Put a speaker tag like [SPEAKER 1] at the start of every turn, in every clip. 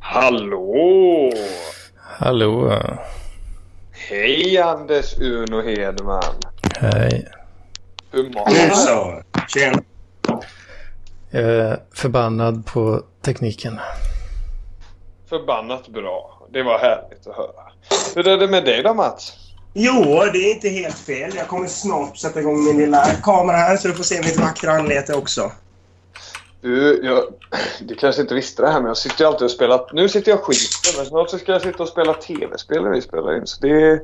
[SPEAKER 1] Hallå!
[SPEAKER 2] Hallå.
[SPEAKER 1] Hej Anders Uno Hedman!
[SPEAKER 2] Hej.
[SPEAKER 1] Hur mår du?
[SPEAKER 3] Så, tjena.
[SPEAKER 2] Jag är förbannad på tekniken.
[SPEAKER 1] Förbannat bra. Det var härligt att höra. Hur är det med dig då Mats?
[SPEAKER 3] Jo, det är inte helt fel. Jag kommer snart sätta igång min lilla kamera här så du får se mitt vackra anlete också.
[SPEAKER 1] Du, jag, du kanske inte visste det här men jag sitter ju alltid och spelar... Nu sitter jag skiten men snart så ska jag sitta och spela tv-spel när vi spelar in. Så det,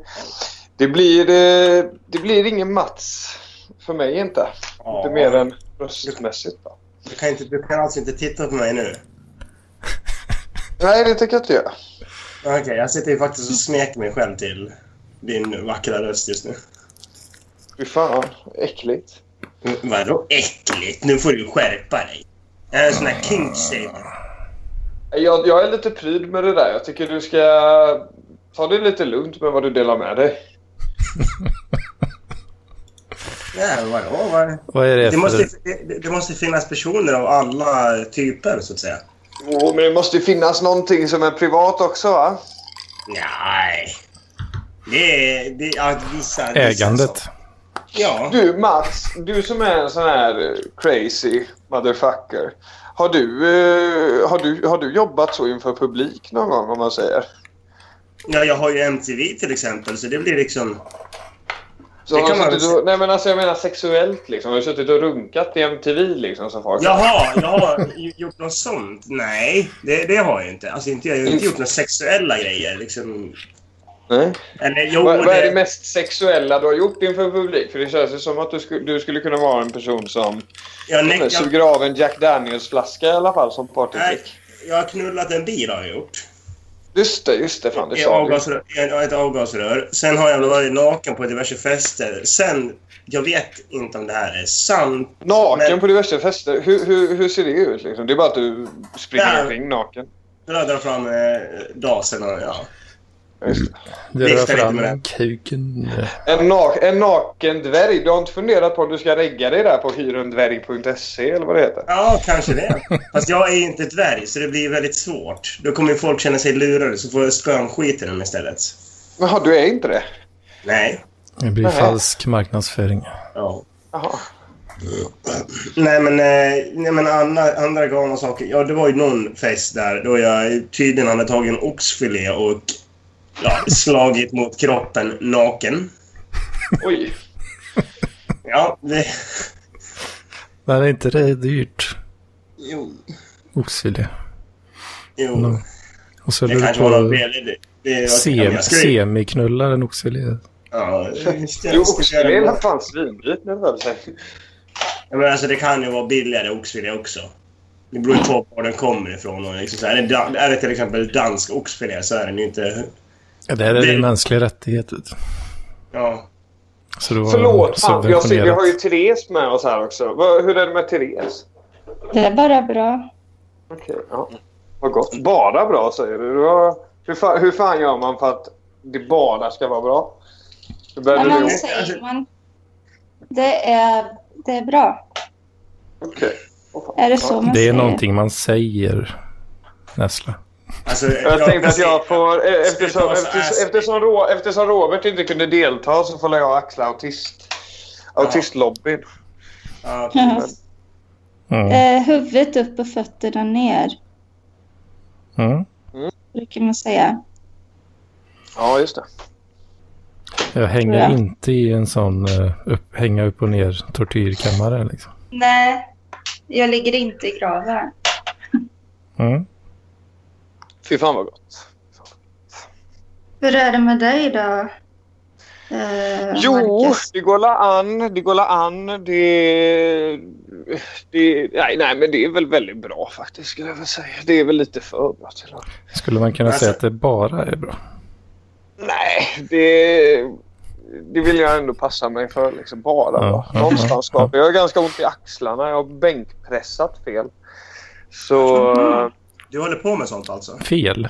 [SPEAKER 1] det, blir, eh, det blir ingen Mats. För mig inte. Inte mer än röstmässigt. Då.
[SPEAKER 3] Du kan, inte, du kan alltså inte titta på mig nu?
[SPEAKER 1] Nej, det tänker jag inte göra.
[SPEAKER 3] Okej, jag sitter ju faktiskt och smeker mig själv till din vackra röst just nu.
[SPEAKER 1] Fy fan, äckligt.
[SPEAKER 3] Mm, Vadå äckligt? Nu får du skärpa dig. Jag är en sån här kinkshaver.
[SPEAKER 1] Jag, jag är lite pryd med det där. Jag tycker du ska ta det lite lugnt med vad du delar med dig.
[SPEAKER 3] Ja, vadå? Vad?
[SPEAKER 2] Vad är det,
[SPEAKER 3] Det
[SPEAKER 2] för...
[SPEAKER 3] måste, det, det måste finnas personer av alla typer, så att säga.
[SPEAKER 1] Jo, men det måste ju finnas någonting som är privat också va?
[SPEAKER 3] Nej. Det är... Det, ja, vissa, vissa
[SPEAKER 2] Ägandet.
[SPEAKER 3] saker. Ja.
[SPEAKER 1] Du Mats, du som är en sån här eh, crazy motherfucker. Har du, eh, har, du, har du jobbat så inför publik någon gång om man säger?
[SPEAKER 3] Ja, jag har ju MTV till exempel, så det blir liksom...
[SPEAKER 1] Så
[SPEAKER 3] Det
[SPEAKER 1] har
[SPEAKER 3] kan
[SPEAKER 1] du
[SPEAKER 3] man
[SPEAKER 1] suttit
[SPEAKER 3] väl
[SPEAKER 1] och, nej men alltså jag menar sexuellt liksom. Har du suttit och runkat i MTV liksom som folk?
[SPEAKER 3] Jaha, jag har ju gjort något sånt? Nej, det, det har jag inte. Alltså, inte, jag har ju inte gjort några sexuella grejer. Liksom.
[SPEAKER 1] Nej.
[SPEAKER 3] Eller jo,
[SPEAKER 1] Vad, vad är det
[SPEAKER 3] det,
[SPEAKER 1] mest sexuella du har gjort inför publik? För det känns ju som att du, sku, du skulle kunna vara en person som
[SPEAKER 3] jag, näck, jag,
[SPEAKER 1] suger av en Jack Daniels-flaska i alla fall som
[SPEAKER 3] nej,
[SPEAKER 1] partytrick.
[SPEAKER 3] jag har knullat en bil har jag gjort.
[SPEAKER 1] Just det, just det. Fan, det
[SPEAKER 3] I
[SPEAKER 1] sa du.
[SPEAKER 3] avgasrör, i ett avgasrör. Sen har jag varit naken på diverse fester. Sen, jag vet inte om det här är sant.
[SPEAKER 1] Naken
[SPEAKER 3] Men-
[SPEAKER 1] på diverse fester. Hur, hur, hur ser det ut? Liksom? Det är bara att du springer
[SPEAKER 3] Ja.
[SPEAKER 1] omkring naken.
[SPEAKER 3] Jag drar fram eh, dasen och ja.
[SPEAKER 1] Just det.
[SPEAKER 2] Du
[SPEAKER 3] Vifta
[SPEAKER 2] rör
[SPEAKER 3] lite med
[SPEAKER 2] fram
[SPEAKER 3] den.
[SPEAKER 2] kuken.
[SPEAKER 1] En, na- en naken dvärg. Du har inte funderat på om du ska regga dig där på hyrendvärg.se eller vad det heter?
[SPEAKER 3] Ja, kanske det. Fast jag är inte dvärg, så det blir väldigt svårt. Då kommer ju folk känna sig lurade, så får jag spönskit i dem istället.
[SPEAKER 1] Jaha, du är inte det?
[SPEAKER 3] Nej.
[SPEAKER 2] Det blir
[SPEAKER 1] Nähä.
[SPEAKER 2] falsk marknadsföring.
[SPEAKER 3] Ja.
[SPEAKER 1] Jaha.
[SPEAKER 3] Nej, men, eh, nej, men andra, andra galna saker. Ja, det var ju någon fest där då jag tydligen hade tagit en oxfilé och ja, slagit mot kroppen naken.
[SPEAKER 1] Oj.
[SPEAKER 3] Ja, det...
[SPEAKER 2] Men är inte det dyrt?
[SPEAKER 3] Jo.
[SPEAKER 2] Oxfilé.
[SPEAKER 3] jo.
[SPEAKER 2] Mm. Och så
[SPEAKER 3] Oh. Det
[SPEAKER 2] lurar du
[SPEAKER 3] kanske var något
[SPEAKER 2] på
[SPEAKER 3] fel. Det, det,
[SPEAKER 2] sem- semiknullar en oxfilé.
[SPEAKER 3] Ja,
[SPEAKER 1] Du, oxfilé är fan svindyrt nu väl säkert.
[SPEAKER 3] Ja, men alltså det kan ju vara billigare oxfilé också. Det beror ju på var den kommer ifrån. Och liksom så här, är, det, dan- är det till exempel dansk oxfilé så är den ju inte...
[SPEAKER 2] Ja, det här är
[SPEAKER 3] Det-
[SPEAKER 2] en mänsklig rättighet. vet du.
[SPEAKER 3] Ja.
[SPEAKER 2] Så då
[SPEAKER 1] Förlåt, fan, jag ser, vi
[SPEAKER 2] subventionerat.
[SPEAKER 1] har ju Therese med oss här också. Vad- Hur är det med Therese?
[SPEAKER 4] Det är bara bra.
[SPEAKER 1] Okej, ja. Vad gott. Bara Mm. bra säger du. Det var- Hur fan, hur fan gör man för att det bara ska vara bra? Hur började
[SPEAKER 4] Men
[SPEAKER 1] du
[SPEAKER 4] man
[SPEAKER 1] gå?
[SPEAKER 4] säger man. Det är, det är bra.
[SPEAKER 1] Okej.
[SPEAKER 4] Är det så man
[SPEAKER 2] Det
[SPEAKER 4] säger?
[SPEAKER 2] är någonting man säger, Nessla.
[SPEAKER 3] Alltså,
[SPEAKER 1] Jag tänkte att jag får... eh, Eftersom,
[SPEAKER 3] Sluta vara så
[SPEAKER 1] eftersom,
[SPEAKER 3] ass.
[SPEAKER 1] eftersom, Ro, eftersom Robert inte kunde delta så får jag axla autist, autistlobbyn.
[SPEAKER 3] Ja,
[SPEAKER 4] Ja.
[SPEAKER 2] Mm.
[SPEAKER 4] Eh, huvudet upp och fötterna ner,
[SPEAKER 2] Mm.
[SPEAKER 4] brukar man säga.
[SPEAKER 1] Ja, just det.
[SPEAKER 2] Jag hänger
[SPEAKER 4] Ja.
[SPEAKER 2] inte i en sån eh, upp, hänga upp och ner tortyrkammare. Liksom.
[SPEAKER 4] Nej, jag ligger inte i graven.
[SPEAKER 2] Mm.
[SPEAKER 1] Fy fan vad gott.
[SPEAKER 4] Hur är det med dig då? Eh,
[SPEAKER 1] Jo,
[SPEAKER 4] Marcus?
[SPEAKER 1] det går la an. Det går la an. Det, det, nej, nej, men det är väl väldigt bra faktiskt skulle jag väl säga. Det är väl lite för bra till att...
[SPEAKER 2] Skulle man kunna
[SPEAKER 3] Alltså-
[SPEAKER 2] säga att det bara är bra?
[SPEAKER 1] Nej, det, det vill jag ändå passa mig för. Liksom bara
[SPEAKER 2] Ja,
[SPEAKER 1] bra.
[SPEAKER 2] ja, ja,
[SPEAKER 1] Någonstans ska Jag har ganska ont i axlarna. Jag har bänkpressat fel. Så...
[SPEAKER 3] Du håller på med sånt alltså?
[SPEAKER 2] Fel.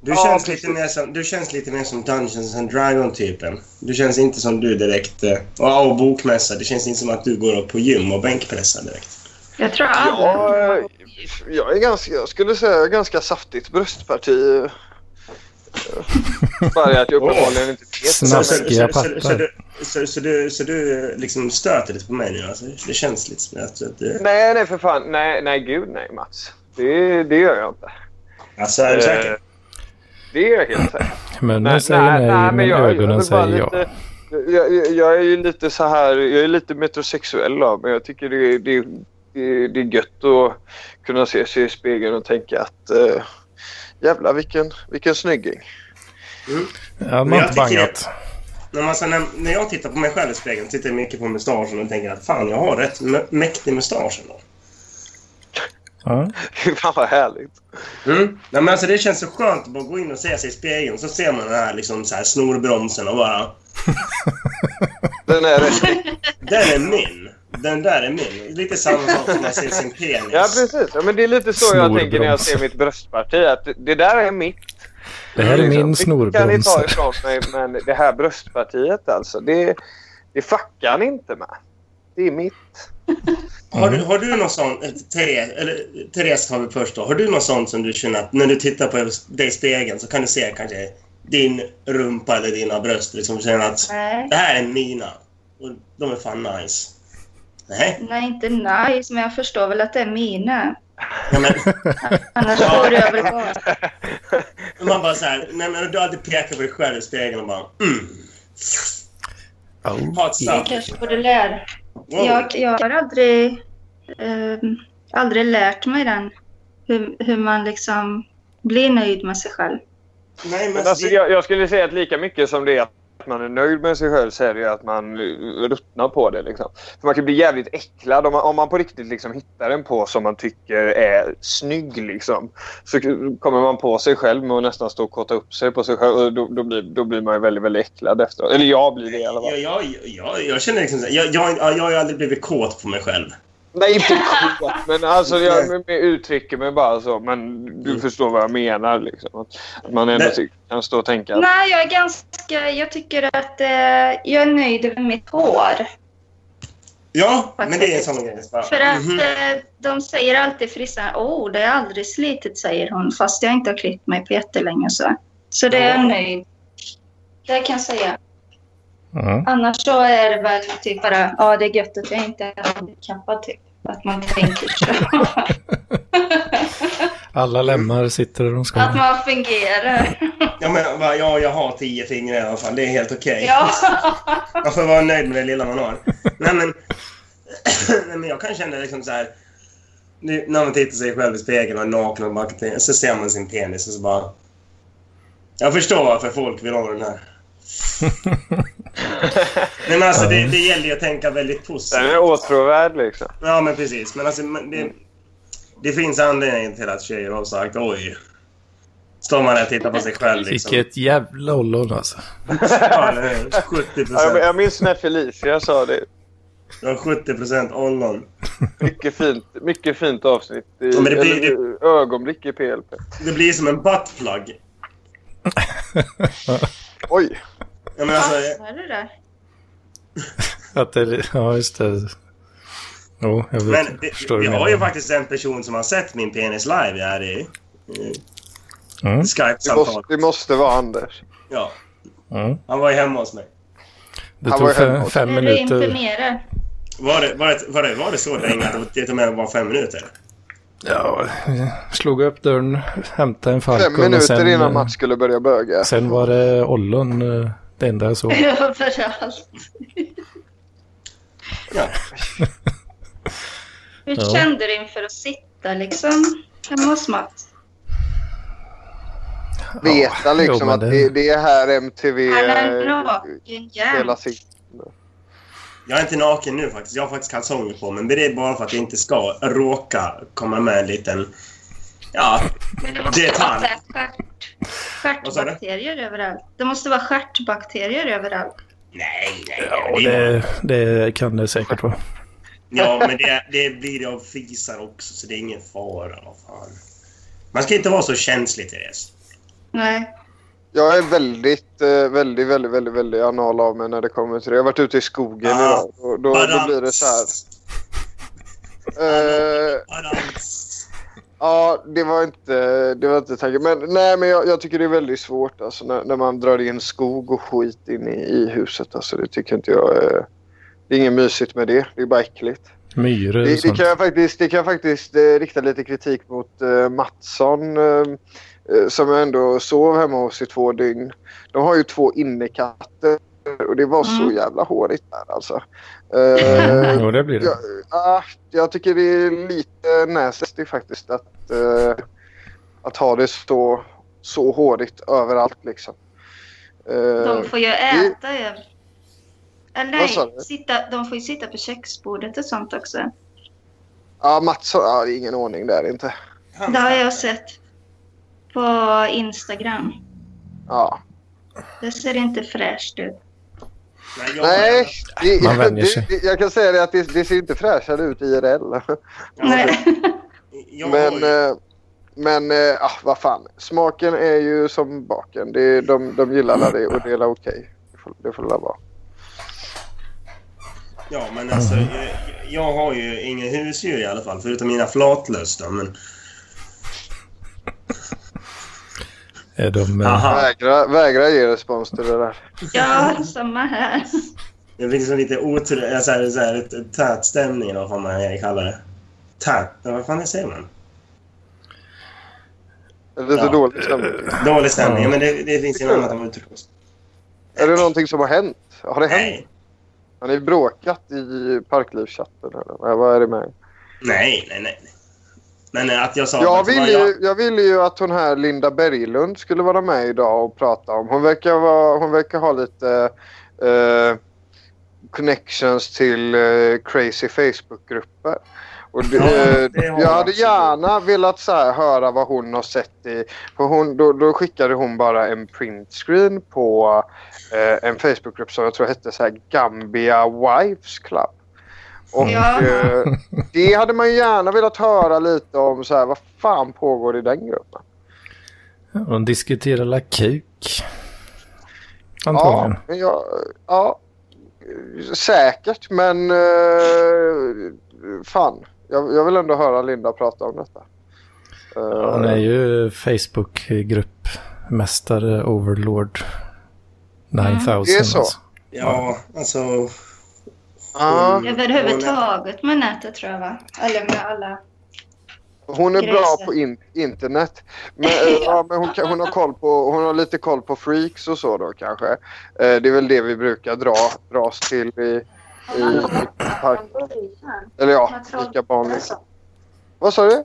[SPEAKER 3] Du,
[SPEAKER 1] Ja,
[SPEAKER 3] känns,
[SPEAKER 1] precis.
[SPEAKER 3] lite mer som, du känns lite mer som Dungeons and Dragon-typen. Du känns inte som du direkt... eh, Och, och bokmässa. Det känns inte som att du går upp på gym och bänkpressar direkt.
[SPEAKER 4] Jag tror alla.
[SPEAKER 1] Jag, eh, jag är ganska, jag skulle säga ganska saftigt bröstparti. eh. Bara att jag uppenbarligen inte vet.
[SPEAKER 3] Så, så, så,
[SPEAKER 2] Snaskiga
[SPEAKER 3] så, så, så,
[SPEAKER 2] pattar.
[SPEAKER 3] du, så, så, du, så du eh, liksom stöter lite på mig nu? Alltså, det känns lite som att... att eh,
[SPEAKER 1] Nej, nej för fan. Nej, nej gud nej Mats. Det, det gör jag inte.
[SPEAKER 3] alltså, är du
[SPEAKER 1] Eh,
[SPEAKER 3] säker?
[SPEAKER 1] Det är jag helt säker
[SPEAKER 2] Munnen säger nej, men
[SPEAKER 1] jag- jag
[SPEAKER 2] ögonen
[SPEAKER 1] vill bara
[SPEAKER 2] säger ja.
[SPEAKER 1] lite- Jag, jag, jag är ju lite så här, jag är lite metrosexuell av men jag tycker det, är- det, är- det, är- det är gött att kunna se sig i spegeln och tänka att eh, jävlar vilken, vilken snygging.
[SPEAKER 2] Ja, man
[SPEAKER 3] Men
[SPEAKER 2] har
[SPEAKER 3] jag
[SPEAKER 2] inte
[SPEAKER 3] tycker
[SPEAKER 2] bangat.
[SPEAKER 3] När, man, så, alltså, när, när jag tittar på mig själv i spegeln tittar jag mycket på mustaschen och tänker att fan, jag har rätt mä- mäktig mustasch ändå.
[SPEAKER 2] Ja.
[SPEAKER 1] Fan vad härligt.
[SPEAKER 3] Mm. Nej, men alltså, det känns så skönt att bara gå in och se sig i spegeln så ser man den här, liksom, så här snorbromsen och bara...
[SPEAKER 1] Den är rätt.
[SPEAKER 3] Den är min! Den där är min. Lite samma sak som man ser sin penis.
[SPEAKER 1] Ja precis, ja, men det är lite så jag tänker när jag
[SPEAKER 2] Snorbroms.
[SPEAKER 1] ser mitt bröstparti att det- det där är mitt.
[SPEAKER 2] Det här är min
[SPEAKER 1] Det kan ni ta
[SPEAKER 2] snorbroms.
[SPEAKER 1] ifrån mig men det här bröstpartiet alltså det, det fuckar ni inte med. Det är mitt.
[SPEAKER 3] Har du, har du något sånt, eh, Therese, eller Therese tar vi först då. Har du något sånt som du känner att när du tittar på dig i spegeln så kan du se kanske din rumpa eller dina bröst liksom känner att
[SPEAKER 4] Nej.
[SPEAKER 3] det här är mina och de är fan nice. Nej,
[SPEAKER 4] Nej, inte nice, men jag förstår väl att det är mina.
[SPEAKER 3] nej men
[SPEAKER 4] Annars vore jag väl bara...
[SPEAKER 3] man bara såhär, nej men du alltid pekar på dig själv i spegeln och bara mm,
[SPEAKER 2] Oh.
[SPEAKER 3] ha ett
[SPEAKER 4] Jag
[SPEAKER 3] stack.
[SPEAKER 4] kanske borde lära
[SPEAKER 3] Wow.
[SPEAKER 4] Jag, jag har aldrig, ehm, aldrig lärt mig den. Hur, hur man liksom blir nöjd med sig själv.
[SPEAKER 3] Nej men
[SPEAKER 1] Men alltså,
[SPEAKER 3] alltså,
[SPEAKER 1] jag, jag skulle säga att lika mycket som det är att man är nöjd med sig själv så är det ju att man eh, ruttnar på det. Liksom. För man kan bli jävligt äcklad om man, om man på riktigt liksom hittar en på som man tycker är snygg. Liksom, så k- kommer man på sig själv med att nästan stå och kotta upp sig på sig själv. Och då, då, blir, då blir man ju väldigt, väldigt äcklad efteråt. Eller jag blir det i alla fall.
[SPEAKER 3] jag, jag, jag, jag känner liksom så här, jag, jag, jag har ju aldrig blivit kåt på mig själv.
[SPEAKER 1] Nej, inte kåt, men alltså jag men- men uttrycker mig bara så. Men du
[SPEAKER 3] Mm.
[SPEAKER 1] förstår vad jag menar. Liksom. Att- Att man ändå
[SPEAKER 3] Nej.
[SPEAKER 1] ty- kan stå och tänka att
[SPEAKER 4] Nej, jag är ganska... Jag tycker att eh, jag är nöjd över mitt hår.
[SPEAKER 3] Ja, men det är en sån grej. Bara,
[SPEAKER 4] För att
[SPEAKER 3] mhm.
[SPEAKER 4] eh, de säger alltid frissan, åh, oh, det är aldrig slitet, säger hon, fast jag inte har klippt mig på jättelänge. Så, så det är jag nöjd. Det kan jag säga.
[SPEAKER 2] Mm.
[SPEAKER 4] Annars så är det väl typ bara, ja, det är gött att jag inte är handikappad, typ. Att man tänker så.
[SPEAKER 2] Alla lemmar sitter där de ska.
[SPEAKER 4] Att man fungerar.
[SPEAKER 3] Ja, men, va, ja, jag har tio fingrar i alla fall. Det är helt okej.
[SPEAKER 4] Ja.
[SPEAKER 3] Man får vara nöjd med det lilla man har. Nej, men, nej, men jag kan känna liksom så här... Nu, när man tittar sig själv i spegeln och är naken och bara, kan- så ser man sin penis och så bara... Jag förstår varför folk vill ha den här. Nej, men alltså, det, det gäller ju att tänka väldigt
[SPEAKER 1] den
[SPEAKER 3] positivt.
[SPEAKER 1] är åtråvärd. Liksom.
[SPEAKER 3] Ja, men precis. Men alltså, men det, det finns anledning till att tjejer har sagt oj. Står man där och tittar på sig själv liksom.
[SPEAKER 2] Vilket jävla ollon alltså.
[SPEAKER 3] Ja, eller hur? 70
[SPEAKER 1] Ja, Jag,
[SPEAKER 3] procent.
[SPEAKER 1] jag minns när Felicia sa det.
[SPEAKER 3] Du har 70 procent ollon.
[SPEAKER 1] Mycket fint, mycket fint avsnitt. I,
[SPEAKER 3] Ja, men det blir-
[SPEAKER 1] eller, Ögonblick i PLP.
[SPEAKER 3] Det blir som en buttplug.
[SPEAKER 1] Oj!
[SPEAKER 3] Ja, men alltså,
[SPEAKER 1] Ah.
[SPEAKER 4] Vad är det där?
[SPEAKER 2] Att det, ja, just det. Jo, jag vet,
[SPEAKER 3] men vi,
[SPEAKER 2] förstår
[SPEAKER 3] vi
[SPEAKER 2] du
[SPEAKER 3] har
[SPEAKER 2] menar.
[SPEAKER 3] ju faktiskt en person som har sett min penis live här i eh,
[SPEAKER 2] Mm.
[SPEAKER 1] Det
[SPEAKER 3] Skype-samtal.
[SPEAKER 1] måste, det måste vara Anders.
[SPEAKER 3] Ja,
[SPEAKER 2] Mm.
[SPEAKER 3] han var ju hemma hos mig.
[SPEAKER 2] Det
[SPEAKER 1] Han var ju
[SPEAKER 2] tog fem,
[SPEAKER 1] hemma.
[SPEAKER 2] fem
[SPEAKER 4] Är du
[SPEAKER 2] minuter.
[SPEAKER 4] imponerad?
[SPEAKER 3] Var det, var det, var det, var det så länge att det tog med bara fem minuter?
[SPEAKER 2] Ja, jag slog upp dörren, hämtade en
[SPEAKER 1] Fem
[SPEAKER 2] Falcon och
[SPEAKER 1] minuter
[SPEAKER 2] sen,
[SPEAKER 1] innan
[SPEAKER 2] eh,
[SPEAKER 1] Mats skulle börja böga.
[SPEAKER 2] sen var det ollon, eh, det enda jag såg.
[SPEAKER 4] Överallt.
[SPEAKER 3] Ja.
[SPEAKER 4] Hur
[SPEAKER 2] Ja.
[SPEAKER 4] kände du inför att sitta liksom hemma hos Mats?
[SPEAKER 1] Veta liksom
[SPEAKER 2] jo, men
[SPEAKER 1] att
[SPEAKER 2] det-
[SPEAKER 1] det, det är här MTV
[SPEAKER 4] Han är
[SPEAKER 1] eh,
[SPEAKER 4] naken jämt.
[SPEAKER 1] spelas in.
[SPEAKER 3] Jag är inte naken nu faktiskt. Jag har faktiskt kalsonger på men det är bara för att jag inte ska råka komma med en liten... Ja, detalj. Vad sa du?
[SPEAKER 4] Stjärtbakterier överallt. Det måste vara stjärtbakterier överallt.
[SPEAKER 3] Nej, nej,
[SPEAKER 2] Och
[SPEAKER 3] nej. det är-
[SPEAKER 2] det, det kan det säkert vara.
[SPEAKER 3] Ja, men det, det blir det av fisar också så det är ingen fara. Vad fan. Man ska inte vara så känslig, Therese.
[SPEAKER 4] Nej.
[SPEAKER 1] Jag är väldigt, eh, väldigt, väldigt, väldigt, väldigt anal av mig när det kommer till det. Jag har varit ute i skogen
[SPEAKER 3] Ah,
[SPEAKER 1] idag. Då, då, då blir det så här. Eh, Ja, det var inte, det var inte tanken. Men, nej, men jag, jag tycker det är väldigt svårt alltså, när, när man drar in skog och skit in i, i huset. Alltså, det tycker inte jag är... Det är inget mysigt med det. Det är bara äckligt.
[SPEAKER 2] Myror och
[SPEAKER 1] Det, det
[SPEAKER 2] sånt.
[SPEAKER 1] kan jag faktiskt, det kan jag faktiskt eh, rikta lite kritik mot eh, Mattsson eh, eh, som jag ändå sov hemma hos i två dygn. De har ju två innekatter och det var så
[SPEAKER 4] Mm.
[SPEAKER 1] jävla hårigt där alltså. Eh,
[SPEAKER 2] Jo, det blir det.
[SPEAKER 1] Ja, ah, jag tycker det är lite nasty faktiskt att, eh, att ha det så, så hårigt överallt. Liksom. Eh,
[SPEAKER 4] De får ju äta över... Eller
[SPEAKER 1] Vad sa du?
[SPEAKER 4] nej, sitta, de får ju sitta på köksbordet och sånt också.
[SPEAKER 1] ja, Mats har ah, det är ingen ordning där inte.
[SPEAKER 4] Det har jag sett på Instagram.
[SPEAKER 1] Ja.
[SPEAKER 4] Det ser inte fräscht ut.
[SPEAKER 3] Nej, jag-
[SPEAKER 1] Nej, det,
[SPEAKER 2] Man vänjer
[SPEAKER 1] det,
[SPEAKER 2] sig.
[SPEAKER 1] det, jag kan säga det att det, det ser inte fräschare ut IRL.
[SPEAKER 3] Ja,
[SPEAKER 4] Nej.
[SPEAKER 3] jag har
[SPEAKER 1] Men,
[SPEAKER 3] ju-
[SPEAKER 1] eh, men eh, ah, vad fan. Smaken är ju som baken. Det, de, de gillar alla det och det är alla okej. Det får- Det får det vara.
[SPEAKER 3] Ja, men alltså, jag, jag har ju inga husdjur i alla fall, förutom mina flatlöss då, men...
[SPEAKER 2] Är de, eh,
[SPEAKER 3] Aha,
[SPEAKER 1] Vägra, vägra ge respons till det där.
[SPEAKER 4] Ja, samma här.
[SPEAKER 3] det blir liksom lite otur... Så här, så här, ett- ett tät stämning eller vad fan man kallar det. Tät? ja, Vad fan det säger man?
[SPEAKER 1] Lite
[SPEAKER 3] Ja.
[SPEAKER 1] dålig stämning.
[SPEAKER 3] Dålig stämning.
[SPEAKER 2] Ja.
[SPEAKER 3] Men det, det finns ju något annat än utrustning.
[SPEAKER 1] Är det någonting som har hänt? Har det hänt?
[SPEAKER 3] Nej.
[SPEAKER 1] Har ni bråkat i parklivschatten? Eller? Nej, Vad är det med?
[SPEAKER 3] Nej, nej, nej. Men eh, att jag sa...
[SPEAKER 1] Jag
[SPEAKER 3] att det var
[SPEAKER 1] ville, ju, jag ville ju att hon här Linda Berglund skulle vara med idag och prata om. Hon verkar, vara, hon verkar ha lite eh, connections till eh, crazy Facebookgrupper. Och det,
[SPEAKER 3] Ja, det
[SPEAKER 1] eh,
[SPEAKER 3] har hon
[SPEAKER 1] jag hade
[SPEAKER 3] absolut.
[SPEAKER 1] gärna velat så här, höra vad hon har sett i... För hon, då, då skickade hon bara en printscreen på eh, en Facebookgrupp som jag tror hette så här Gambia Wives Club. Och
[SPEAKER 4] Ja.
[SPEAKER 1] eh, det hade man ju gärna velat höra lite om så här, vad fan pågår i den gruppen?
[SPEAKER 2] De diskuterar la kuk.
[SPEAKER 1] Ja,
[SPEAKER 2] Antagligen.
[SPEAKER 1] men jag, ja, eh, säkert men eh, fan. Jag, jag vill ändå höra Linda prata om detta. Eh,
[SPEAKER 2] Hon är ju Facebook-gruppmästare, Overlord 9000.
[SPEAKER 1] Det är så.
[SPEAKER 2] alltså.
[SPEAKER 3] Ja, alltså...
[SPEAKER 1] ja,
[SPEAKER 4] Överhuvudtaget med nätet tror jag va? Eller med alla.
[SPEAKER 1] hon är bra
[SPEAKER 4] gränsen.
[SPEAKER 1] på in, internet. Men, eh, ja, men hon, kan- hon, har koll på, hon har lite koll på freaks och så då kanske. Eh, det är väl det vi brukar dra, dras till i, i park. Eller Eh, ja, lika vanligt. Vad sa du?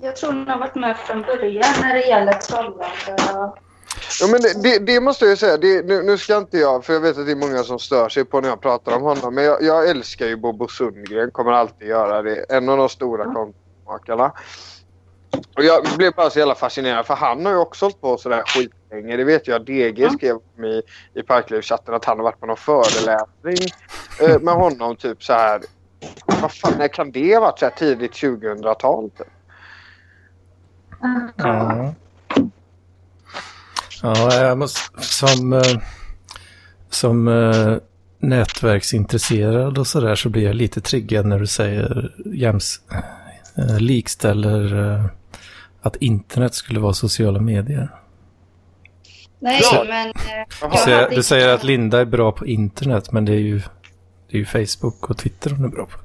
[SPEAKER 4] Jag tror hon har varit med från början när det gäller trollande. och-
[SPEAKER 1] Ja, men det- det, det måste jag ju säga. Det, nu, nu ska inte jag, för jag vet att det är många som stör sig på när jag pratar om honom. Men jag, jag älskar ju Bobo Sundgren, kommer alltid göra det. En av de stora konstmakarna. Och jag blev bara så jävla fascinerad för han har ju också hållit på sådär skitlänge. Det vet jag. DG skrev om i, i Parklivschatten att han har varit på någon föreläsning eh, med honom typ så här. Vad fan, när kan det ha varit? Så här tidigt 2000-tal? Typ.
[SPEAKER 2] Ja. Ja, jag måste, som eh, som eh, nätverksintresserad och sådär så blir jag lite triggad när du säger jäms, eh, likställer eh, att internet skulle vara sociala medier.
[SPEAKER 4] Nej,
[SPEAKER 1] Ja.
[SPEAKER 4] men... eh,
[SPEAKER 1] Jaha.
[SPEAKER 2] Du
[SPEAKER 4] jag
[SPEAKER 2] säger,
[SPEAKER 4] hade
[SPEAKER 2] du säger
[SPEAKER 4] inte-
[SPEAKER 2] att Linda är bra på internet men det är ju, det är ju Facebook och Twitter hon är bra på.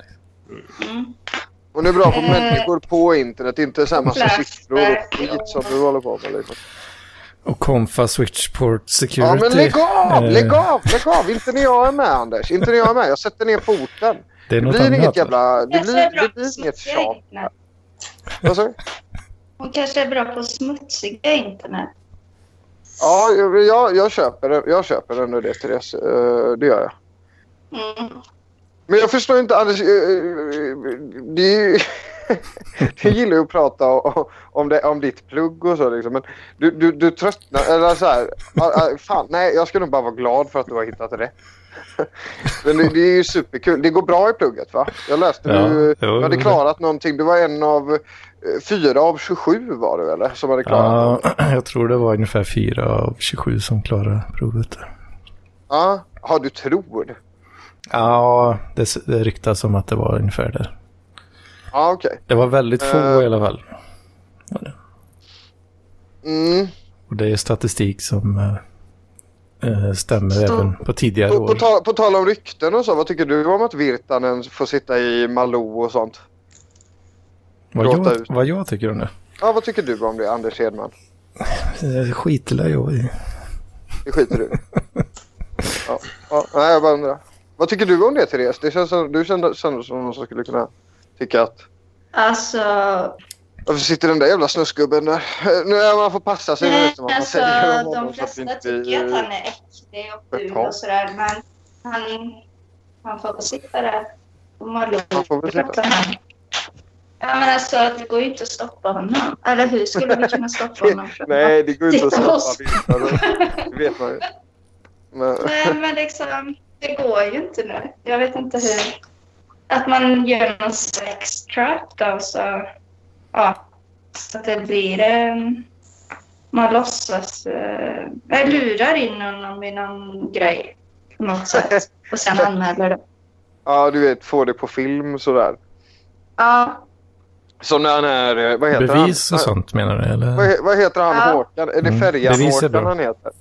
[SPEAKER 4] Mm.
[SPEAKER 1] Hon är bra på
[SPEAKER 4] Eh,
[SPEAKER 1] människor på internet, inte samma massa
[SPEAKER 4] Flashback
[SPEAKER 1] siffror och skit som du håller på med. Liksom.
[SPEAKER 2] Och Confa Switchport Security.
[SPEAKER 1] Ja men lägg av!
[SPEAKER 2] Eh,
[SPEAKER 1] Lägg av! Lägg av! Inte när jag är med Anders. Inte när jag är med. Jag sätter ner foten.
[SPEAKER 2] Det är
[SPEAKER 1] Det
[SPEAKER 2] något
[SPEAKER 1] blir
[SPEAKER 2] annat.
[SPEAKER 1] inget jävla... Det
[SPEAKER 4] Kanske är
[SPEAKER 1] blir,
[SPEAKER 4] bra
[SPEAKER 1] det
[SPEAKER 4] på
[SPEAKER 1] blir inget
[SPEAKER 4] smutsiga
[SPEAKER 1] tjat.
[SPEAKER 4] internet.
[SPEAKER 1] Vad sa du?
[SPEAKER 4] Hon kanske är bra på smutsiga internet.
[SPEAKER 1] Ja, jag, jag, jag köper den. Jag köper ändå det Therese. Eh, Det gör jag.
[SPEAKER 4] Mm.
[SPEAKER 1] Men jag förstår inte Anders. eh, eh, Det är ju... Du gillar ju att prata o- om, det, om ditt plugg och så liksom. Men du, du, du tröttnar, eller så här, ah, ah, fan, nej jag skulle nog bara vara glad för att du har hittat rätt. Men det, det är ju superkul. Det går bra i plugget va? Jag läste
[SPEAKER 2] Ja,
[SPEAKER 1] du,
[SPEAKER 2] jo,
[SPEAKER 1] du hade
[SPEAKER 2] det-
[SPEAKER 1] klarat någonting. Du var en av eh, fyra av 27 var du eller? Som hade klarat
[SPEAKER 2] Ja,
[SPEAKER 1] något.
[SPEAKER 2] jag tror det var ungefär 4 av 27 som klarade provet.
[SPEAKER 1] Ja. Har du tror?
[SPEAKER 2] Ja, det, s- det ryktas om att det var ungefär där.
[SPEAKER 1] Ja, okej.
[SPEAKER 2] Det var väldigt få
[SPEAKER 1] Eh.
[SPEAKER 2] i alla fall. Var det.
[SPEAKER 1] Mm.
[SPEAKER 2] Och det är statistik som eh, eh, stämmer
[SPEAKER 1] Stå-
[SPEAKER 2] även på tidigare
[SPEAKER 1] På, på,
[SPEAKER 2] år.
[SPEAKER 1] tal, på tal om rykten och så, vad tycker du om att Virtanen får sitta i Malou och sånt?
[SPEAKER 2] Vad
[SPEAKER 1] Gråta
[SPEAKER 2] jag,
[SPEAKER 1] ut.
[SPEAKER 2] vad jag tycker om det?
[SPEAKER 1] Ja, vad tycker du om det, Anders Hedman?
[SPEAKER 2] Eh, Skiter jag i.
[SPEAKER 1] Det skiter du i. ja, ja, Nej, jag bara undrar. Vad tycker du om det, Therese? Det känns som, du kändes som någon som skulle kunna tycka att...
[SPEAKER 4] Alltså,
[SPEAKER 1] Varför sitter den där jävla snusgubben där? Nu är man får passa sig nu
[SPEAKER 4] nej,
[SPEAKER 1] efter vad man
[SPEAKER 4] alltså
[SPEAKER 1] säger om honom
[SPEAKER 4] de
[SPEAKER 1] så att
[SPEAKER 4] flesta
[SPEAKER 1] vi inte
[SPEAKER 4] tycker att han är äcklig och ful
[SPEAKER 1] Ja.
[SPEAKER 4] och sådär. Men han, han får väl sitta där och måla
[SPEAKER 1] Han får väl sitta.
[SPEAKER 4] Ja men alltså det går ju inte att stoppa honom. Eller hur skulle vi kunna stoppa honom? från-
[SPEAKER 1] Nej, det går inte att
[SPEAKER 4] Titta på
[SPEAKER 1] stoppa
[SPEAKER 4] oss.
[SPEAKER 1] Virtanen. Det vet man ju. Men...
[SPEAKER 4] Nej, men liksom, det går ju inte nu. Jag vet inte hur. Att man gör någon sex trap då, så... Ja. Så att det blir... em, man låtsas... Eh, jag lurar in honom i någon grej på något sätt. Och sen anmäler det.
[SPEAKER 1] Ja, du vet, få det på film sådär.
[SPEAKER 4] Ja.
[SPEAKER 1] Som när han är... eh, Vad heter
[SPEAKER 2] Bevis
[SPEAKER 1] han?
[SPEAKER 2] och sånt menar du?
[SPEAKER 1] Vad,
[SPEAKER 2] Eller?
[SPEAKER 1] he- vad heter han,
[SPEAKER 4] Ja.
[SPEAKER 1] Håkan? Är det
[SPEAKER 2] Mm, bevis är
[SPEAKER 1] Färjan-Håkan
[SPEAKER 2] bra.
[SPEAKER 1] han heter?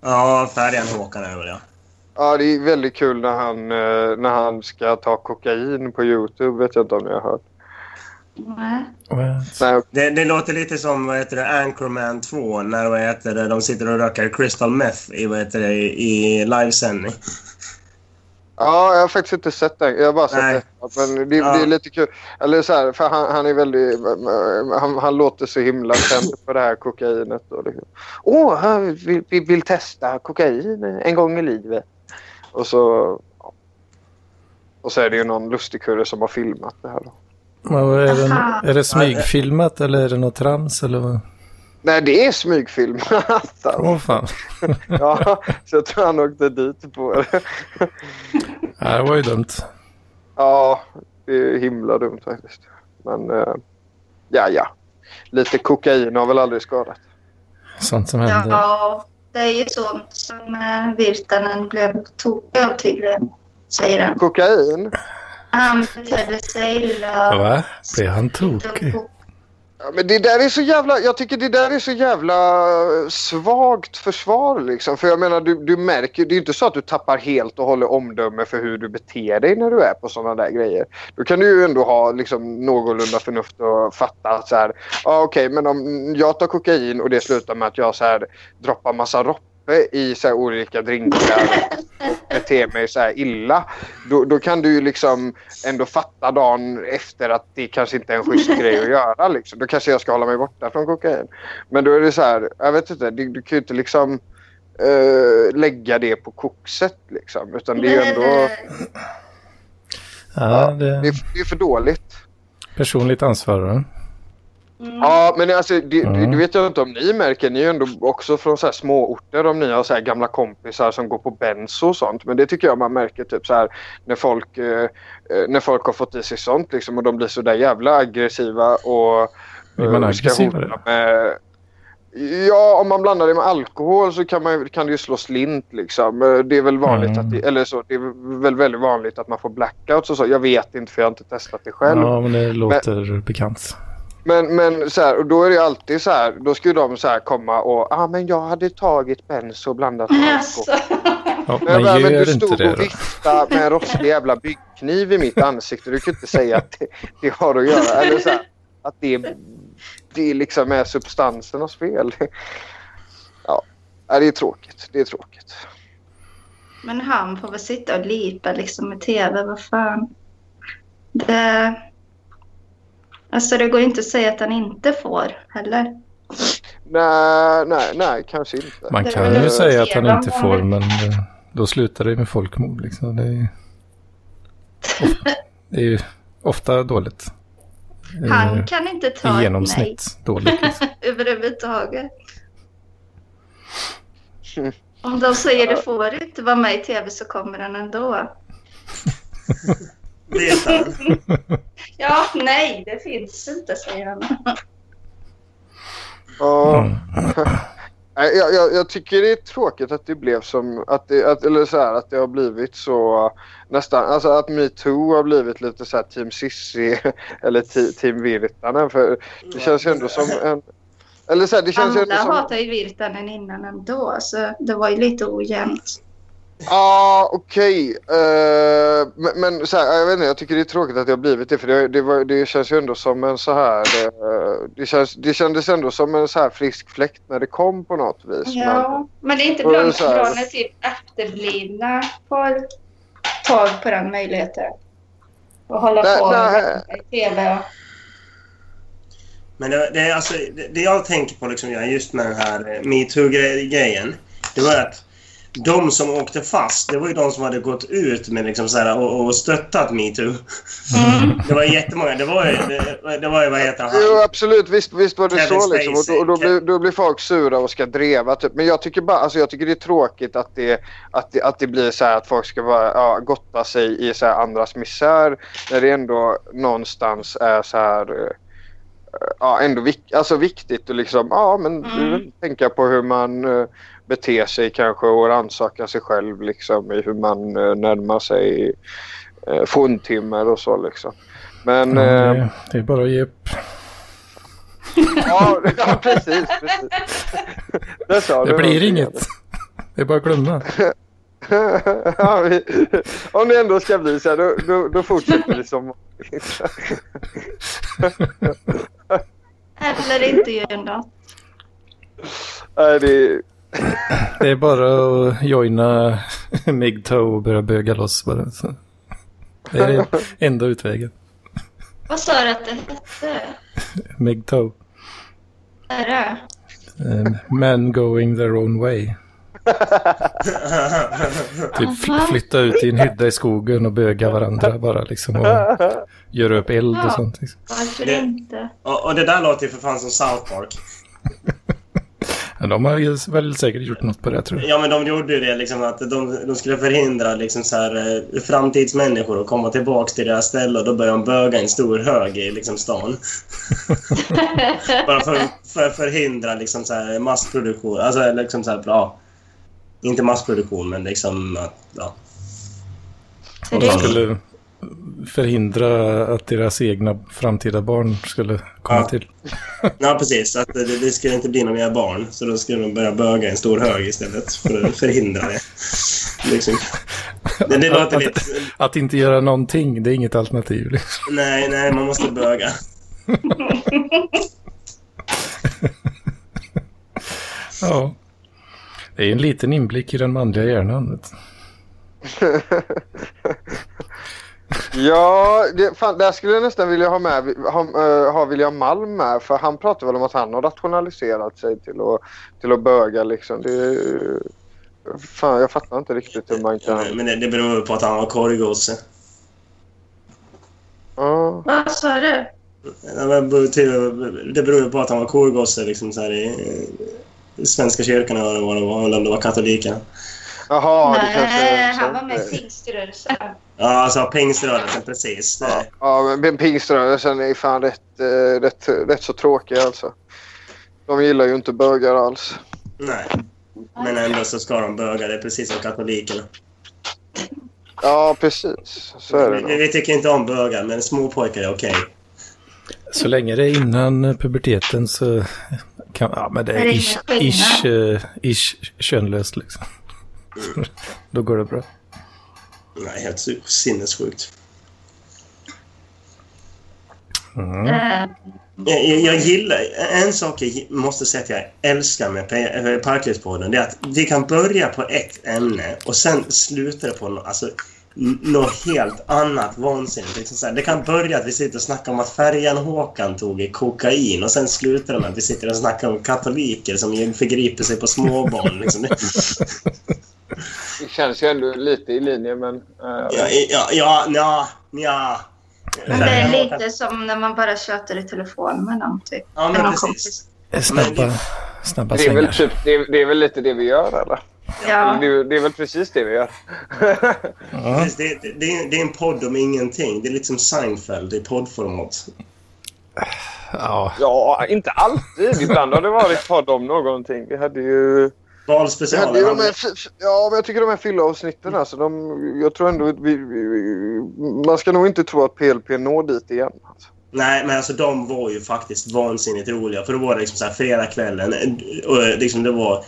[SPEAKER 3] Ja, färjan Håkan är väl ja.
[SPEAKER 1] Ja, det är väldigt kul när han, eh, när han ska ta kokain på Youtube. Vet jag inte om ni har hört.
[SPEAKER 4] Nej.
[SPEAKER 2] What?
[SPEAKER 1] Nej,
[SPEAKER 3] Det, det låter lite som vad heter det, Anchorman 2 när vad heter det, de sitter och röker crystal meth i, vad heter det, i livesändning.
[SPEAKER 1] Ja, jag har faktiskt inte sett den. Jag har bara sett
[SPEAKER 3] Nej.
[SPEAKER 1] den. Men det,
[SPEAKER 3] Ja.
[SPEAKER 1] det är lite kul. Eller så här, för han, han är väldigt... Han, han låter så himla tänd på det här kokainet. Åh, liksom. Åh, han vill, vill, vill testa kokain en gång i livet. Och så... ja. Och så är det ju någon lustigkurre som har filmat det här. Då.
[SPEAKER 2] Men vad Är, det,
[SPEAKER 4] Aha.
[SPEAKER 2] är det smygfilmat eller är det något trams? Eller vad?
[SPEAKER 1] Nej, det är smygfilmat. alltså.
[SPEAKER 2] Åh fan.
[SPEAKER 1] ja, så jag tror han åkte dit på det.
[SPEAKER 2] Ja, det var ju dumt.
[SPEAKER 1] Ja, det är himla dumt faktiskt. Men eh, ja, ja. Lite kokain har väl aldrig skadat.
[SPEAKER 2] Sånt som händer.
[SPEAKER 4] Ja, det är ju sånt som eh, Virtanen blev tokig av tydligen, säger han.
[SPEAKER 1] Kokain?
[SPEAKER 4] Han betedde sig illa.
[SPEAKER 2] Va? Blev han tokig?
[SPEAKER 1] Ja, men det där är så jävla, jag tycker det där är så jävla svagt försvar liksom. För jag menar, du, du märker, det är ju inte så att du tappar helt och håller omdöme för hur du beter dig när du är på sådana där grejer. Då kan du ju ändå ha liksom, någorlunda förnuft och fatta att så här, ja okej, men om jag tar kokain och det slutar med att jag så här droppar massa roppe i så här, olika drinkar beter mig så här illa. Då, då kan du ju liksom ändå fatta dagen efter att det kanske inte är en schysst grej att göra. Liksom. Då kanske jag ska hålla mig borta från kokain. Men då är det så här, jag vet inte, du, du kan ju inte liksom eh, lägga det på kokset liksom. Utan det är ju ändå,
[SPEAKER 4] eh,
[SPEAKER 2] Ja,
[SPEAKER 1] det
[SPEAKER 2] det
[SPEAKER 1] är, det är för dåligt.
[SPEAKER 2] personligt ansvar. va?
[SPEAKER 4] Mm.
[SPEAKER 1] Ja, men alltså, det, det,
[SPEAKER 2] Mm.
[SPEAKER 1] det vet jag inte om ni märker. Ni är ju ändå också från så här småorter om ni har så här gamla kompisar som går på benzo och sånt. Men det tycker jag man märker typ så här när folk, eh, eh, när folk har fått i sig sånt liksom, och de blir så där jävla aggressiva och
[SPEAKER 2] Blir man
[SPEAKER 1] eh, ska
[SPEAKER 2] aggressivare?
[SPEAKER 1] hota med... Ja, om man blandar det med alkohol så kan, man, ju- kan det ju slå slint liksom. Eh, Det är väl vanligt
[SPEAKER 2] Mm.
[SPEAKER 1] att det, eller så, det är väl väldigt vanligt att man får blackouts och så. Jag vet inte för jag har inte testat det själv.
[SPEAKER 2] Ja, men det låter bekant.
[SPEAKER 1] Men, men så här, och då är det ju alltid så här, då ska ju de så här komma och ah, men jag hade tagit benzo blandat med alkohol.
[SPEAKER 4] Alltså.
[SPEAKER 2] Ja,
[SPEAKER 1] Men,
[SPEAKER 2] men
[SPEAKER 1] men, men
[SPEAKER 2] gör
[SPEAKER 1] du
[SPEAKER 2] inte
[SPEAKER 1] stod
[SPEAKER 2] det
[SPEAKER 1] och
[SPEAKER 2] då.
[SPEAKER 1] viftade med en rostig jävla byggkniv i mitt ansikte. Du kan inte säga att det, det har att göra. Eller så här, att det, det liksom är substansernas fel. Ja, Ja, det är tråkigt. Det är tråkigt.
[SPEAKER 4] Men han får väl sitta och lipa liksom med tv, vad fan. Det... Alltså det går ju inte att säga att han inte får heller.
[SPEAKER 1] Nej, nej, nej, kanske inte.
[SPEAKER 2] Man
[SPEAKER 4] Det
[SPEAKER 2] kan
[SPEAKER 4] är väl
[SPEAKER 2] ju säga att
[SPEAKER 4] sedan
[SPEAKER 2] han inte
[SPEAKER 4] man-
[SPEAKER 2] får, men eh, då slutar det ju med folkmord. Liksom. Det, är ju... det är ju ofta dåligt. Eh,
[SPEAKER 4] Han kan inte ta
[SPEAKER 2] I
[SPEAKER 4] ett nej
[SPEAKER 2] genomsnitt dåligt. Liksom.
[SPEAKER 4] överhuvudtaget. Om de säger du får inte vara med i tv så kommer han ändå.
[SPEAKER 3] Vet han?
[SPEAKER 4] Ja, nej, det finns inte, säger han.
[SPEAKER 1] Ja.
[SPEAKER 2] Mm.
[SPEAKER 1] Nej, Jag, jag, jag tycker det är tråkigt att det blev som, att det, att, eller så här, att det har blivit så nästan, alltså att metoo har blivit lite så här Team Sissi eller ti, Team Virtanen för det känns ju ändå som en, eller så här, det känns ju
[SPEAKER 4] Alla
[SPEAKER 1] ändå som,
[SPEAKER 4] hatade ju Virtanen innan ändå, så det var ju lite ojämnt.
[SPEAKER 1] ja okej, eh, men, men så här, jag vet inte, jag tycker det är tråkigt att det har blivit det för det, det, var, det känns ju ändå som en så här, eh, det, känns, det kändes ändå som en så här frisk fläkt när det kom på något vis. men-
[SPEAKER 4] Ja, men det är inte
[SPEAKER 1] Och
[SPEAKER 4] bra
[SPEAKER 1] så här-
[SPEAKER 4] bra när typ efterblivna får tag på den möjligheten. Och hålla
[SPEAKER 1] Nej,
[SPEAKER 4] på
[SPEAKER 1] nej.
[SPEAKER 4] med TV. och-
[SPEAKER 3] Men det, det, är alltså, det, det jag tänker på liksom, ja, just med den här eh, metoo-grejen, det var att de som åkte fast, det var ju de som hade gått ut med liksom så här, och, och stöttat metoo.
[SPEAKER 4] Mm.
[SPEAKER 3] Det var jättemånga. Det var ju, det, det var ju vad heter
[SPEAKER 1] Jo,
[SPEAKER 3] han?
[SPEAKER 1] absolut. Visst, visst var det
[SPEAKER 3] Kevin
[SPEAKER 1] så. Liksom. Och då, och då,
[SPEAKER 3] Spacey.
[SPEAKER 1] blir, då blir folk sura och ska dreva. Typ. Men jag tycker, bara, alltså, jag tycker det är tråkigt att det, att det, att det blir så här att folk ska vara, ja, gotta sig i så här andras misär när det ändå någonstans är så här... eh, Ja, ändå vik- alltså viktigt att liksom, ja, men
[SPEAKER 4] Mm.
[SPEAKER 1] tänka på hur man eh, beter sig kanske och rannsaka sig själv liksom, i hur man eh, närmar sig uh, forntimmer och så. Liksom. Men...
[SPEAKER 2] Ja,
[SPEAKER 1] eh,
[SPEAKER 2] det, det är bara att ge upp.
[SPEAKER 1] Ja, ja precis. precis. Där sa
[SPEAKER 2] Det
[SPEAKER 1] du
[SPEAKER 2] blir
[SPEAKER 1] någonting,
[SPEAKER 2] inget. Det är bara att glömma.
[SPEAKER 1] Anders. ja, vi, om det ändå ska bli så här, då, då, då fortsätter vi som vanligt.
[SPEAKER 4] Eller inte göra något.
[SPEAKER 1] Nej, det,
[SPEAKER 2] Det är bara att joina MGTOW och börja böga loss. Bara. Så. Det är enda utvägen.
[SPEAKER 4] Vad sa du att det hette?
[SPEAKER 2] MGTOW.
[SPEAKER 4] Är det?
[SPEAKER 2] Eh, Men going their own way. Typ
[SPEAKER 4] Aha.
[SPEAKER 2] fl- flytta ut i en hydda i skogen och böga varandra bara liksom. Och göra upp eld och sånt. Liksom.
[SPEAKER 4] Varför
[SPEAKER 3] Det-
[SPEAKER 4] inte?
[SPEAKER 3] Och, och det där låter ju för fan som South Park.
[SPEAKER 2] Men de har ju väl säkert gjort något på det tror jag.
[SPEAKER 3] Ja, men de gjorde ju det liksom att de, de skulle förhindra liksom så här, eh, framtidsmänniskor att komma tillbaka till deras ställe och då började de böga en stor hög i liksom stan. Bara för att för, förhindra liksom så här massproduktion. Alltså liksom så här, ja. Inte massproduktion, men liksom att, ja.
[SPEAKER 4] För
[SPEAKER 2] De
[SPEAKER 4] det-
[SPEAKER 2] skulle förhindra att deras egna framtida barn skulle komma
[SPEAKER 3] Ja.
[SPEAKER 2] till.
[SPEAKER 3] Ja, precis. Att det, det skulle inte bli några mer barn. Så då skulle de börja böga en stor hög istället för att förhindra det. Liksom. Det, det låter
[SPEAKER 2] Att-
[SPEAKER 3] lite...
[SPEAKER 2] Att inte göra någonting, det är inget alternativ. liksom.
[SPEAKER 3] Nej, nej, man måste böga.
[SPEAKER 2] Ja. Det är en liten inblick i den manliga hjärnan. vet du.
[SPEAKER 1] ja, det, fan, där skulle jag nästan vilja ha med ha, eh, ha William Malm med. För han pratar väl om att han har rationaliserat sig till att, till att böga liksom. Det, är- fan, jag fattar inte riktigt hur man kan...
[SPEAKER 3] Men det, det beror ju på att han var korvgosse.
[SPEAKER 1] Ja.
[SPEAKER 4] Vad sa du?
[SPEAKER 3] Ja, men beror till- Det beror ju på att han var korvgosse liksom så här i... i Svenska kyrkan eller vad det var, eller om det var katolikerna.
[SPEAKER 1] Jaha, det kanske...
[SPEAKER 4] Nej, han var med i pingströrelsen.
[SPEAKER 3] Ja, alltså pingströrelsen, precis.
[SPEAKER 1] Ja,
[SPEAKER 3] Nej.
[SPEAKER 1] ja men pingströrelsen är fan rätt, eh, rätt, rätt så tråkig alltså. De gillar ju inte bögar alls.
[SPEAKER 3] nej. Men ändå så ska de böga, det är precis som katolikerna.
[SPEAKER 1] Ja, precis. Så är det
[SPEAKER 3] Vi,
[SPEAKER 1] nog.
[SPEAKER 3] vi tycker inte om bögar, men småpojkar är okej.
[SPEAKER 2] Så länge det är innan eh, puberteten så kan, ja men det
[SPEAKER 4] Det är
[SPEAKER 2] är
[SPEAKER 4] ingen
[SPEAKER 2] ish,
[SPEAKER 4] skillnad.
[SPEAKER 2] ish, eh, ish könlöst liksom. Då går det bra.
[SPEAKER 3] Nej, helt su- sinnessjukt.
[SPEAKER 2] Mm.
[SPEAKER 4] Eh,
[SPEAKER 3] Jag, jag, jag gillar... En sak jag gi- måste säga att jag älskar med Pe- eh, Parklivspodden det är att vi kan börja på ett ämne och sen slutar det på något, alltså, n- något helt annat vansinnigt. Liksom så här, det kan börja att vi sitter och snackar om att färjan Håkan tog i kokain och sen slutar det med att vi sitter och snackar om katoliker som förgriper sig på småbarn. Liksom. Det-
[SPEAKER 1] Det känns ju ändå lite i linje men... eh,
[SPEAKER 3] Ja, ja, ja, ja, ja.
[SPEAKER 4] Men det är lite som när man bara tjatar i telefon med någon. Typ.
[SPEAKER 3] Ja,
[SPEAKER 4] Med
[SPEAKER 3] men
[SPEAKER 4] någon
[SPEAKER 3] precis.
[SPEAKER 4] kompis.
[SPEAKER 2] Snabba, snabba
[SPEAKER 1] det, är väl
[SPEAKER 2] svängar.
[SPEAKER 1] typ, det, är, det är väl lite det vi gör eller?
[SPEAKER 4] Ja.
[SPEAKER 1] Det, är- det är väl precis det vi gör.
[SPEAKER 2] Ja.
[SPEAKER 3] Precis, Det, det, det, är, det är en podd om ingenting. Det är lite som Seinfeld i poddformat.
[SPEAKER 2] Ja,
[SPEAKER 1] Ja, inte alltid. Ibland har det varit har de någonting. Vi hade ju... Vi hade ju de här,
[SPEAKER 3] Valspecialen.
[SPEAKER 1] f- f- ja, men jag tycker de här fyllaavsnitten alltså. De, jag tror ändå... att Vi, vi, vi, man ska nog inte tro att PLP når dit igen. Alltså.
[SPEAKER 3] Nej, men alltså de var ju faktiskt vansinnigt roliga. För då var det liksom så här fredagskvällen och eh, liksom det var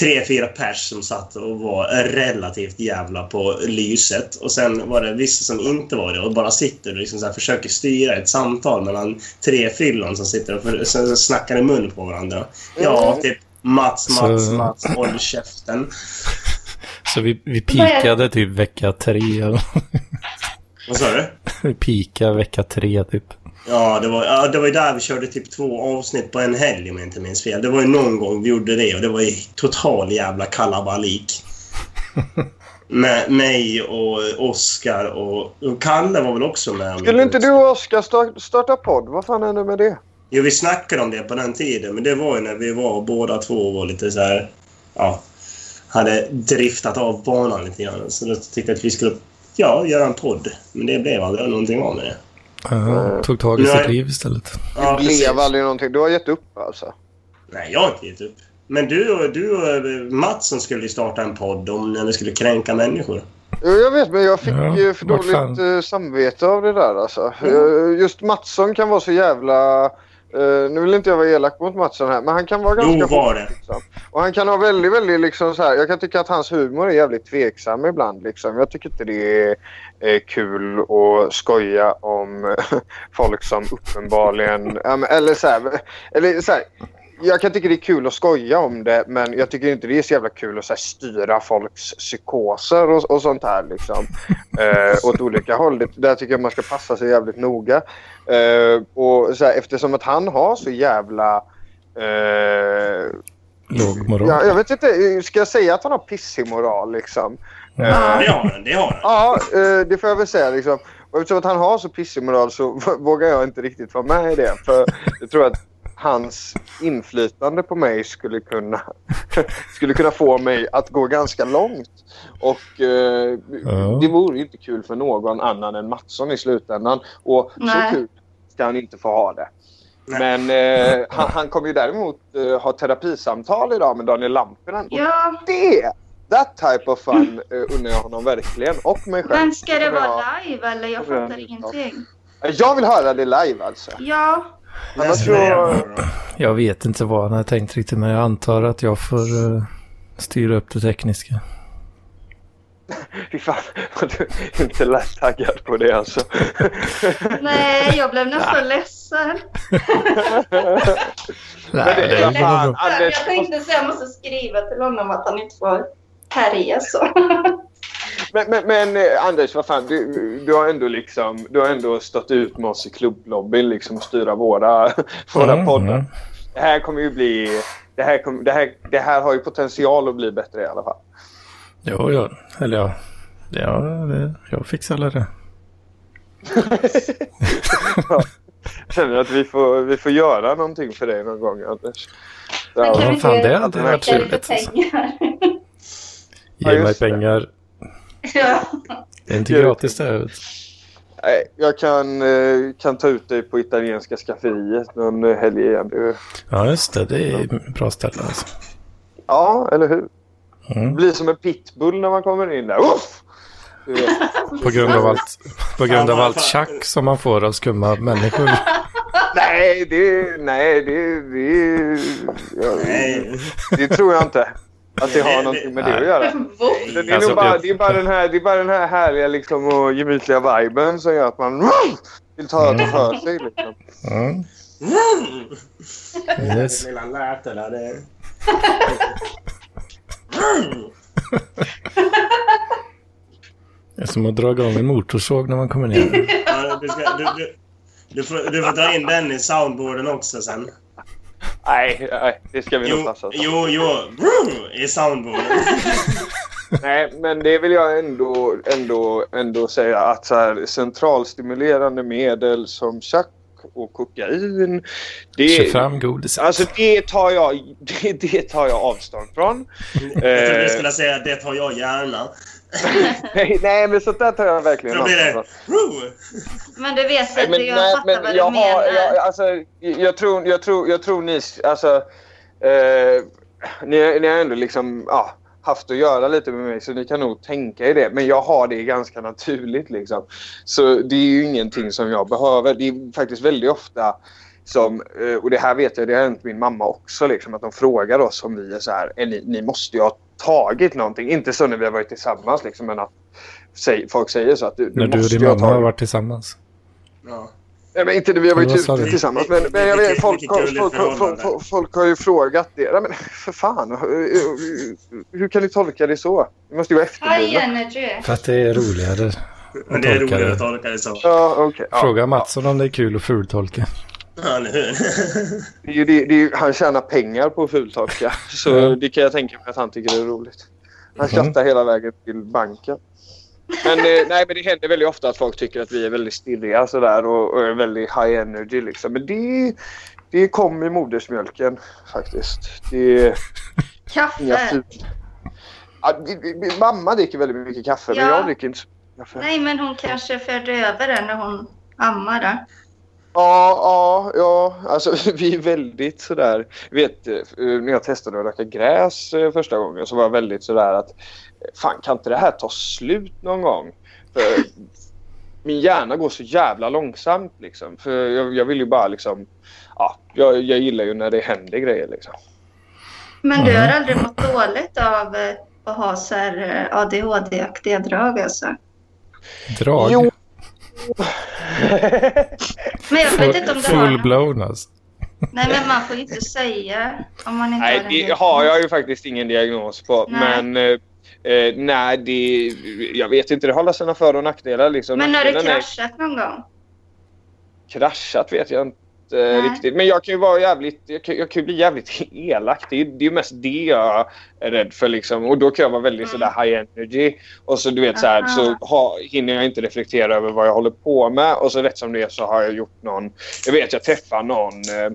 [SPEAKER 3] tre, fyra pers som satt och var relativt jävla på lyset. Och sen var det vissa som inte var det och bara sitter och liksom så här försöker styra ett samtal mellan tre fyllon som sitter och för, så- så snackar i mun på varandra. Ja, typ Mats, Mats,
[SPEAKER 2] Så-
[SPEAKER 3] Mats, håll käften.
[SPEAKER 2] så vi, vi pikade typ vecka tre. eller-
[SPEAKER 3] Vad sa du?
[SPEAKER 2] vi pikade vecka tre typ.
[SPEAKER 3] Ja, det var, ja, det var ju där vi körde typ två avsnitt på en helg om jag inte minns fel. Det var ju någon gång vi gjorde det och det var ju total jävla kalabalik. Med mig och Oskar och, och Kalle var väl också med. om
[SPEAKER 1] Skulle
[SPEAKER 3] jag
[SPEAKER 1] inte du och Oskar starta, starta podd? Vad fan hände med det?
[SPEAKER 3] Jo, vi snackade om det på den tiden, men det var ju när vi var båda två och var lite så här... Ja, hade driftat av banan lite grann. Så då tyckte jag att vi skulle ja, göra en podd. Men det blev aldrig någonting av med det.
[SPEAKER 2] Ja, tog tag i
[SPEAKER 3] Nej.
[SPEAKER 2] sitt liv istället.
[SPEAKER 3] Ja,
[SPEAKER 1] Det
[SPEAKER 3] precis.
[SPEAKER 1] blev aldrig någonting. Du har gett upp alltså.
[SPEAKER 3] Nej, jag har inte gett upp. Men du och, du och eh, Matsen skulle ju starta en podd om när vi skulle kränka människor.
[SPEAKER 1] Jo, jag vet, men jag fick
[SPEAKER 2] Ja,
[SPEAKER 1] ju för
[SPEAKER 2] vart fan?
[SPEAKER 1] dåligt eh, samvete av det där alltså. Eh, Just Mattsson kan vara så jävla... eh, nu vill inte jag vara elak mot Mattsson här, men han kan vara ganska...
[SPEAKER 3] Jo, var det.
[SPEAKER 1] Liksom. Och han kan ha väldigt, väldigt liksom så här. Jag kan tycka att hans humor är jävligt tveksam ibland liksom. Jag tycker inte det är eh, kul att skoja om folk som uppenbarligen... ja, men- eller så här, eller så här, jag kan tycka det är kul att skoja om det men jag tycker inte det är så jävla kul att så här, styra folks psykoser och, och sånt här liksom. Eh, åt olika håll. Det, där tycker jag man ska passa sig jävligt noga. Eh, och så här, eftersom att han har så jävla... eh,
[SPEAKER 2] Låg moral.
[SPEAKER 1] ja, jag vet inte, ska jag säga att han har pissig moral liksom?
[SPEAKER 2] Mm.
[SPEAKER 1] Eh,
[SPEAKER 3] Det har den, det har den.
[SPEAKER 1] Ja, eh, det får jag väl säga. Liksom. Och eftersom att han har så pissig moral så v- vågar jag inte riktigt vara med i det. För jag tror att hans inflytande på mig skulle kunna, skulle kunna få mig att gå ganska långt. Och eh,
[SPEAKER 2] Ja.
[SPEAKER 1] det vore ju inte kul för någon annan än Mattsson i slutändan. Och
[SPEAKER 4] Nej.
[SPEAKER 1] så kul ska han inte få ha det.
[SPEAKER 3] Nej.
[SPEAKER 1] Men eh, han, han kommer ju däremot eh, ha terapisamtal idag med Daniel Lampinen. Och
[SPEAKER 4] Ja,
[SPEAKER 1] det, that type of fun eh, unnar jag honom verkligen och mig själv.
[SPEAKER 4] men ska det
[SPEAKER 1] Ja.
[SPEAKER 4] vara live eller? Jag
[SPEAKER 1] Ja.
[SPEAKER 4] fattar ingenting.
[SPEAKER 1] Jag vill höra det live alltså.
[SPEAKER 4] Ja,
[SPEAKER 1] Annars
[SPEAKER 3] Nästa
[SPEAKER 1] så-
[SPEAKER 3] jävla då.
[SPEAKER 2] Jag vet inte vad han har tänkt riktigt men jag antar att jag får eh, styra upp det tekniska.
[SPEAKER 1] Fy fan vad du inte lät taggad på det alltså.
[SPEAKER 4] nej, jag blev nästan ledsen.
[SPEAKER 1] Nej,
[SPEAKER 2] det är
[SPEAKER 1] fan.
[SPEAKER 2] bra.
[SPEAKER 1] Anders-
[SPEAKER 4] Jag tänkte så jag måste skriva till honom att han inte får härja så.
[SPEAKER 1] Men, men, men eh, Anders, vad fan, du, du, har ändå liksom, du har ändå stått ut med oss i klubblobbyn liksom och styra våra, våra
[SPEAKER 2] Mm,
[SPEAKER 1] poddar.
[SPEAKER 2] mm.
[SPEAKER 1] Det här kommer ju bli... Det här, kommer- det, här, det här har ju potential att bli bättre i alla fall.
[SPEAKER 2] Jo, ja. Eller ja. Ja, det, jag fixar alla det.
[SPEAKER 1] Jag känner att vi får, vi får göra någonting för dig någon gång Anders.
[SPEAKER 4] Men
[SPEAKER 1] Ja.
[SPEAKER 2] vad
[SPEAKER 4] vi
[SPEAKER 2] fan,
[SPEAKER 4] inte
[SPEAKER 2] det hade varit
[SPEAKER 4] skicka lite
[SPEAKER 2] trevligt, alltså.
[SPEAKER 4] pengar?
[SPEAKER 1] Ja,
[SPEAKER 2] Ge mig
[SPEAKER 1] just det.
[SPEAKER 2] pengar.
[SPEAKER 1] alltså.
[SPEAKER 4] Ja.
[SPEAKER 2] Det är inte
[SPEAKER 1] Gör det.
[SPEAKER 2] gratis det här. vet du.
[SPEAKER 1] Nej, Jag kan, eh, kan ta ut dig på italienska skafferiet någon eh, helg igen. Du-
[SPEAKER 2] Ja, just det. Det är bra ställe alltså.
[SPEAKER 1] Ja, eller hur? Det
[SPEAKER 2] Mm.
[SPEAKER 1] blir som en pitbull när man kommer in där. Uff! Du vet.
[SPEAKER 2] På grund av allt, på grund av allt tjack som man får av skumma människor.
[SPEAKER 1] Nej, det... Nej, det... det ja,
[SPEAKER 3] Nej.
[SPEAKER 1] det tror jag inte. Att det har någonting med det att göra.
[SPEAKER 4] Vad?
[SPEAKER 1] Det är, nog
[SPEAKER 2] Alltså,
[SPEAKER 1] bara,
[SPEAKER 2] jag-
[SPEAKER 1] det, är bara den här, det är bara den här härliga liksom, och gemytliga viben som gör att man vill ta det för sig. Liksom.
[SPEAKER 2] Mm. Yes.
[SPEAKER 3] Det lilla lätet där, det...
[SPEAKER 2] Det är som att dra igång en motorsåg när man kommer ner.
[SPEAKER 3] Ja, du, ska, du, du, du, får, du får dra in den i soundboarden också sen.
[SPEAKER 1] Nej, nej, det ska vi nog
[SPEAKER 3] Jo,
[SPEAKER 1] passa oss för.
[SPEAKER 3] jo, jo. I soundboarden.
[SPEAKER 1] Nej, men det vill jag ändå, ändå, ändå säga att så här, centralstimulerande medel som chack och kokain. Det,
[SPEAKER 2] 25 godis.
[SPEAKER 1] alltså det tar jag, det, det tar jag avstånd från.
[SPEAKER 3] Jag trodde du skulle säga det tar jag gärna.
[SPEAKER 1] Nej, nej, men sånt där tar jag verkligen
[SPEAKER 3] Då blir det...
[SPEAKER 1] avstånd från.
[SPEAKER 3] Woo!
[SPEAKER 4] Men du vet
[SPEAKER 1] Nej,
[SPEAKER 4] att
[SPEAKER 1] men,
[SPEAKER 4] jag
[SPEAKER 1] nej,
[SPEAKER 4] fattar
[SPEAKER 1] men
[SPEAKER 4] vad
[SPEAKER 1] jag
[SPEAKER 4] du menar.
[SPEAKER 1] har, jag, alltså, jag, tror, jag, tror, jag tror ni... Alltså, eh, ni, ni har ändå liksom, ja, haft att göra lite med mig så ni kan nog tänka i det. Men jag har det ganska naturligt. Liksom. Så det är ju ingenting som jag behöver. Det är faktiskt väldigt ofta som, eh, och det här vet jag, det har hänt min mamma också, liksom, att de frågar oss om vi är så här, är ni, ni måste ju ha tagit någonting. Inte så när vi har varit tillsammans, liksom, men att säg, folk säger så att du, du
[SPEAKER 2] När du och
[SPEAKER 1] måste
[SPEAKER 2] din
[SPEAKER 1] ju ha
[SPEAKER 2] mamma har
[SPEAKER 1] tagit
[SPEAKER 2] varit tillsammans.
[SPEAKER 3] Ja.
[SPEAKER 1] Nej, men inte när vi har varit
[SPEAKER 2] Vad sa
[SPEAKER 1] ute
[SPEAKER 2] du?
[SPEAKER 1] tillsammans. Men, men jag vet,
[SPEAKER 3] Vilket-
[SPEAKER 1] folk,
[SPEAKER 3] vilket
[SPEAKER 1] folk,
[SPEAKER 3] gulligt
[SPEAKER 1] folk, folk,
[SPEAKER 3] förhållande.
[SPEAKER 1] folk, folk har ju frågat det. Nej, men för fan. hur- Hur kan du tolka det så? Det måste ju vara
[SPEAKER 4] High
[SPEAKER 1] efterblivet.
[SPEAKER 4] energy.
[SPEAKER 2] För att det är roligare.
[SPEAKER 3] Men det är
[SPEAKER 2] Tolkar
[SPEAKER 3] roligt
[SPEAKER 2] det.
[SPEAKER 3] att tolka det så.
[SPEAKER 1] Ja, okej. Ja.
[SPEAKER 2] Fråga Mattsson om det är kul att fultolka.
[SPEAKER 3] Ja, eller hur?
[SPEAKER 1] Det är ju- det är- det är ju- Han tjänar pengar på att fultolka. Så
[SPEAKER 2] Mm.
[SPEAKER 1] det kan jag tänka mig att han tycker är roligt. Han skrattar hela vägen till banken. Men, eh, nej, men det händer väldigt ofta att folk tycker att vi är väldigt stirriga sådär, och, och är väldigt high energy. Liksom. Men det, det kom i modersmjölken faktiskt. Det, Inga
[SPEAKER 4] Kaffe.
[SPEAKER 1] ful. Ja, det- det- min mamma dricker väldigt mycket kaffe, men
[SPEAKER 4] Ja.
[SPEAKER 1] jag dricker inte så mycket kaffe.
[SPEAKER 4] Nej, men hon kanske förde över det när hon ammar då.
[SPEAKER 1] Ja, ja, ja. Alltså, vi är väldigt sådär... Vet, eh, när jag testade att röka gräs eh, första gången så var jag väldigt sådär att eh, fan, kan inte det här ta slut någon gång? För min hjärna går så jävla långsamt. Liksom. För jag, jag vill ju bara liksom... Ja, jag, jag gillar ju när det händer grejer. Liksom.
[SPEAKER 4] Men du har
[SPEAKER 2] Mm.
[SPEAKER 4] aldrig mått dåligt av eh, att ha så här eh, ADHD-aktiga drag alltså?
[SPEAKER 2] Drag.
[SPEAKER 1] Jo.
[SPEAKER 4] Men jag vet inte om det har något.
[SPEAKER 2] Full-blown alltså.
[SPEAKER 4] Nej, men man får ju inte säga om man inte
[SPEAKER 1] Nej,
[SPEAKER 4] har en
[SPEAKER 1] det
[SPEAKER 4] diagnos.
[SPEAKER 1] har jag ju faktiskt ingen diagnos på.
[SPEAKER 4] Nej.
[SPEAKER 1] Men eh, eh, nej, det, jag vet inte. Det har alla sina för och nackdelar. Liksom.
[SPEAKER 4] Men har du
[SPEAKER 1] Nackdelen är-
[SPEAKER 4] kraschat någon gång?
[SPEAKER 1] kraschat vet jag inte
[SPEAKER 4] Nej.
[SPEAKER 1] riktigt. Men jag kan ju vara jävligt, jag kan, jag kan ju bli jävligt elak. Det är, det är ju mest det jag är rädd för. Liksom. Och då kan jag vara väldigt
[SPEAKER 4] Mm.
[SPEAKER 1] sådär high energy. Och så du vet så här,
[SPEAKER 4] Aha.
[SPEAKER 1] så ha, hinner jag inte reflektera över vad jag håller på med. Och så rätt som det är så har jag gjort någon... Jag vet jag träffar någon... Eh,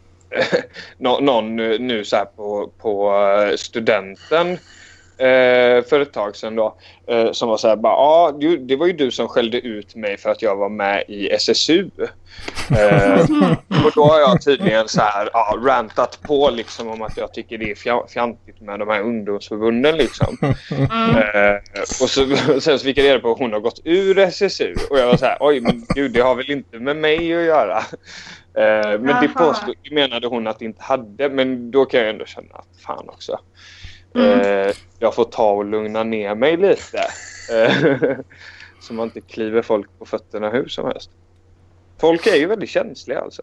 [SPEAKER 1] någon, någon eh, nu så här på, på eh, studenten eh, för ett tag sedan då. Eh, som var så här bara, ja du- det var ju du som skällde ut mig för att jag var med i SSU. Eh, och då har jag tydligen så här, ja, rantat på liksom om att jag tycker det är fja- fjantigt med de här ungdomsförbunden liksom.
[SPEAKER 4] Mm.
[SPEAKER 1] Eh, och så, sen så fick jag reda på att hon har gått ur SSU. Och jag var så här, oj men gud det har väl inte med mig att göra. Eh, men det
[SPEAKER 4] Jaha.
[SPEAKER 1] påstod, det menade hon att det inte hade. Men då kan jag ändå känna att fan också.
[SPEAKER 4] Mm.
[SPEAKER 1] Eh, jag får ta och lugna ner mig lite. Eh, så man inte kliver folk på fötterna hur som helst. Folk är ju väldigt känsliga alltså.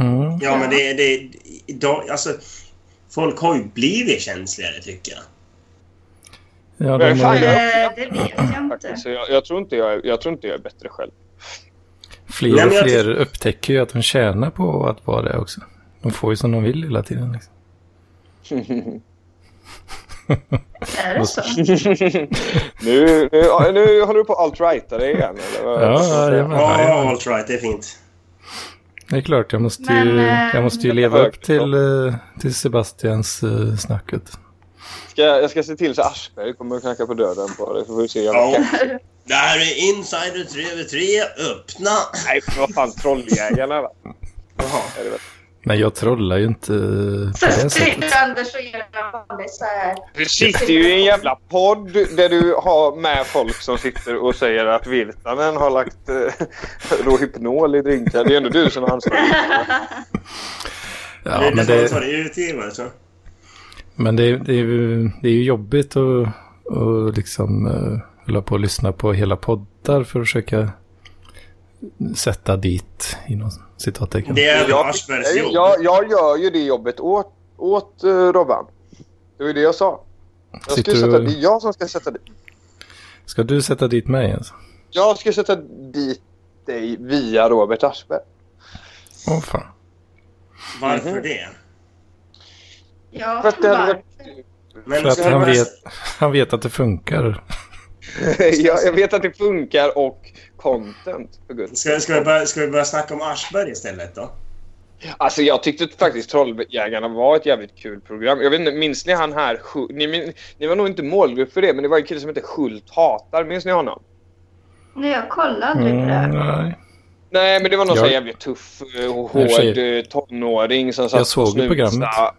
[SPEAKER 2] Mm.
[SPEAKER 3] ja, men det... det idag, alltså, folk har ju blivit känsligare, tycker jag.
[SPEAKER 2] Ja,
[SPEAKER 1] Men
[SPEAKER 2] de
[SPEAKER 1] fan,
[SPEAKER 2] har
[SPEAKER 1] jag-
[SPEAKER 4] Eh, Det vet jag inte.
[SPEAKER 1] Faktiskt. Så jag, jag, tror inte jag, är- jag tror inte jag är bättre själv.
[SPEAKER 2] fler
[SPEAKER 3] Nej,
[SPEAKER 2] och
[SPEAKER 3] men jag
[SPEAKER 2] fler upptäcker ju att de tjänar på att vara det också. De får ju som de vill hela tiden. Liksom.
[SPEAKER 4] Är det så?
[SPEAKER 1] nu, nu, ja, nu håller du på att alt-righta dig igen eller? vad?
[SPEAKER 2] Ja, jajamän.
[SPEAKER 3] Ja,
[SPEAKER 2] Ja, ja.
[SPEAKER 3] allt right, det är fint.
[SPEAKER 2] Det är klart, jag måste ju,
[SPEAKER 4] Men, eh,
[SPEAKER 2] jag måste ju leva upp till, eh, till Sebastians eh, snacket.
[SPEAKER 1] Ska, jag ska se till så Aschberg kommer att knacka på dörren på dig så får vi se. om-
[SPEAKER 3] Ja. Det här är Insider 3 över 3. Öppna!
[SPEAKER 1] Nej, för vad fan trolljägarna va?
[SPEAKER 3] Jaha.
[SPEAKER 1] Är det väl?
[SPEAKER 2] Men jag trollar ju inte eh, på det
[SPEAKER 4] Så
[SPEAKER 2] sättet.
[SPEAKER 4] sitter Anders och gör en vanlig så här.
[SPEAKER 1] Du sitter ju i en jävla podd där du har med folk som sitter och säger att Virtanen har lagt eh, Rohypnol i drinkar. Det är ändå du som har ansvarig.
[SPEAKER 3] det
[SPEAKER 2] Ja,
[SPEAKER 3] är
[SPEAKER 2] men
[SPEAKER 3] nästan
[SPEAKER 2] det,
[SPEAKER 3] så det är utgivare, så.
[SPEAKER 2] Men det, är- det, är, ju- det är ju jobbigt att, att liksom uh, hålla på och lyssna på hela poddar för att försöka sätta dit inom citattecken.
[SPEAKER 3] Det är väl
[SPEAKER 1] Jag-
[SPEAKER 3] Aschbergs jobb.
[SPEAKER 1] Jag, jag gör ju det jobbet åt, åt eh, Robban. Det var ju det jag sa. Jag ska
[SPEAKER 2] Sitter
[SPEAKER 1] ju
[SPEAKER 2] du-
[SPEAKER 1] sätta, det är jag som ska sätta dit.
[SPEAKER 2] Ska du sätta dit mig alltså?
[SPEAKER 1] Jag ska sätta dit dig via Robert Aschberg.
[SPEAKER 2] Åh fan.
[SPEAKER 3] Varför
[SPEAKER 1] Mhm.
[SPEAKER 3] det?
[SPEAKER 4] Ja,
[SPEAKER 1] För att det hade
[SPEAKER 4] bara.
[SPEAKER 1] varit...
[SPEAKER 3] Men
[SPEAKER 2] För att
[SPEAKER 3] ska
[SPEAKER 2] han
[SPEAKER 3] man-
[SPEAKER 2] vet, han vet att det funkar.
[SPEAKER 1] jag, jag vet att det funkar och content. För guds
[SPEAKER 3] Ska, ska, vi börja, ska vi börja snacka om Aschberg istället då?
[SPEAKER 1] Alltså jag tyckte faktiskt Trolljägarna var ett jävligt kul program. Jag vet inte, minns ni han här? Schu- Ni, min- ni var nog inte målgrupp för det, men det var en kille som hette Schult Hatar. Minns ni honom?
[SPEAKER 4] Nej, jag kollade aldrig på det.
[SPEAKER 2] Mm,
[SPEAKER 4] här.
[SPEAKER 2] nej.
[SPEAKER 1] Nej, men det var någon
[SPEAKER 2] Jag-
[SPEAKER 1] så här jävligt tuff, eh, och
[SPEAKER 2] Nej, för
[SPEAKER 1] hård
[SPEAKER 2] sig.
[SPEAKER 1] eh, tonåring som satt
[SPEAKER 2] Jag såg
[SPEAKER 1] och
[SPEAKER 2] ju programmet.
[SPEAKER 1] snusade.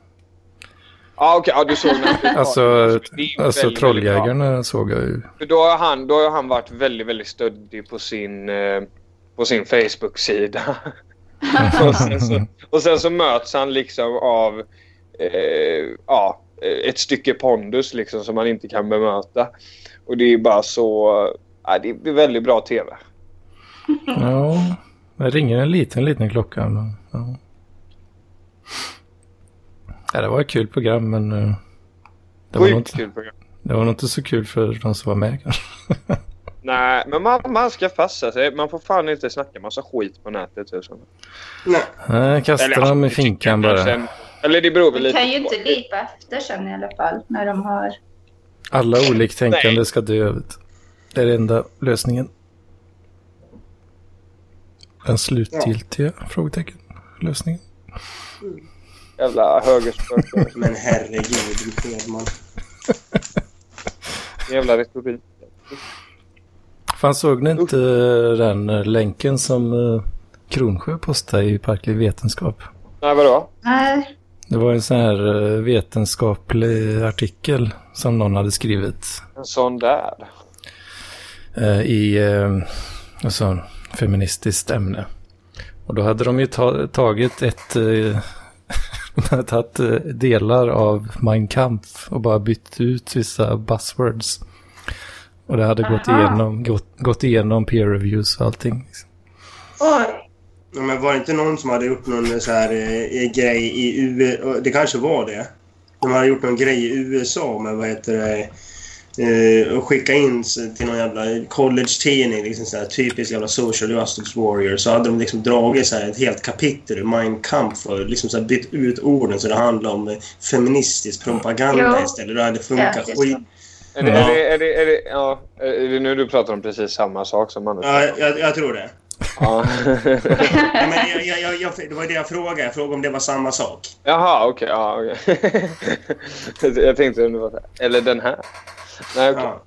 [SPEAKER 1] Ja, okej. Ja, du såg den.
[SPEAKER 2] Alltså,
[SPEAKER 1] Det är
[SPEAKER 2] alltså
[SPEAKER 1] väldigt, väldigt bra.
[SPEAKER 2] Trolljägarna såg jag ju.
[SPEAKER 1] För då har han, då har han varit väldigt, väldigt stöddig på sin, eh, på sin Facebook-sida. och, sen så, och sen så möts han liksom av eh, ja, ett stycke pondus liksom som han inte kan bemöta. Och det är bara så... Ja, det är väldigt bra TV.
[SPEAKER 2] Ja, det ringer en liten, liten klocka. Men, ja. ja, det var ett kul program, men eh, det var, nog
[SPEAKER 1] Sjukt
[SPEAKER 2] inte,
[SPEAKER 1] kul program.
[SPEAKER 2] det var nog inte så kul för de som var med kanske.
[SPEAKER 1] Nej, men man, man ska passa sig. Man får fan inte snacka massa skit på nätet. Tusen.
[SPEAKER 3] Nej.
[SPEAKER 2] Nej,
[SPEAKER 1] Eller,
[SPEAKER 2] kasta dem i
[SPEAKER 1] det tycker
[SPEAKER 2] finkan
[SPEAKER 1] jag
[SPEAKER 2] bara.
[SPEAKER 1] kanske. Eller det beror väl
[SPEAKER 4] Man
[SPEAKER 1] lite
[SPEAKER 4] kan ju
[SPEAKER 1] på.
[SPEAKER 4] inte lipa efter sen i alla fall när de har...
[SPEAKER 2] Alla oliktänkande ska dö ut. Det är den enda lösningen. Den slutgiltiga frågetecken. Lösningen.
[SPEAKER 1] Jävla högerspöken.
[SPEAKER 3] Men herregud, Hedman.
[SPEAKER 1] Jävla retorik.
[SPEAKER 2] Fan, såg ni inte den eh, länken som eh, Kronsjö postade i Parklig Vetenskap?
[SPEAKER 1] Nej, vadå?
[SPEAKER 4] Nej.
[SPEAKER 2] Det var en sån här eh, vetenskaplig artikel som någon hade skrivit
[SPEAKER 1] En sån där.
[SPEAKER 2] eh, i eh, alltså, feministiskt ämne. Och då hade de ju ta- tagit ett... Eh, de hade tagit eh, delar av Mein Kampf och bara bytt ut vissa buzzwords. Och det hade gått
[SPEAKER 4] Aha.
[SPEAKER 2] igenom, gått, gått igenom peer reviews och allting. Liksom.
[SPEAKER 4] Oj.
[SPEAKER 3] Ja, men var det inte någon som hade gjort någon så här eh, grej i USA? Det kanske var det. De hade gjort någon grej i USA med vad heter det? eh, och skicka in s- till någon jävla college-tidning, liksom så här, typisk jävla social justice warrior. Så hade de liksom dragit så här, ett helt kapitel ur Mein Kampf och liksom så här, bytt ut orden så det handlade om eh, feministisk propaganda
[SPEAKER 4] Jo.
[SPEAKER 3] istället. Det hade
[SPEAKER 4] Ja,
[SPEAKER 3] funkat
[SPEAKER 4] det är
[SPEAKER 3] skit.
[SPEAKER 4] så.
[SPEAKER 1] Är det,
[SPEAKER 2] Ja.
[SPEAKER 1] är det, är det, är det, ja, är det nu du pratar om precis samma sak som Anders?
[SPEAKER 3] Ja, jag, jag tror det.
[SPEAKER 1] Ja.
[SPEAKER 3] Ja, men jag, jag, jag, jag, det var det jag frågade. Jag frågade om det var samma sak.
[SPEAKER 1] Jaha, okej. ja, okej. jag tänkte om det var så här. Eller den här. Nej, okej.
[SPEAKER 3] Ja.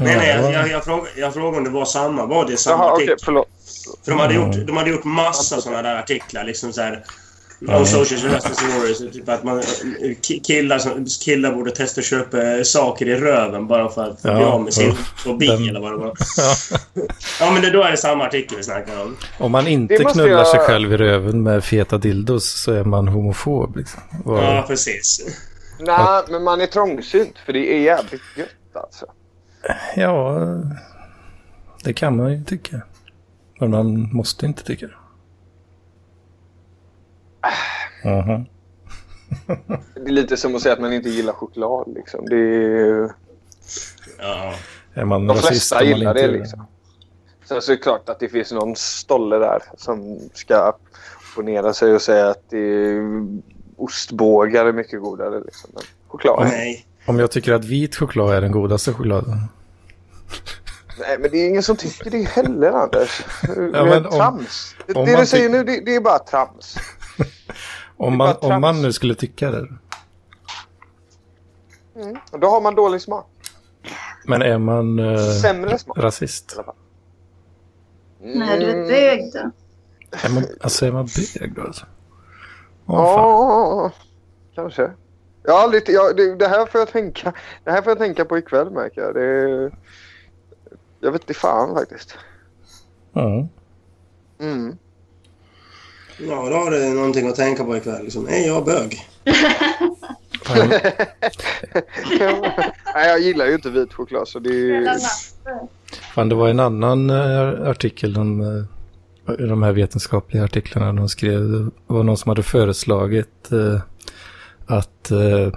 [SPEAKER 3] Nej, nej, jag, jag, jag, frågade, jag frågade om det var samma. Var det samma
[SPEAKER 1] Jaha, okej.
[SPEAKER 3] artikel?
[SPEAKER 1] förlåt.
[SPEAKER 3] För de hade
[SPEAKER 2] Mm.
[SPEAKER 3] gjort, de hade gjort massa såna där artiklar. Liksom så här, om social justice warriors. Typ att man, ki- killar, som, killar borde testa att köpa saker i röven bara för att
[SPEAKER 2] Ja,
[SPEAKER 3] bli av med sin
[SPEAKER 2] uff.
[SPEAKER 3] fobi
[SPEAKER 2] Den-
[SPEAKER 3] eller vad det var.
[SPEAKER 2] Ja.
[SPEAKER 3] Ja, men det, då är det samma artikel vi snackar om.
[SPEAKER 2] Om man inte
[SPEAKER 1] Det måste
[SPEAKER 2] knullar
[SPEAKER 1] jag-
[SPEAKER 2] sig själv i röven med feta dildos så är man homofob. Liksom. Var...
[SPEAKER 3] Ja, precis.
[SPEAKER 1] Nej, men man är trångsynt för det är jävligt gött alltså.
[SPEAKER 2] Ja, det kan man ju tycka. Men man måste inte tycka det. Mhm.
[SPEAKER 1] Det är lite som att säga att man inte gillar choklad liksom. Det är...
[SPEAKER 3] Ja.
[SPEAKER 2] Är man
[SPEAKER 1] De
[SPEAKER 2] rasist
[SPEAKER 1] flesta
[SPEAKER 2] om man
[SPEAKER 1] gillar
[SPEAKER 2] inte
[SPEAKER 1] det
[SPEAKER 2] gör
[SPEAKER 1] liksom. Sen så är det klart att det finns någon stolle där som ska opponera sig och säga att det är ostbågar är mycket godare. Liksom. Men choklad. Nej.
[SPEAKER 3] Nej.
[SPEAKER 2] Om jag tycker att vit choklad är den godaste chokladen.
[SPEAKER 1] men det är ingen som tycker det heller Anders. det är
[SPEAKER 2] men om-
[SPEAKER 1] trams.
[SPEAKER 2] om
[SPEAKER 1] det
[SPEAKER 2] man
[SPEAKER 1] du säger
[SPEAKER 2] tyck-
[SPEAKER 1] nu det, det är bara trams.
[SPEAKER 2] Om man,
[SPEAKER 1] bara trams.
[SPEAKER 2] om man nu skulle tycka det.
[SPEAKER 1] Mm. Och då har man dålig smak.
[SPEAKER 2] Men är man eh,
[SPEAKER 1] Sämre smak.
[SPEAKER 2] rasist?
[SPEAKER 1] Mm.
[SPEAKER 4] När du är bög då.
[SPEAKER 2] Är man, alltså är man bög då? Alltså? Åh, fan.
[SPEAKER 1] Ja, kanske. Jag har aldrig, jag, det, det, här får jag tänka, det här får jag tänka på ikväll märker jag. Det, jag vet inte fan faktiskt.
[SPEAKER 2] Mm.
[SPEAKER 1] Mm.
[SPEAKER 3] Ja, då har du någonting att tänka på ikväll. Liksom. Nej, jag är bög.
[SPEAKER 2] Fan,
[SPEAKER 1] Nej, jag gillar ju inte vit choklad så det är...
[SPEAKER 4] alltså,
[SPEAKER 2] Fan, det var en annan eh, artikel om eh, i de här vetenskapliga artiklarna de skrev. Det var någon som hade föreslagit eh, att eh,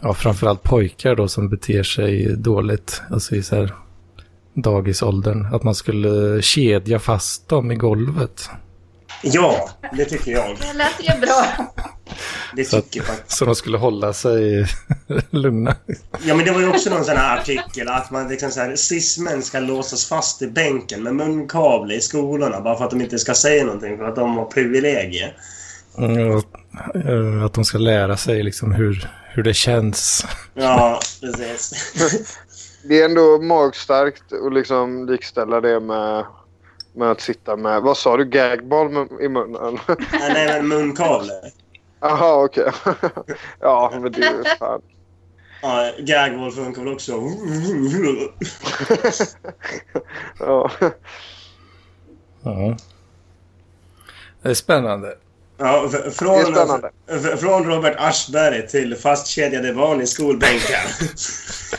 [SPEAKER 2] ja, framförallt pojkar då som beter sig dåligt, alltså i så här dagisåldern, att man skulle kedja fast dem i golvet.
[SPEAKER 3] Ja, det tycker jag.
[SPEAKER 4] Det lät ju bra.
[SPEAKER 3] Det
[SPEAKER 2] Så att-
[SPEAKER 3] tycker faktiskt
[SPEAKER 2] Så de skulle hålla sig lugna.
[SPEAKER 3] Ja, men det var ju också någon sån här artikel att man liksom så här, cis-män ska låsas fast i bänken med munkavle i skolorna bara för att de inte ska säga någonting för att de har privilegier.
[SPEAKER 2] Mm, och, eh, Att de ska lära sig liksom hur, hur det känns.
[SPEAKER 3] Ja, precis.
[SPEAKER 1] Det är ändå magstarkt att liksom likställa det med, med att sitta med... Vad sa du? Gagball med- i munnen?
[SPEAKER 3] Nej, nej, men munkavle.
[SPEAKER 1] Jaha, okej. ja, men det är ju fan...
[SPEAKER 3] Ja, gagwall funkar väl också.
[SPEAKER 1] ja.
[SPEAKER 2] Ja. Mm. Det är spännande.
[SPEAKER 3] Ja, f-
[SPEAKER 1] Det är
[SPEAKER 3] från,
[SPEAKER 1] spännande.
[SPEAKER 3] f- från Robert Aschberg till fastkedjade barn i skolbänkar.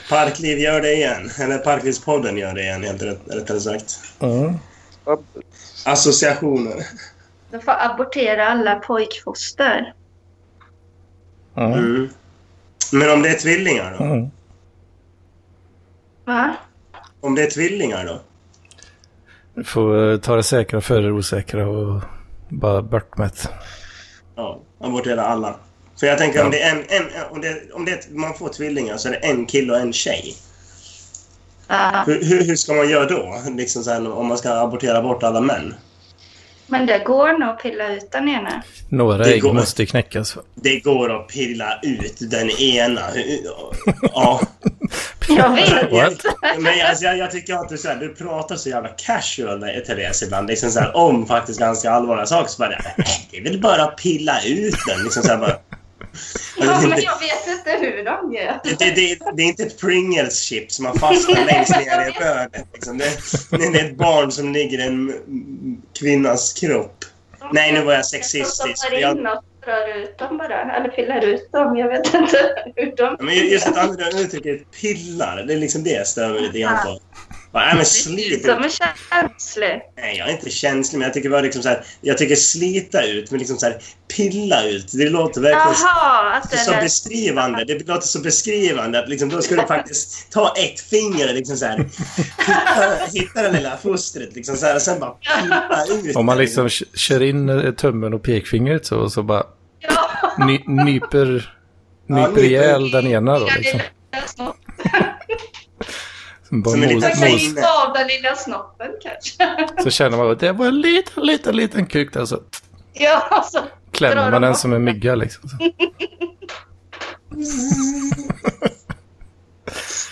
[SPEAKER 3] Parkliv gör det igen. Eller Parklivspodden gör det igen, helt rätt, rättare sagt.
[SPEAKER 2] Mm.
[SPEAKER 3] Associationer.
[SPEAKER 4] De får abortera alla pojkfoster.
[SPEAKER 2] Mm.
[SPEAKER 3] Mm. Men om det är tvillingar då?
[SPEAKER 2] Mm.
[SPEAKER 4] Va?
[SPEAKER 3] Om det är tvillingar då?
[SPEAKER 2] Du får eh, ta det säkra före det osäkra och bara bort med det.
[SPEAKER 3] Ja, abortera alla. För jag tänker om det är en... en om det, om det, är- man får tvillingar så är det en kille och en tjej.
[SPEAKER 4] Ja.
[SPEAKER 3] Hur, hur, hur ska man göra då? Liksom så här, om man ska abortera bort alla män?
[SPEAKER 4] Men det går nog att pilla ut den ena.
[SPEAKER 2] Några
[SPEAKER 3] Det
[SPEAKER 2] ägg
[SPEAKER 3] går.
[SPEAKER 2] måste knäckas.
[SPEAKER 3] Det går att pilla ut den ena. Ja.
[SPEAKER 4] Jag vet.
[SPEAKER 2] What?
[SPEAKER 3] Men jag, alltså, jag, jag tycker att du, så här, du pratar så jävla casual, med Therese, ibland. Liksom så här, om faktiskt ganska allvarliga saker. Så bara, "Nej, det är väl bara att pilla ut den. Liksom så här, bara,
[SPEAKER 4] Ja,
[SPEAKER 3] Alltså,
[SPEAKER 4] men
[SPEAKER 3] det,
[SPEAKER 4] jag vet inte hur de gör.
[SPEAKER 3] det, det, det, det är inte ett Pringles chip som man fastnar längst ner i brödet. Liksom. Det, det är ett barn som ligger i en kvinnas kropp. Nej, nu var jag sexistisk.
[SPEAKER 4] De
[SPEAKER 3] Jag-
[SPEAKER 4] stoppar in och drar ut dem bara. Eller pillar ut dem. Jag vet inte hur de...
[SPEAKER 3] Ja, Men ju- just att använda uttrycket pillar, det är liksom det jag stör mig lite grann på. Bara, Nej, men slit ut.
[SPEAKER 4] De är känsliga.
[SPEAKER 3] Nej, jag är inte känslig, men jag tycker bara liksom så här, Jag tycker slita ut, men liksom så här, pilla ut. Det låter verkligen
[SPEAKER 4] Jaha, att det
[SPEAKER 3] så
[SPEAKER 4] är...
[SPEAKER 3] beskrivande. Det låter så beskrivande att liksom, då ska du faktiskt ta ett finger och liksom så här, hitta, hitta det lilla fostret liksom så här, och sen bara pilla ut.
[SPEAKER 2] Om man
[SPEAKER 3] det,
[SPEAKER 2] liksom k- kör in eh, tummen och pekfingret så, och så bara
[SPEAKER 4] Ja,
[SPEAKER 2] ny, nyper,
[SPEAKER 3] Ja,
[SPEAKER 2] nyper
[SPEAKER 3] nyper.
[SPEAKER 2] ihjäl den ena då.
[SPEAKER 4] den
[SPEAKER 2] Liksom.
[SPEAKER 4] lilla snoppen.
[SPEAKER 2] Som bara
[SPEAKER 3] Som en liten
[SPEAKER 4] Man
[SPEAKER 2] mos,
[SPEAKER 4] kan
[SPEAKER 2] mos.
[SPEAKER 4] ju ta av den lilla snoppen kanske.
[SPEAKER 2] Så känner man att det var en liten, liten, liten kuk där. Så
[SPEAKER 4] Ja, alltså.
[SPEAKER 2] klämmer
[SPEAKER 4] Drar
[SPEAKER 2] man
[SPEAKER 4] de
[SPEAKER 2] den
[SPEAKER 4] bort.
[SPEAKER 2] som en mygga liksom. Så.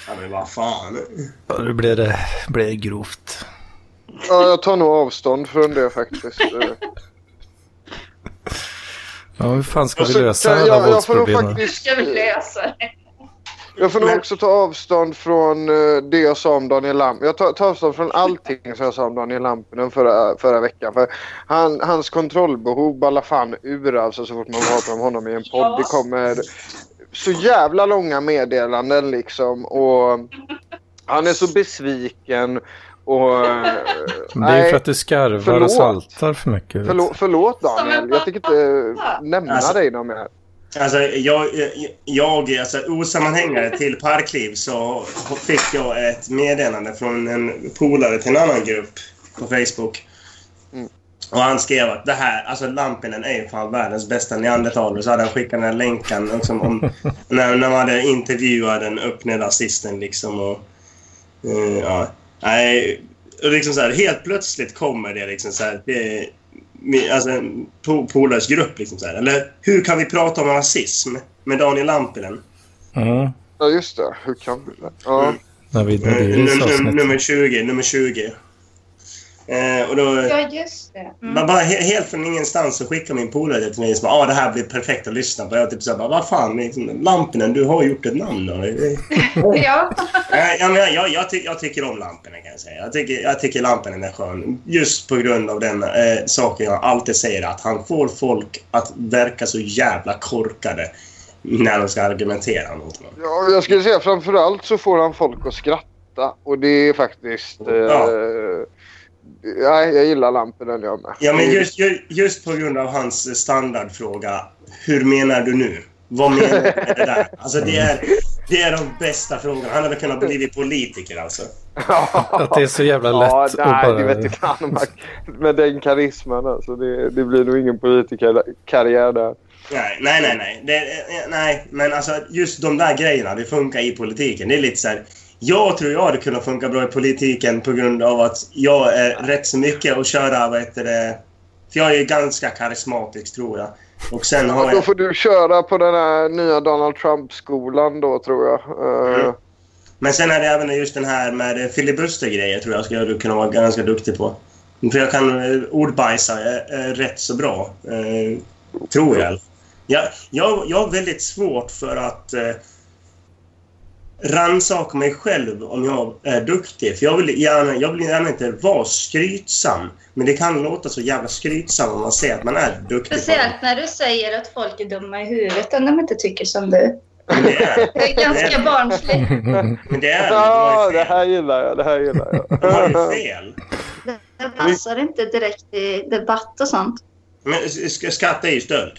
[SPEAKER 3] Ja, men vad fan.
[SPEAKER 2] Ja, då blir det, blir det grovt.
[SPEAKER 1] ja, jag tar nog avstånd från det faktiskt. Eh,
[SPEAKER 2] Ja, hur fan ska vi
[SPEAKER 1] så-
[SPEAKER 2] lösa
[SPEAKER 1] jag-
[SPEAKER 2] alla
[SPEAKER 1] jag, jag får nog
[SPEAKER 2] våldsproblem?
[SPEAKER 4] Hur
[SPEAKER 1] faktiskt...
[SPEAKER 4] ska vi lösa det?
[SPEAKER 1] Jag får nog
[SPEAKER 3] Men-
[SPEAKER 1] också ta avstånd från eh, det jag sa om Daniel Lampinen. Jag tar, tar avstånd från allting som jag sa om Daniel Lampinen förra, förra veckan. För han, hans kontrollbehov ballar fan ur alltså så fort man pratar om honom i en podd.
[SPEAKER 4] Ja.
[SPEAKER 1] Det kommer så jävla långa meddelanden liksom. Och han är så besviken. Och, eh,
[SPEAKER 2] Men Det är ju
[SPEAKER 1] nej.
[SPEAKER 2] för att du skarvar
[SPEAKER 1] Förlåt.
[SPEAKER 2] och saltar för mycket. vet du.
[SPEAKER 1] Förlåt, förlåt
[SPEAKER 4] Som en
[SPEAKER 1] Daniel, jag tänker inte eh, nämna
[SPEAKER 3] Alltså-
[SPEAKER 1] dig någon mer.
[SPEAKER 3] Alltså, jag, jag alltså, osammanhängare till Parkliv så fick jag ett meddelande från en polare till en annan grupp på Facebook.
[SPEAKER 1] Mm.
[SPEAKER 3] Och han skrev att det här, alltså Lampinen är ju fan världens bästa neandertalare. Så hade han skickat den här länken liksom, om, när, när man hade intervjuat den öppne rasisten liksom. Och, eh, ja. Nej, och liksom så här, helt plötsligt kommer det liksom så här. Det, min- alltså, en po- polares grupp. Liksom så här. Eller hur kan vi prata om rasism med Daniel Lampinen?
[SPEAKER 2] Mm.
[SPEAKER 1] Ja just det, hur kan du det? Ja.
[SPEAKER 2] När vi
[SPEAKER 3] Eh, num-
[SPEAKER 2] Nordeus
[SPEAKER 3] num-
[SPEAKER 2] avsnitt.
[SPEAKER 3] nummer 20, nummer 20. Eh, och då,
[SPEAKER 4] Ja, just det.
[SPEAKER 3] bara,
[SPEAKER 4] Mm.
[SPEAKER 3] bara he- helt från ingenstans så skickar min polare till mig som ah, det här blir perfekt att lyssna på. Jag typ såhär, vad fan, liksom, Lampinen, du har gjort ett namn av dig.
[SPEAKER 4] Ja,
[SPEAKER 3] Nej, jag, menar, jag, jag, ty jag tycker om lamporna kan jag säga. Jag tycker, jag tycker lamporna är skön. Just på grund av den eh, saken jag alltid säger att han får folk att verka så jävla korkade när de ska argumentera mot honom.
[SPEAKER 1] Ja, jag skulle säga framförallt så får han folk att skratta och det är faktiskt... Eh,
[SPEAKER 3] Ja.
[SPEAKER 1] Nej, jag gillar Lampinen jag med.
[SPEAKER 3] Ja, men just, ju- just på grund av hans standardfråga, hur menar du nu? Vad menar du med det där? Alltså det är, det är de bästa frågorna. Han hade kunnat bli politiker alltså.
[SPEAKER 2] Att det är så jävla lätt
[SPEAKER 1] Ja, nej,
[SPEAKER 2] att bara...
[SPEAKER 1] det vet jag fan om man- Med den karisman alltså. Det, det blir nog ingen politikerkarriär där.
[SPEAKER 3] Nej, nej, nej. Nej, det, eh, nej men alltså just de där grejerna, det funkar i politiken. Det är lite så här, jag tror jag hade kunnat funka bra i politiken på grund av att jag är rätt så mycket att köra, vad heter det, för jag är ju ganska karismatisk tror jag. Och sen har
[SPEAKER 1] Ja, Alltså, då
[SPEAKER 3] jag...
[SPEAKER 1] får du köra på den här nya Donald Trump-skolan då tror jag. Eh,
[SPEAKER 3] Mm. Men sen är det även just den här med eh, filibuster-grejer tror jag skulle jag kunna vara ganska duktig på. För jag kan eh, ordbajsa eh, eh, rätt så bra. eh, Tror jag. Jag, jag. jag har väldigt svårt för att eh, rannsaka mig själv om jag är duktig. För jag vill, gärna, jag vill gärna inte vara skrytsam. Men det kan låta så jävla skrytsam om man säger att man är duktig. på det.
[SPEAKER 4] Speciellt när du säger att folk är dumma i huvudet om de inte tycker som du.
[SPEAKER 3] Men det är
[SPEAKER 4] Det är ganska barnsligt.
[SPEAKER 3] men det. Är, det,
[SPEAKER 1] Ja,
[SPEAKER 3] var ju
[SPEAKER 1] det
[SPEAKER 3] fel.
[SPEAKER 1] här gillar jag. Det här gillar
[SPEAKER 3] det var
[SPEAKER 1] jag.
[SPEAKER 3] ju fel.
[SPEAKER 4] Det passar inte direkt i debatt och sånt.
[SPEAKER 3] Men s- s- skatt är ju stöld.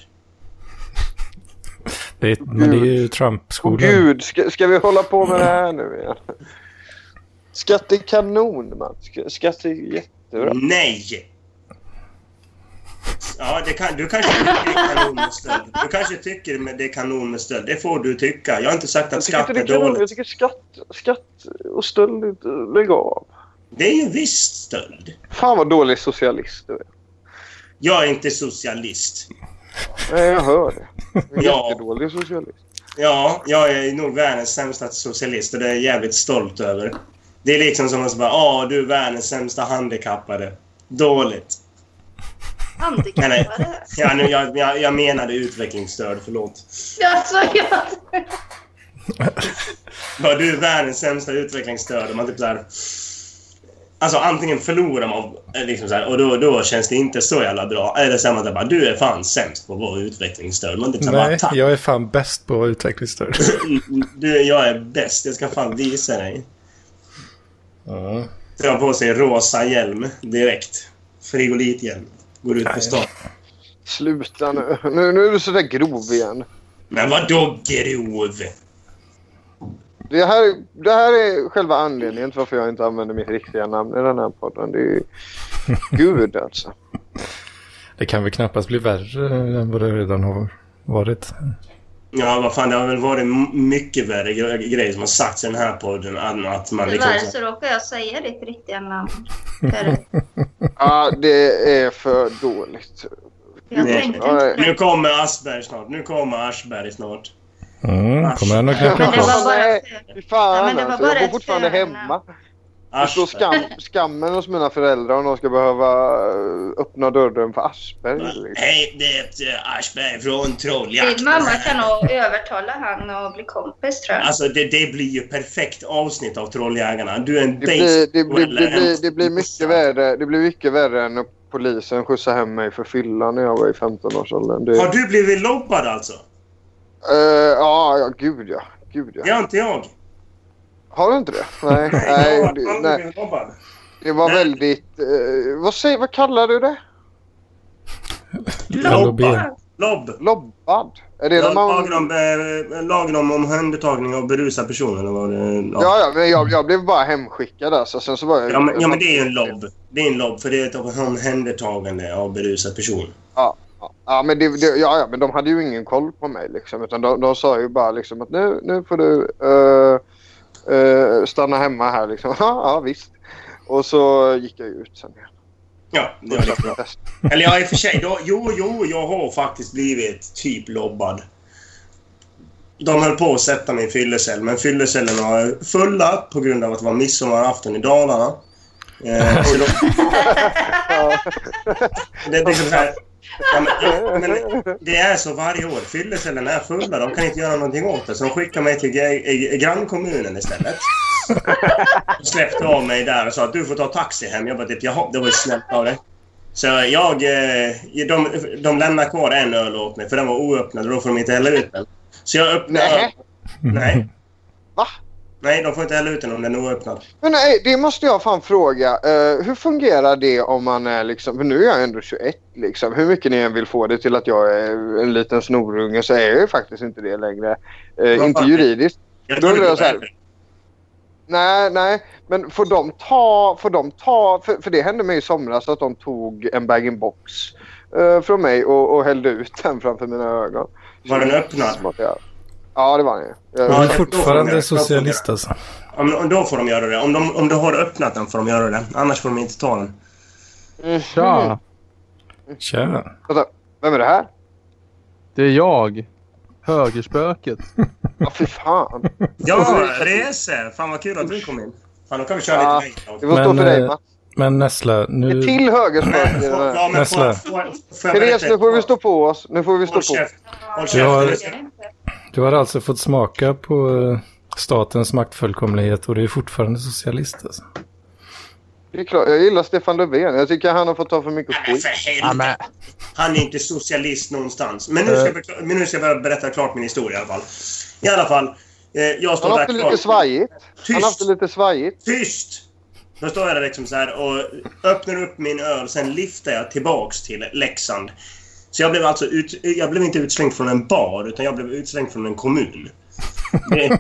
[SPEAKER 2] Det är, men det är ju Trump-skolan.
[SPEAKER 1] Åh, Gud, ska, ska vi hålla på med det här nu igen? Skatt är kanon, man. Sk- Skatt är
[SPEAKER 3] Mm,
[SPEAKER 1] jättebra.
[SPEAKER 3] Nej! Ja, det kan, du kanske tycker det är kanon med stöld. Du kanske tycker med- det är kanon med stöld. Det får du tycka. Jag har inte sagt
[SPEAKER 1] Jag
[SPEAKER 3] att
[SPEAKER 1] tycker,
[SPEAKER 3] skatt
[SPEAKER 1] inte det
[SPEAKER 3] är
[SPEAKER 1] är kanon.
[SPEAKER 3] dåligt.
[SPEAKER 1] jag tycker skatt, skatt och stöld, är inte- lägg av.
[SPEAKER 3] Det är ju visst stöld.
[SPEAKER 1] Fan vad dålig socialist du är.
[SPEAKER 3] Jag är inte socialist.
[SPEAKER 1] Nej, jag hör det. Du är
[SPEAKER 3] Ja.
[SPEAKER 1] Jättedålig socialist.
[SPEAKER 3] Ja, jag är nog världens sämsta socialist och det är jag jävligt stolt över. Det är liksom som att säga ja du är världens sämsta handikappade. Dåligt.
[SPEAKER 4] Handikappade.
[SPEAKER 3] Ja, nu, jag, jag, jag menade utvecklingsstöd, förlåt.
[SPEAKER 4] Alltså, jag...
[SPEAKER 3] Ja, du är världens sämsta utvecklingsstöd. Och man typ så här, alltså antingen förlorar man eh, liksom så här, och då, då känns det inte så jävla bra. Eller så är man typ bara, du är fan sämst på vår utvecklingsstöd. Man typ så här, bara,
[SPEAKER 2] Nej,
[SPEAKER 3] tack.
[SPEAKER 2] jag är fan bäst på utvecklingsstöd.
[SPEAKER 3] Du, jag är bäst. Jag ska fan visa dig. Drar på sig rosa hjälm direkt. Frigolithjälm. Går ut på stan.
[SPEAKER 1] Sluta nu. nu. Nu är du sådär grov igen.
[SPEAKER 3] Men vadå grov?
[SPEAKER 1] Det här, det här är själva anledningen till varför jag inte använder mitt riktiga namn i den här podden. Det är ju... Gud alltså.
[SPEAKER 2] Det kan väl knappast bli värre än vad det redan har varit.
[SPEAKER 3] Ja, vad fan, det har väl varit m- mycket värre gre- grejer som har sagts i den här podden än att man liksom...
[SPEAKER 4] Tyvärr så råkar jag säga ditt riktiga namn. För
[SPEAKER 1] Ja, det är för dåligt.
[SPEAKER 4] Jag
[SPEAKER 3] Nej.
[SPEAKER 4] tänkte
[SPEAKER 1] Ja,
[SPEAKER 4] inte på
[SPEAKER 3] Nu
[SPEAKER 4] det.
[SPEAKER 3] kommer Asperg snart. Nu kommer Aschberg snart.
[SPEAKER 2] Mm, kommer han att knäcka
[SPEAKER 4] Men det
[SPEAKER 2] på?
[SPEAKER 4] var bara
[SPEAKER 1] Nej.
[SPEAKER 4] för...
[SPEAKER 1] Fy fan
[SPEAKER 4] Ja, men det var
[SPEAKER 1] alltså, jag
[SPEAKER 4] bara
[SPEAKER 1] bor
[SPEAKER 4] ett eh,
[SPEAKER 1] fortfarande
[SPEAKER 4] förnamn.
[SPEAKER 1] hemma. Jag slår
[SPEAKER 3] Aschberg.
[SPEAKER 1] skam, skammen hos mina föräldrar om de ska behöva eh, öppna dörren för Aschberg. liksom.
[SPEAKER 3] Hej, det är eh, Aschberg från
[SPEAKER 4] Din
[SPEAKER 3] Trolljakten.
[SPEAKER 4] mamma kan nog övertala han att bli kompis tror jag.
[SPEAKER 3] Alltså det, det blir ju perfekt avsnitt av Trolljägarna. Du är en
[SPEAKER 1] Det blir, det, blir,
[SPEAKER 3] baseball-
[SPEAKER 1] det, blir, det blir mycket värre. Det blir mycket värre än när polisen skjutsade hem mig för fylla när jag var i 15-årsåldern. Det,
[SPEAKER 3] Har du blivit lobbad alltså?
[SPEAKER 1] Eh, ja, ja, gud ja. Gud
[SPEAKER 3] Det
[SPEAKER 1] ja.
[SPEAKER 3] har inte jag.
[SPEAKER 1] Har du inte det? Nej,
[SPEAKER 3] jag har
[SPEAKER 1] nej, det,
[SPEAKER 3] aldrig
[SPEAKER 1] nej.
[SPEAKER 3] blivit lobbad.
[SPEAKER 1] det var
[SPEAKER 3] Nej.
[SPEAKER 1] väldigt... eh, vad, säger, vad kallar du det?
[SPEAKER 2] Lobbyn.
[SPEAKER 3] Lobb.
[SPEAKER 1] Lobbad? Är det
[SPEAKER 3] Ja,
[SPEAKER 1] när man...
[SPEAKER 3] Lagen om, eh, lagen om omhändertagning av berusad person eller vad det
[SPEAKER 1] Ja, ja, men jag, jag blev bara hemskickad alltså. Sen så var jag...
[SPEAKER 3] Ja, men, ja, men det är ju en lobb. Det är en lobb för det är ett omhändertagande av berusad person.
[SPEAKER 1] Ja men, det, det, ja, ja, men de hade ju ingen koll på mig. Liksom, utan de, de sa ju bara liksom, att nu, nu får du eh, eh, stanna hemma här. Liksom. Ja, ja, visst. Och så gick jag ju ut sen. igen.
[SPEAKER 3] Ja, det var lite bra. Eller ja, i och för sig. Då, jo, jo, jag har faktiskt blivit typ lobbad. De höll på att sätta mig i fyllecell, men fyllecellen var fulla på grund av att det var midsommarafton i Dalarna. Eh, och då, det, är liksom så här, ja, men, men det är så varje år. Fyllecellen är fulla. De kan inte göra någonting åt det, så de skickar mig till gre- eh, grannkommunen istället. De släppte av mig där och sa att du får ta taxi hem. Jag bara typ, jaha, det var ju snällt av dig. Så jag, eh, de, de lämnar kvar en öl åt mig för den var oöppnad och då får de inte hälla ut den. Så jag öppnar...
[SPEAKER 1] Nej.
[SPEAKER 2] Mm.
[SPEAKER 3] Nej.
[SPEAKER 1] Va?
[SPEAKER 3] Nej, de får inte hälla ut den om den är oöppnad.
[SPEAKER 1] Men nej, det måste jag fan fråga. Eh, hur fungerar det om man är liksom, för nu är jag ändå 21 liksom. Hur mycket ni än vill få det till att jag är en liten snorunge så är jag ju faktiskt inte det längre. Eh,
[SPEAKER 3] fan.
[SPEAKER 1] inte juridiskt.
[SPEAKER 3] Jag
[SPEAKER 1] Då undrar
[SPEAKER 3] det
[SPEAKER 1] jag så här.
[SPEAKER 3] var-
[SPEAKER 1] Nej, nej. Men får de ta... Får de ta för, för det hände mig i somras att de tog en bag-in-box eh, från mig och, och hällde ut den framför mina ögon.
[SPEAKER 3] Var den öppnad?
[SPEAKER 1] Smart, ja. Ja, det var den ju. Jag-
[SPEAKER 2] Han är
[SPEAKER 3] Ja,
[SPEAKER 2] fortfarande socialist alltså.
[SPEAKER 3] Om, om då får de göra det. Om, de, om du har öppnat den får de göra det. Annars får de inte ta den.
[SPEAKER 1] Mhm.
[SPEAKER 5] Tja!
[SPEAKER 2] Tja.
[SPEAKER 1] Vänta, Vem är det här?
[SPEAKER 5] Det är jag. Högerspöket.
[SPEAKER 1] Ja, fy fan.
[SPEAKER 3] Ja, Rese! Fan vad kul att du kom in. Fan, då kan vi köra
[SPEAKER 1] Ja.
[SPEAKER 3] lite längre.
[SPEAKER 1] Det får stå
[SPEAKER 2] Men,
[SPEAKER 1] för dig,
[SPEAKER 2] eh,
[SPEAKER 1] Mats.
[SPEAKER 2] Men Nessla, nu...
[SPEAKER 1] Ett till högerspöke. i den här.
[SPEAKER 3] Ja, men får,
[SPEAKER 2] Nästa.
[SPEAKER 3] får, får, får jag
[SPEAKER 1] Therese,
[SPEAKER 3] berätta-
[SPEAKER 1] nu får vi stå på oss. Nu får vi stå
[SPEAKER 3] Håll
[SPEAKER 1] på.
[SPEAKER 3] käft. Håll
[SPEAKER 2] Jag har-
[SPEAKER 3] käft. Therese.
[SPEAKER 2] Du har alltså fått smaka på eh, statens maktfullkomlighet och du är fortfarande socialist alltså.
[SPEAKER 1] Det är klart, jag gillar Stefan Löfven. Jag tycker han har fått ta för mycket
[SPEAKER 3] Nej,
[SPEAKER 1] skit.
[SPEAKER 3] för helvete. Han är inte socialist någonstans. Men nu ska jag, bekla- men nu ska jag börja berätta klart min historia i alla fall. I alla fall. Eh, jag står
[SPEAKER 1] Han har
[SPEAKER 3] där
[SPEAKER 1] haft det
[SPEAKER 3] kvar.
[SPEAKER 1] lite svajigt. Han har haft
[SPEAKER 3] Tyst!
[SPEAKER 1] det lite svajigt.
[SPEAKER 3] Tyst! Då står jag där liksom så här och öppnar upp min öl. Sen lyfter jag tillbaks till Leksand. Så jag blev alltså ut, jag blev inte utslängd från en bar, utan jag blev utslängd från en kommun. Det,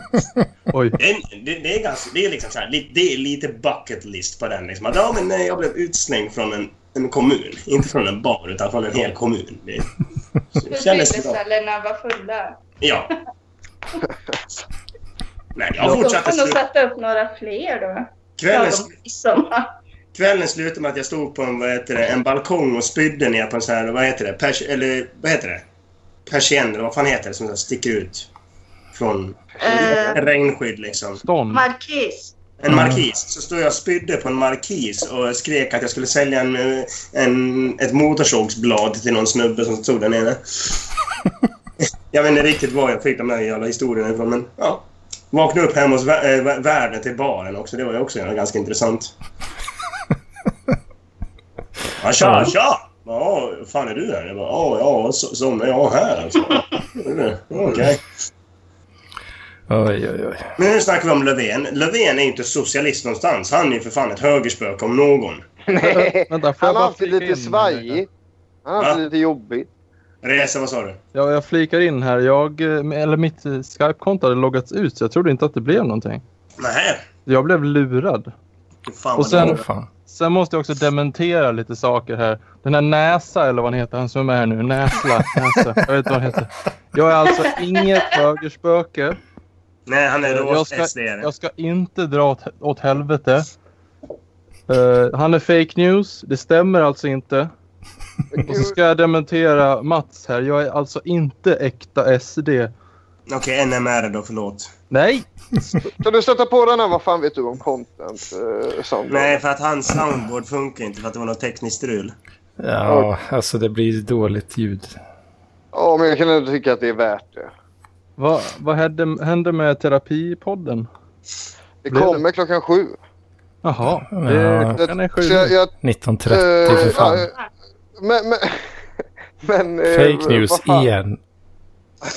[SPEAKER 5] Oj.
[SPEAKER 3] det, är- det, det är ganska, det är liksom så här, li- det är lite bucket list på den liksom. Att, Ja, men nej, jag blev utslängd från en, en kommun. Inte från en bar, utan från en hel kommun. Det, det kändes bra.
[SPEAKER 4] Fyllecellerna var fulla.
[SPEAKER 3] Ja. Nej, jag
[SPEAKER 4] Då
[SPEAKER 3] fortsatte
[SPEAKER 4] kan de
[SPEAKER 3] slu-
[SPEAKER 4] sätta upp några fler då. Ja,
[SPEAKER 3] kvällen.
[SPEAKER 4] de- i sommar.
[SPEAKER 3] Kvällen slutade med att jag stod på en, vad heter det, en balkong och spydde ner på en sån här, vad heter det, pers, eller vad heter det? Persienn, eller vad fan heter det, som så här sticker ut från
[SPEAKER 4] Eh,
[SPEAKER 3] regnskydd liksom.
[SPEAKER 5] Stånd.
[SPEAKER 4] Markis.
[SPEAKER 3] En markis. Så stod jag och spydde på en markis och skrek att jag skulle sälja en, eh, en, ett motorsågsblad till någon snubbe som stod där nere. jag vet inte riktigt var jag fick de där jävla historierna ifrån, men ja. Vaknade upp hemma hos vä- eh, vä- värden till baren också. Det var ju också ganska intressant. Ja, tja, tja! Ja, fan är du här? Jag bara, ja, ja, så, som är jag här alltså. Okej.
[SPEAKER 2] Oj, oj, oj.
[SPEAKER 3] Men nu snackar vi om Löfven. Löfven är ju inte socialist någonstans. Han är ju för fan ett högerspöke om någon.
[SPEAKER 1] Nej.
[SPEAKER 5] Vänta, får
[SPEAKER 1] Han har
[SPEAKER 5] jag bara
[SPEAKER 1] haft det
[SPEAKER 5] flika
[SPEAKER 1] lite
[SPEAKER 5] in eh, här?
[SPEAKER 1] svajigt. Han har haft det
[SPEAKER 3] Va?
[SPEAKER 1] lite jobbigt.
[SPEAKER 3] Resa, vad sa du?
[SPEAKER 5] Ja, jag flikar in här. Jag, eh, eller mitt eh, Skype-konto hade loggats ut så jag trodde inte att det blev någonting.
[SPEAKER 3] Nej.
[SPEAKER 5] Jag blev lurad.
[SPEAKER 3] Fan
[SPEAKER 5] Och
[SPEAKER 3] vad
[SPEAKER 5] sen-
[SPEAKER 2] Åh,
[SPEAKER 3] dåligt.
[SPEAKER 2] fan.
[SPEAKER 5] Sen måste jag också dementera lite saker här. Den här Näsa, eller vad han heter, han som är här nu. Näsla. Näsa. Jag vet inte vad han heter. Jag är alltså inget högerspöke.
[SPEAKER 3] Nej, han är då
[SPEAKER 5] Jag ska,
[SPEAKER 3] sd
[SPEAKER 5] jag ska inte dra åt, åt helvete. Eh, han är fake news. Det stämmer alltså inte. Och så ska jag dementera Mats här. Jag är alltså inte äkta SD.
[SPEAKER 3] Okej, NMR då, förlåt.
[SPEAKER 5] Nej!
[SPEAKER 1] Kan du sätta på den här? Vad fan vet du om content? eh, sånt?
[SPEAKER 3] Nej, för att hans soundboard funkar inte för att det var något tekniskt strul.
[SPEAKER 2] Ja, alltså det blir dåligt ljud.
[SPEAKER 1] Ja, men jag kan ändå tycka att det är värt det.
[SPEAKER 5] Va, vad hände, hände med terapipodden?
[SPEAKER 1] Det
[SPEAKER 5] Blev det?
[SPEAKER 1] kommer klockan sju.
[SPEAKER 5] Jaha,
[SPEAKER 2] Ja.
[SPEAKER 5] det, klockan är sju.
[SPEAKER 1] Så jag, jag,
[SPEAKER 2] 1930
[SPEAKER 1] eh,
[SPEAKER 2] för fan.
[SPEAKER 1] ja, eh, men, men, men, eh,
[SPEAKER 2] Fake news E.
[SPEAKER 1] vad fan.
[SPEAKER 2] igen.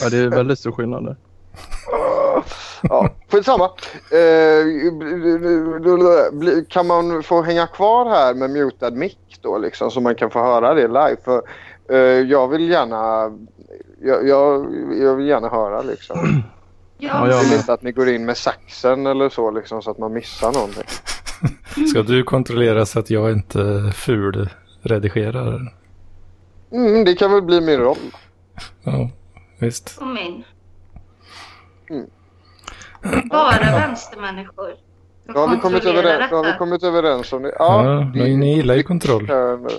[SPEAKER 5] Ja, det är väldigt stor skillnad där.
[SPEAKER 1] Ja, skitsamma. Eh, bli- kan man få hänga kvar här med mutad mick då liksom så man kan få höra det live? För, eh, jag vill gärna jag, jag, jag vill gärna höra liksom.
[SPEAKER 5] Ja,
[SPEAKER 4] Ja,
[SPEAKER 5] jag
[SPEAKER 1] Jag vill
[SPEAKER 5] med.
[SPEAKER 1] inte att ni går in med saxen eller så liksom så att man missar någonting.
[SPEAKER 2] Ska du kontrollera så att jag inte fulredigerar?
[SPEAKER 1] Mm, det kan väl bli min roll.
[SPEAKER 2] Ja, visst.
[SPEAKER 4] kom in.
[SPEAKER 1] Mm.
[SPEAKER 4] Bara vänstermänniskor.
[SPEAKER 1] Då har vi kommit
[SPEAKER 4] Kontrollera
[SPEAKER 1] överens, då har vi
[SPEAKER 4] detta.
[SPEAKER 1] kommit överens om det.
[SPEAKER 2] Ja,
[SPEAKER 1] det-
[SPEAKER 2] men ni gillar ju kontroll.
[SPEAKER 1] Eh, men-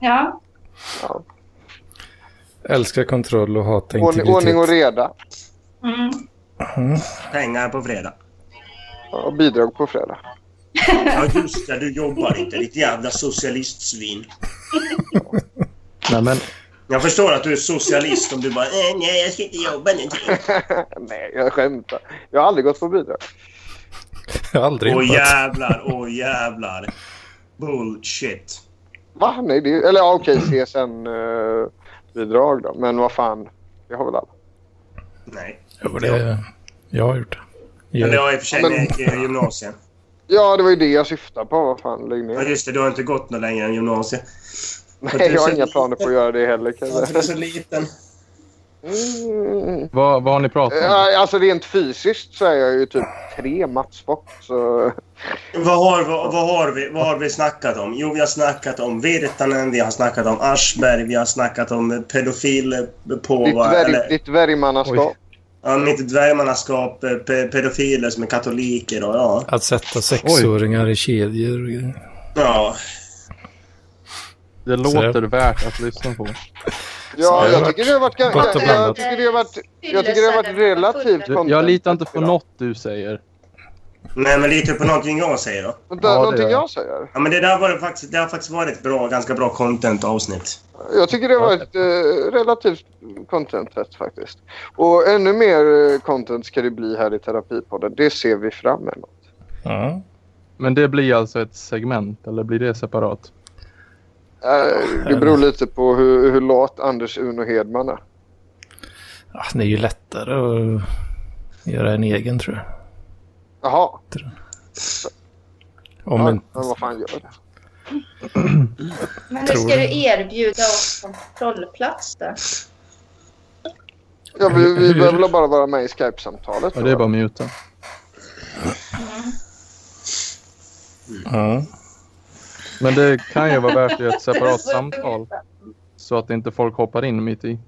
[SPEAKER 4] Ja,
[SPEAKER 2] Älskar kontroll och hatar
[SPEAKER 1] Ordning, ordning och
[SPEAKER 2] integritet.
[SPEAKER 1] reda.
[SPEAKER 4] mm.
[SPEAKER 3] Pengar på fredag.
[SPEAKER 1] Ja, Och bidrag på fredag.
[SPEAKER 3] Ja, just det. Du jobbar inte, ditt jävla socialistsvin.
[SPEAKER 5] Nej, men
[SPEAKER 3] Jag förstår att du är socialist om du bara "Eh, nej, jag ska inte jobba någonting.
[SPEAKER 1] Nej, jag skämtar. Jag har aldrig gått på bidrag.
[SPEAKER 2] Jag har aldrig
[SPEAKER 3] Åh
[SPEAKER 2] impat.
[SPEAKER 3] jävlar, åh jävlar. Bullshit.
[SPEAKER 1] Va? Nej, det är, eller ja, okej, CSN-bidrag eh, då. Men vad fan, det har väl alla.
[SPEAKER 3] Nej.
[SPEAKER 2] Jo, det- Jag har gjort det.
[SPEAKER 3] Men det
[SPEAKER 2] Jag,
[SPEAKER 3] har i och för sig
[SPEAKER 1] Men-
[SPEAKER 3] med eh, gymnasiet.
[SPEAKER 1] Ja, det var ju det jag syftade på. Vad fan, lägg
[SPEAKER 3] Ja,
[SPEAKER 1] ner.
[SPEAKER 3] just det. Du har inte gått något längre än gymnasiet.
[SPEAKER 1] Nej, jag har inga planer på att göra det heller. Kan jag
[SPEAKER 3] Du är
[SPEAKER 1] säga.
[SPEAKER 3] så liten.
[SPEAKER 1] Mm.
[SPEAKER 5] vad, vad har ni pratat om?
[SPEAKER 1] Eh, Alltså rent fysiskt så är jag ju typ tre matchbock. Så...
[SPEAKER 3] Vad har, vad, vad, har vi, vad har vi snackat om? Jo, vi har snackat om Virtanen, vi har snackat om Aschberg, vi har snackat om
[SPEAKER 1] Ditt,
[SPEAKER 3] pedofilpåvar,
[SPEAKER 1] dvärg,
[SPEAKER 3] eller
[SPEAKER 1] ditt dvärgmannaskap.
[SPEAKER 3] ja, mitt dvärgmannaskap, eh, pe, pedofiler som är katoliker och ja.
[SPEAKER 2] att sätta sexåringar i kedjor och grejer.
[SPEAKER 3] ja.
[SPEAKER 5] Det låter värt att lyssna på.
[SPEAKER 1] Ja,
[SPEAKER 2] det har
[SPEAKER 1] jag
[SPEAKER 2] varit
[SPEAKER 1] tycker det har varit...
[SPEAKER 2] gott och
[SPEAKER 1] Jag, jag
[SPEAKER 2] blandat.
[SPEAKER 1] tycker det har varit... jag tycker det har varit relativt
[SPEAKER 5] Du, jag litar inte på något du säger.
[SPEAKER 3] Nej, men lite på någonting jag säger då.
[SPEAKER 1] Vänta,
[SPEAKER 5] Ja, det
[SPEAKER 1] någonting
[SPEAKER 5] gör jag.
[SPEAKER 1] jag säger?
[SPEAKER 3] Ja, men det där var det faktiskt, det har faktiskt varit ett bra, ganska bra content-avsnitt.
[SPEAKER 1] Jag tycker det har varit eh, relativt contentet faktiskt. Och ännu mer eh, content ska det bli här i terapipodden. Det ser vi fram emot.
[SPEAKER 2] Ja.
[SPEAKER 5] Men det blir alltså ett segment, eller blir det separat?
[SPEAKER 1] Eh, det beror lite på hur, hur lat Anders Uno Hedman är.
[SPEAKER 2] Ja, Det är ju lättare att göra en egen tror jag.
[SPEAKER 1] Jaha,
[SPEAKER 2] Om
[SPEAKER 1] ja,
[SPEAKER 2] en,
[SPEAKER 1] men vad fan gör det?
[SPEAKER 4] Men hur
[SPEAKER 2] Tror
[SPEAKER 4] ska
[SPEAKER 2] du?
[SPEAKER 4] du erbjuda oss kontrollplats då?
[SPEAKER 1] Ja, vi, vi
[SPEAKER 2] Hur-
[SPEAKER 1] behöver väl bara vara med i Skype-samtalet.
[SPEAKER 5] Ja, det är bara att muta.
[SPEAKER 2] ja.
[SPEAKER 5] Men det kan ju vara värt i ett separat samtal. Så att inte folk hoppar in mitt i.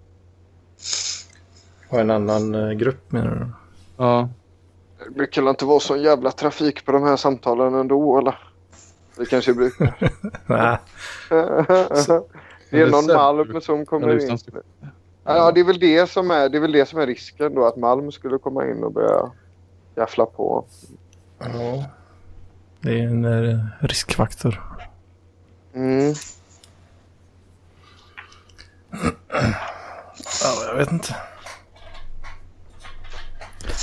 [SPEAKER 2] Och en annan eh, grupp menar du?
[SPEAKER 5] Ja,
[SPEAKER 1] Det brukar väl inte vara sån jävla trafik på de här samtalen ändå, eller? Det kanske brukar.
[SPEAKER 2] Nej,
[SPEAKER 1] det är
[SPEAKER 5] Men
[SPEAKER 1] någon
[SPEAKER 5] det är
[SPEAKER 1] Malm som
[SPEAKER 5] men
[SPEAKER 1] kommer
[SPEAKER 5] det är
[SPEAKER 1] in.
[SPEAKER 5] som-
[SPEAKER 1] Ja, det är väl det som är, det är, väl det som är risken då, att Malm skulle komma in och börja jaffla på.
[SPEAKER 2] ja. det är en eh, riskfaktor.
[SPEAKER 1] Mm.
[SPEAKER 2] Ja, jag vet inte.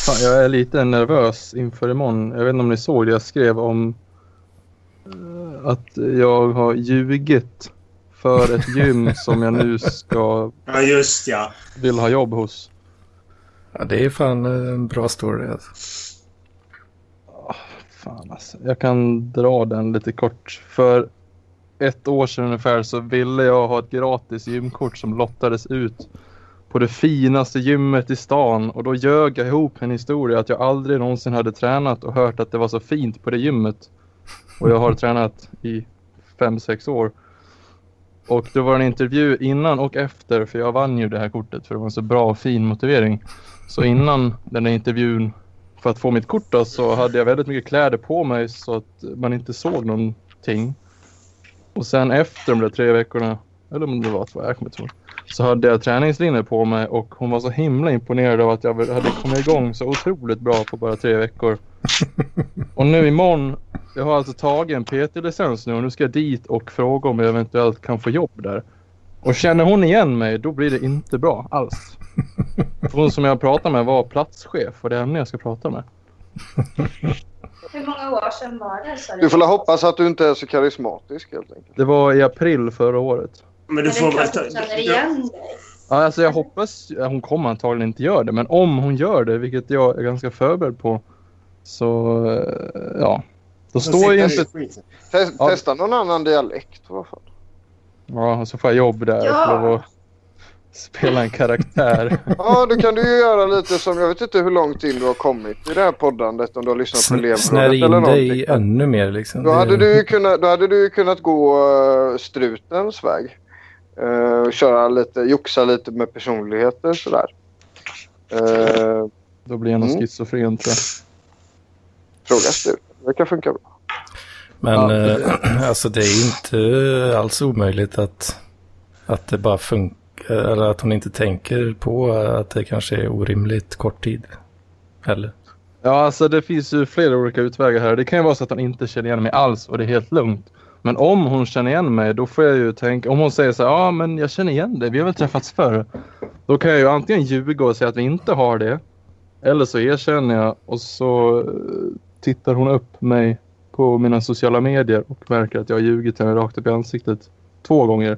[SPEAKER 5] Fan, jag är lite nervös inför imorgon. Jag vet inte om ni såg det jag skrev om eh, att jag har ljugit för ett gym som jag nu ska
[SPEAKER 3] Ja, just ja.
[SPEAKER 5] vill ha jobb hos.
[SPEAKER 2] Ja, det är fan eh, en bra story. Alltså.
[SPEAKER 5] Fan alltså, jag kan dra den lite kort. För ett år sedan ungefär så ville jag ha ett gratis gymkort som lottades ut på det finaste gymmet i stan och då ljög jag ihop en historia att jag aldrig någonsin hade tränat och hört att det var så fint på det gymmet. Och jag har tränat i fem sex år. Och det var en intervju innan och efter för jag vann ju det här kortet för det var en så bra och fin motivering. Så innan den här intervjun för att få mitt kort då, så hade jag väldigt mycket kläder på mig så att man inte såg någonting. Och sen efter de där tre veckorna, eller om det var två, jag kommer inte ihåg. Så hade jag träningslinjer på mig och hon var så himla imponerad av att jag hade kommit igång så otroligt bra på bara tre veckor. Och nu imorgon, jag har alltså tagit en PT-licens nu och nu ska jag dit och fråga om jag eventuellt kan få jobb där. Och känner hon igen mig, då blir det inte bra alls. För hon som jag pratade med var platschef och det är henne jag ska prata med.
[SPEAKER 4] Hur många år sedan var det? sa
[SPEAKER 1] Du får väl hoppas att du inte är så karismatisk helt enkelt.
[SPEAKER 5] Det var i april förra året.
[SPEAKER 3] Men
[SPEAKER 4] Men
[SPEAKER 3] du
[SPEAKER 4] det är
[SPEAKER 3] får väl
[SPEAKER 4] klart
[SPEAKER 3] ta...
[SPEAKER 4] du känner igen dig.
[SPEAKER 5] Ja, Alltså jag hoppas, ja, hon kommer antagligen inte göra det, men om hon gör det, vilket jag är ganska förberedd på, så eh, ja. Då står ju inte...
[SPEAKER 1] Test,
[SPEAKER 5] Ja.
[SPEAKER 1] Testa någon annan dialekt. Vad fan.
[SPEAKER 5] Ja, och så får jag jobb där.
[SPEAKER 4] Ja.
[SPEAKER 5] för att spela en karaktär.
[SPEAKER 1] Ja, då kan du ju göra lite som, jag vet inte hur långt in du har kommit i det här poddandet om du har lyssnat på
[SPEAKER 2] Sn-
[SPEAKER 1] elevrådet
[SPEAKER 2] Snär
[SPEAKER 1] eller
[SPEAKER 2] in
[SPEAKER 1] någonting.
[SPEAKER 2] dig ännu mer liksom.
[SPEAKER 1] Då
[SPEAKER 2] Det-
[SPEAKER 1] hade, du ju kunnat, då hade du ju kunnat gå eh, strutens väg. Eh, och köra lite, joxa lite med personligheter sådär. Uh,
[SPEAKER 5] Då blir jag någon
[SPEAKER 1] Mm.
[SPEAKER 5] schizofren tror jag.
[SPEAKER 1] fråga struten. Det kan funka bra.
[SPEAKER 2] Men
[SPEAKER 5] Ja.
[SPEAKER 2] eh, alltså det är inte eh, alls omöjligt att, att det bara funkar, eller att hon inte tänker på att det kanske är orimligt kort tid. Eller?
[SPEAKER 5] Ja, alltså det finns ju flera olika utvägar här. Det kan ju vara så att hon inte känner igen mig alls och det är helt lugnt. Men om hon känner igen mig, då får jag ju tänka... Om hon säger så här, ja men jag känner igen dig, vi har väl träffats förr. Då kan jag ju antingen ljuga och säga att vi inte har det. Eller så erkänner jag och så eh, tittar hon upp mig på mina sociala medier och märker att jag har ljugit henne rakt upp i ansiktet. Två gånger.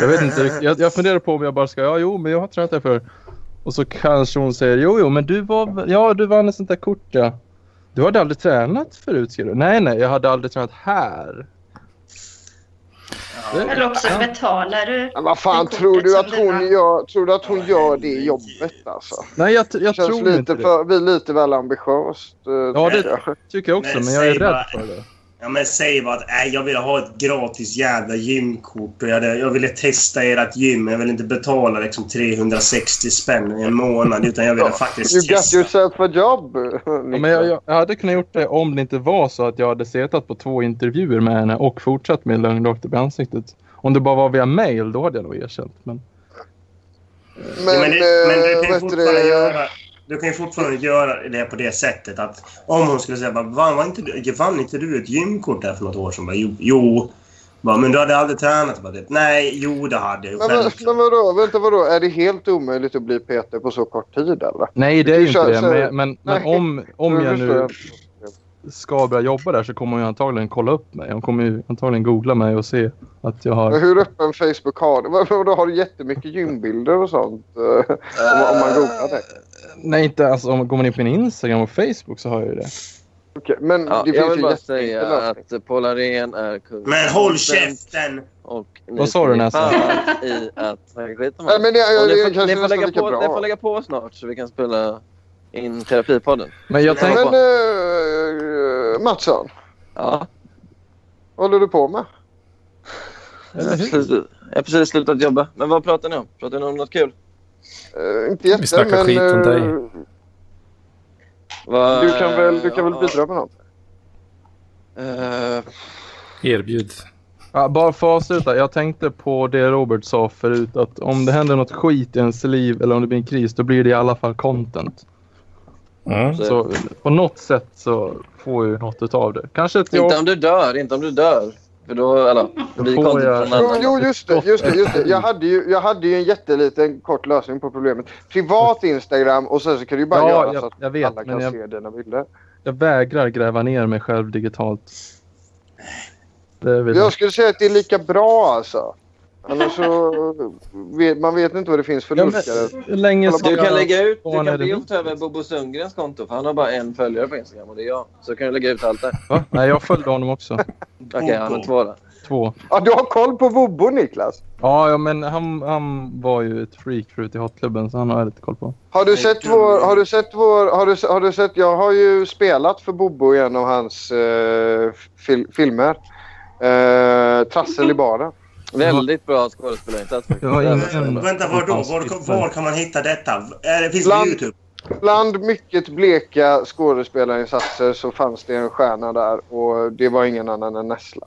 [SPEAKER 5] Jag vet inte. riktigt. Jag, jag funderar på om jag bara ska, ja jo men jag har tränat det för. Och så kanske hon säger, jo jo men du var, väl- ja du vann ett sånt där kort ja. Du hade aldrig tränat förut skrev du. Nej nej, jag hade aldrig tränat här. Det-
[SPEAKER 4] Eller också
[SPEAKER 5] ja.
[SPEAKER 4] betalar du.
[SPEAKER 1] Men vad fan,
[SPEAKER 4] Det är
[SPEAKER 1] tror du,
[SPEAKER 4] kortet
[SPEAKER 1] att hon
[SPEAKER 4] som du har.
[SPEAKER 1] gör, tror du att hon gör det jobbet alltså?
[SPEAKER 5] Nej jag, t- jag
[SPEAKER 1] Känns
[SPEAKER 5] tror
[SPEAKER 1] lite
[SPEAKER 5] inte det.
[SPEAKER 1] för, vi är lite väl ambitiöst. eh,
[SPEAKER 5] Ja,
[SPEAKER 1] tycker
[SPEAKER 5] det-
[SPEAKER 1] jag.
[SPEAKER 5] Tycker jag också
[SPEAKER 3] Nej,
[SPEAKER 5] men jag är
[SPEAKER 3] säg
[SPEAKER 5] rädd
[SPEAKER 3] bara-
[SPEAKER 5] för det.
[SPEAKER 3] Ja, men säg bara att nej, jag ville ha ett gratis jävla gymkort och jag, hade, jag ville testa ert gym. Jag ville inte betala liksom 360 spänn i en månad utan jag ville faktiskt
[SPEAKER 1] You got
[SPEAKER 3] testa.
[SPEAKER 1] yourself a job.
[SPEAKER 5] Ja, men jag, jag- jag hade kunnat gjort det om det inte var så att jag hade setat på två intervjuer med henne och fortsatt med lögn rakt upp i ansiktet. Om det bara var via mail, då hade jag nog erkänt. Men
[SPEAKER 3] Men, men, du, men du
[SPEAKER 1] eh,
[SPEAKER 3] kan ju
[SPEAKER 1] vet
[SPEAKER 3] fortfarande
[SPEAKER 1] det-
[SPEAKER 3] göra... Du kan ju fortfarande göra det på det sättet att om hon skulle säga bara, vann, var inte, du- vann inte du ett gymkort där för något år sedan? Bara, jo. jo. Bara, men du hade aldrig tränat? Bara, det. Nej, jo det hade jag.
[SPEAKER 1] Men, men,
[SPEAKER 3] självklart."
[SPEAKER 1] men vadå, vänta vadå, är det helt omöjligt att bli PT på så kort tid eller?
[SPEAKER 5] nej, det är ju inte
[SPEAKER 1] Kör-
[SPEAKER 5] det.
[SPEAKER 1] kör-
[SPEAKER 5] Men, men, men
[SPEAKER 1] nej.
[SPEAKER 5] om, om
[SPEAKER 1] Nu
[SPEAKER 5] jag
[SPEAKER 1] förstår
[SPEAKER 5] nu ska börja jobba där så kommer hon ju antagligen kolla upp mig. Hon kommer ju antagligen googla mig och se att
[SPEAKER 1] Men
[SPEAKER 5] jag har...
[SPEAKER 1] hur öppen Facebook har du? Vad- Vadå, har du jättemycket gymbilder och sånt? eh, om, om man googlar det.
[SPEAKER 5] Nej, inte alltså om går man in på min Instagram och Facebook så har jag ju det.
[SPEAKER 1] Okej, men
[SPEAKER 6] Ja,
[SPEAKER 1] Mm. det
[SPEAKER 6] jag
[SPEAKER 1] finns
[SPEAKER 6] vill
[SPEAKER 1] ju
[SPEAKER 6] bara
[SPEAKER 1] jätte...
[SPEAKER 6] säga
[SPEAKER 1] lösning.
[SPEAKER 6] att Paul Arén är kung.
[SPEAKER 3] Men håll käften!
[SPEAKER 6] Och ni
[SPEAKER 5] Vad sa du,
[SPEAKER 6] får ge
[SPEAKER 5] Nästan?
[SPEAKER 6] fan i att han skiter med
[SPEAKER 1] Nej, men det,
[SPEAKER 6] Och
[SPEAKER 1] det,
[SPEAKER 6] ni
[SPEAKER 1] det,
[SPEAKER 6] får,
[SPEAKER 1] kanske
[SPEAKER 6] ni, får
[SPEAKER 1] nästan
[SPEAKER 6] lägga
[SPEAKER 1] lika
[SPEAKER 6] på, ni får
[SPEAKER 1] bra.
[SPEAKER 6] lägga på snart så vi kan spela in terapipodden.
[SPEAKER 5] Men jag
[SPEAKER 3] Nej,
[SPEAKER 5] tänker...
[SPEAKER 1] Men eh, Mattsson,
[SPEAKER 6] Ja,
[SPEAKER 1] vad håller du på med?
[SPEAKER 6] jag har precis, jag har precis slutat jobba. Men vad pratar ni om? Pratar ni om något kul?
[SPEAKER 1] Eh, inte jätte,
[SPEAKER 2] snackar
[SPEAKER 1] men
[SPEAKER 2] skit om
[SPEAKER 1] eh,
[SPEAKER 2] dig.
[SPEAKER 6] Vad-
[SPEAKER 1] du kan väl, du kan väl bidra med något?
[SPEAKER 6] Eh,
[SPEAKER 2] Erbjud.
[SPEAKER 5] Ja, bara för att avsluta. Jag tänkte på det Robert sa förut. Att om det händer något skit i ens liv eller om det blir en kris, då blir det i alla fall content.
[SPEAKER 2] Mm.
[SPEAKER 6] så-
[SPEAKER 5] Så på något sätt så får ju något utav det. Kanske ett jobb.
[SPEAKER 6] Inte om du dör, inte om du dör. För då, eller, det blir
[SPEAKER 5] Då får
[SPEAKER 6] content
[SPEAKER 5] jag-
[SPEAKER 6] från
[SPEAKER 1] Jo,
[SPEAKER 6] någon annan.
[SPEAKER 1] jo just, det, just det. Just det. Jag, hade ju, jag hade ju en jätteliten kort lösning på problemet. Privat Instagram och sen så kan du ju bara
[SPEAKER 5] Ja,
[SPEAKER 1] göra
[SPEAKER 5] jag-
[SPEAKER 1] så att
[SPEAKER 5] jag vet,
[SPEAKER 1] alla
[SPEAKER 5] men
[SPEAKER 1] kan
[SPEAKER 5] jag-
[SPEAKER 1] se dina bilder.
[SPEAKER 5] Jag vägrar gräva ner mig själv digitalt. Det vill jag.
[SPEAKER 1] Jag skulle säga att det är lika bra alltså. Annars så... Vet, man vet inte vad det finns för
[SPEAKER 5] Ja, men-
[SPEAKER 1] luckor.
[SPEAKER 5] Hur länge ska
[SPEAKER 6] Du
[SPEAKER 5] jag...
[SPEAKER 6] kan lägga ut, du
[SPEAKER 5] Barn är
[SPEAKER 6] kan
[SPEAKER 5] det
[SPEAKER 6] lägga
[SPEAKER 5] mitt.
[SPEAKER 6] ut över Bobo Sundgrens konto för han har bara en följare på Instagram och det är jag. Så kan du lägga ut allt där.
[SPEAKER 5] Va? Nej, jag följde honom också.
[SPEAKER 6] Okej, han har två där.
[SPEAKER 5] Två.
[SPEAKER 1] Ja, du har koll på Vobbo Niklas.
[SPEAKER 5] Ja, ja men han, han var ju ett freak förut i hotklubben så han har jag lite koll på.
[SPEAKER 1] Har du sett vår... Har du sett vår... Har du, har du sett... Jag har ju spelat för Bobbo i en av hans eh, fil, filmer. Eh, trassel i baren.
[SPEAKER 6] Väldigt bra skådespelarinsats faktiskt.
[SPEAKER 5] Det var
[SPEAKER 1] Mm.
[SPEAKER 6] Där.
[SPEAKER 5] ingen-
[SPEAKER 3] Vänta, var då? Var, var kan man hitta detta? Är det, finns det på
[SPEAKER 1] Bland-
[SPEAKER 3] Youtube?
[SPEAKER 1] Bland mycket bleka skådespelarinsatser så fanns det en stjärna där och det var ingen annan än Nessla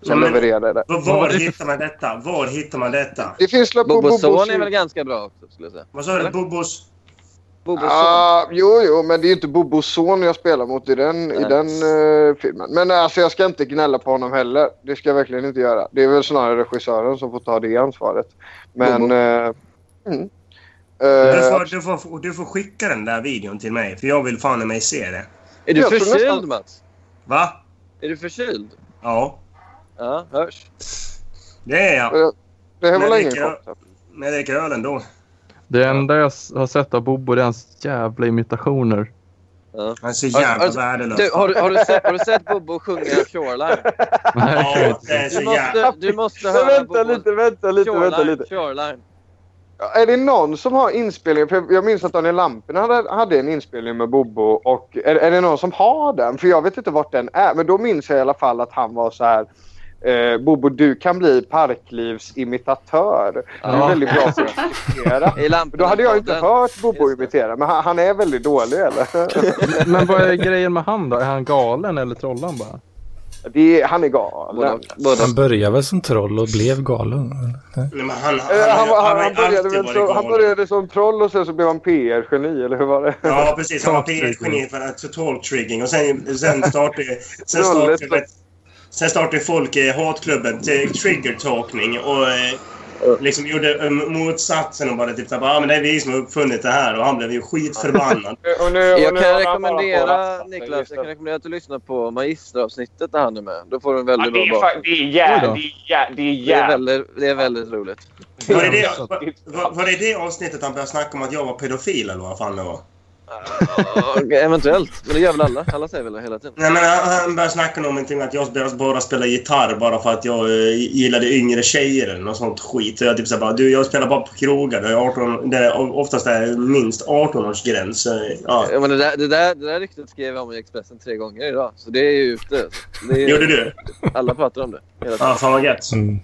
[SPEAKER 1] som
[SPEAKER 6] Mm.
[SPEAKER 3] Men-
[SPEAKER 1] levererade det.
[SPEAKER 3] Var, var hittar man detta? Var hittar man detta?
[SPEAKER 1] Det finns la på
[SPEAKER 6] Bobos son
[SPEAKER 1] Bobos...
[SPEAKER 6] är väl ganska bra också skulle jag säga.
[SPEAKER 3] Vad sa du?
[SPEAKER 6] Eller?
[SPEAKER 3] Bobos?
[SPEAKER 6] Bobos son.
[SPEAKER 1] Ah, jo, jo, men det är ju inte Bobos son jag spelar mot i den, i
[SPEAKER 6] Nej.
[SPEAKER 1] den eh, filmen. Men alltså, jag ska inte gnälla på honom heller. Det ska jag verkligen inte göra. Det är väl snarare regissören som får ta det ansvaret. Men...
[SPEAKER 6] Bobo.
[SPEAKER 1] Eh, mm. Eh,
[SPEAKER 3] Du får, du, får, du får skicka den där videon till mig, för jag vill fan i mig se det.
[SPEAKER 6] Är du
[SPEAKER 1] jag tror nästan-
[SPEAKER 6] förkyld Mats?
[SPEAKER 3] Va?
[SPEAKER 6] Är du förkyld?
[SPEAKER 3] Ja,
[SPEAKER 6] Ja, hörs.
[SPEAKER 3] det är jag.
[SPEAKER 1] det här var
[SPEAKER 3] Men
[SPEAKER 1] länge
[SPEAKER 3] vilka-
[SPEAKER 1] kort.
[SPEAKER 3] Men jag dricker öl ändå.
[SPEAKER 5] Det enda jag s- har sett av Bobo det är hans jävla imitationer.
[SPEAKER 3] Han är så
[SPEAKER 6] Alltså,
[SPEAKER 3] jävla
[SPEAKER 6] alltså,
[SPEAKER 3] värdelös.
[SPEAKER 6] Du, har, du, har, du sett, har du sett Bobo sjunga Shoreline?
[SPEAKER 3] Ja, det är så
[SPEAKER 6] Du
[SPEAKER 3] jävla...
[SPEAKER 6] måste, du måste höra Bobo.
[SPEAKER 1] vänta
[SPEAKER 6] Shoreline, Shoreline.
[SPEAKER 1] Är det någon som har inspelning? För jag- jag minns att Daniel Lampinen hade, hade en inspelning med Bobo. Och är, är det någon som har den? För jag vet inte vart den är. Men då minns jag i alla fall att han var så här. Eh, Bobo, du kan bli parklivsimitatör. Du är
[SPEAKER 5] Ja.
[SPEAKER 1] väldigt bra på att imitera.
[SPEAKER 6] I lampan.
[SPEAKER 1] Då hade jag inte hört Bobo
[SPEAKER 6] Just det.
[SPEAKER 1] imitera, men han, han är väldigt dålig eller?
[SPEAKER 5] Men vad är grejen med han då? Är han galen eller trollar han bara?
[SPEAKER 1] Det är, han är
[SPEAKER 6] Båda,
[SPEAKER 1] galen.
[SPEAKER 6] båda.
[SPEAKER 2] Han började väl som troll och blev galen?
[SPEAKER 3] Nej, men han, han,
[SPEAKER 1] Eh, Han, var- han,
[SPEAKER 3] har
[SPEAKER 1] han,
[SPEAKER 3] ju
[SPEAKER 1] började,
[SPEAKER 3] alltid
[SPEAKER 1] väl
[SPEAKER 3] varit
[SPEAKER 1] som, han
[SPEAKER 3] galen.
[SPEAKER 1] började som troll och sen så blev han PR-geni, eller hur var det?
[SPEAKER 3] Ja, precis. Han var
[SPEAKER 5] Total
[SPEAKER 3] PR-geni för att total trigging. Och sen, sen startade... Sen startade, sen startade folk i hatklubben till trigger-talkning och eh, liksom gjorde eh, motsatsen och bara typ såhär, ah, men det är vi som har uppfunnit det här. Och han blev ju skitförbannad.
[SPEAKER 1] Och nu,
[SPEAKER 6] Jag kan
[SPEAKER 1] har han bara
[SPEAKER 6] rekommendera
[SPEAKER 1] kollat.
[SPEAKER 6] Niklas, jag kan rekommendera att du lyssnar på magisteravsnittet där han är med. Då får du en väldigt
[SPEAKER 7] det,
[SPEAKER 6] bra
[SPEAKER 7] är
[SPEAKER 6] bak.
[SPEAKER 7] fa- det är
[SPEAKER 5] Oj då.
[SPEAKER 7] jävligt... Det är, jä- det är
[SPEAKER 6] Det är
[SPEAKER 7] jävligt...
[SPEAKER 6] väldigt, det är väldigt roligt.
[SPEAKER 3] Var det det, var, var, var det det avsnittet han började snacka om att jag var pedofil eller vad fan det var?
[SPEAKER 6] Ja, eventuellt. Men det gör väl alla? Alla säger väl det hela tiden?
[SPEAKER 3] Nej, men han- han började snacka någonting med att jag började bara spela gitarr bara för att jag eh, gillade yngre tjejer eller något sånt skit. Så jag typ så här bara, du jag spelar bara på krogar där, jag är 18, där jag oftast är minst 18-årsgräns. Så, Ja.
[SPEAKER 6] Ja, men det, där, det, där, det där ryktet skrev jag om i Expressen tre gånger idag. Så det är ju ute. Så Det är,
[SPEAKER 3] Gjorde du?
[SPEAKER 6] alla pratar om det hela tiden.
[SPEAKER 3] Ja, fan vad gött.
[SPEAKER 2] Mm.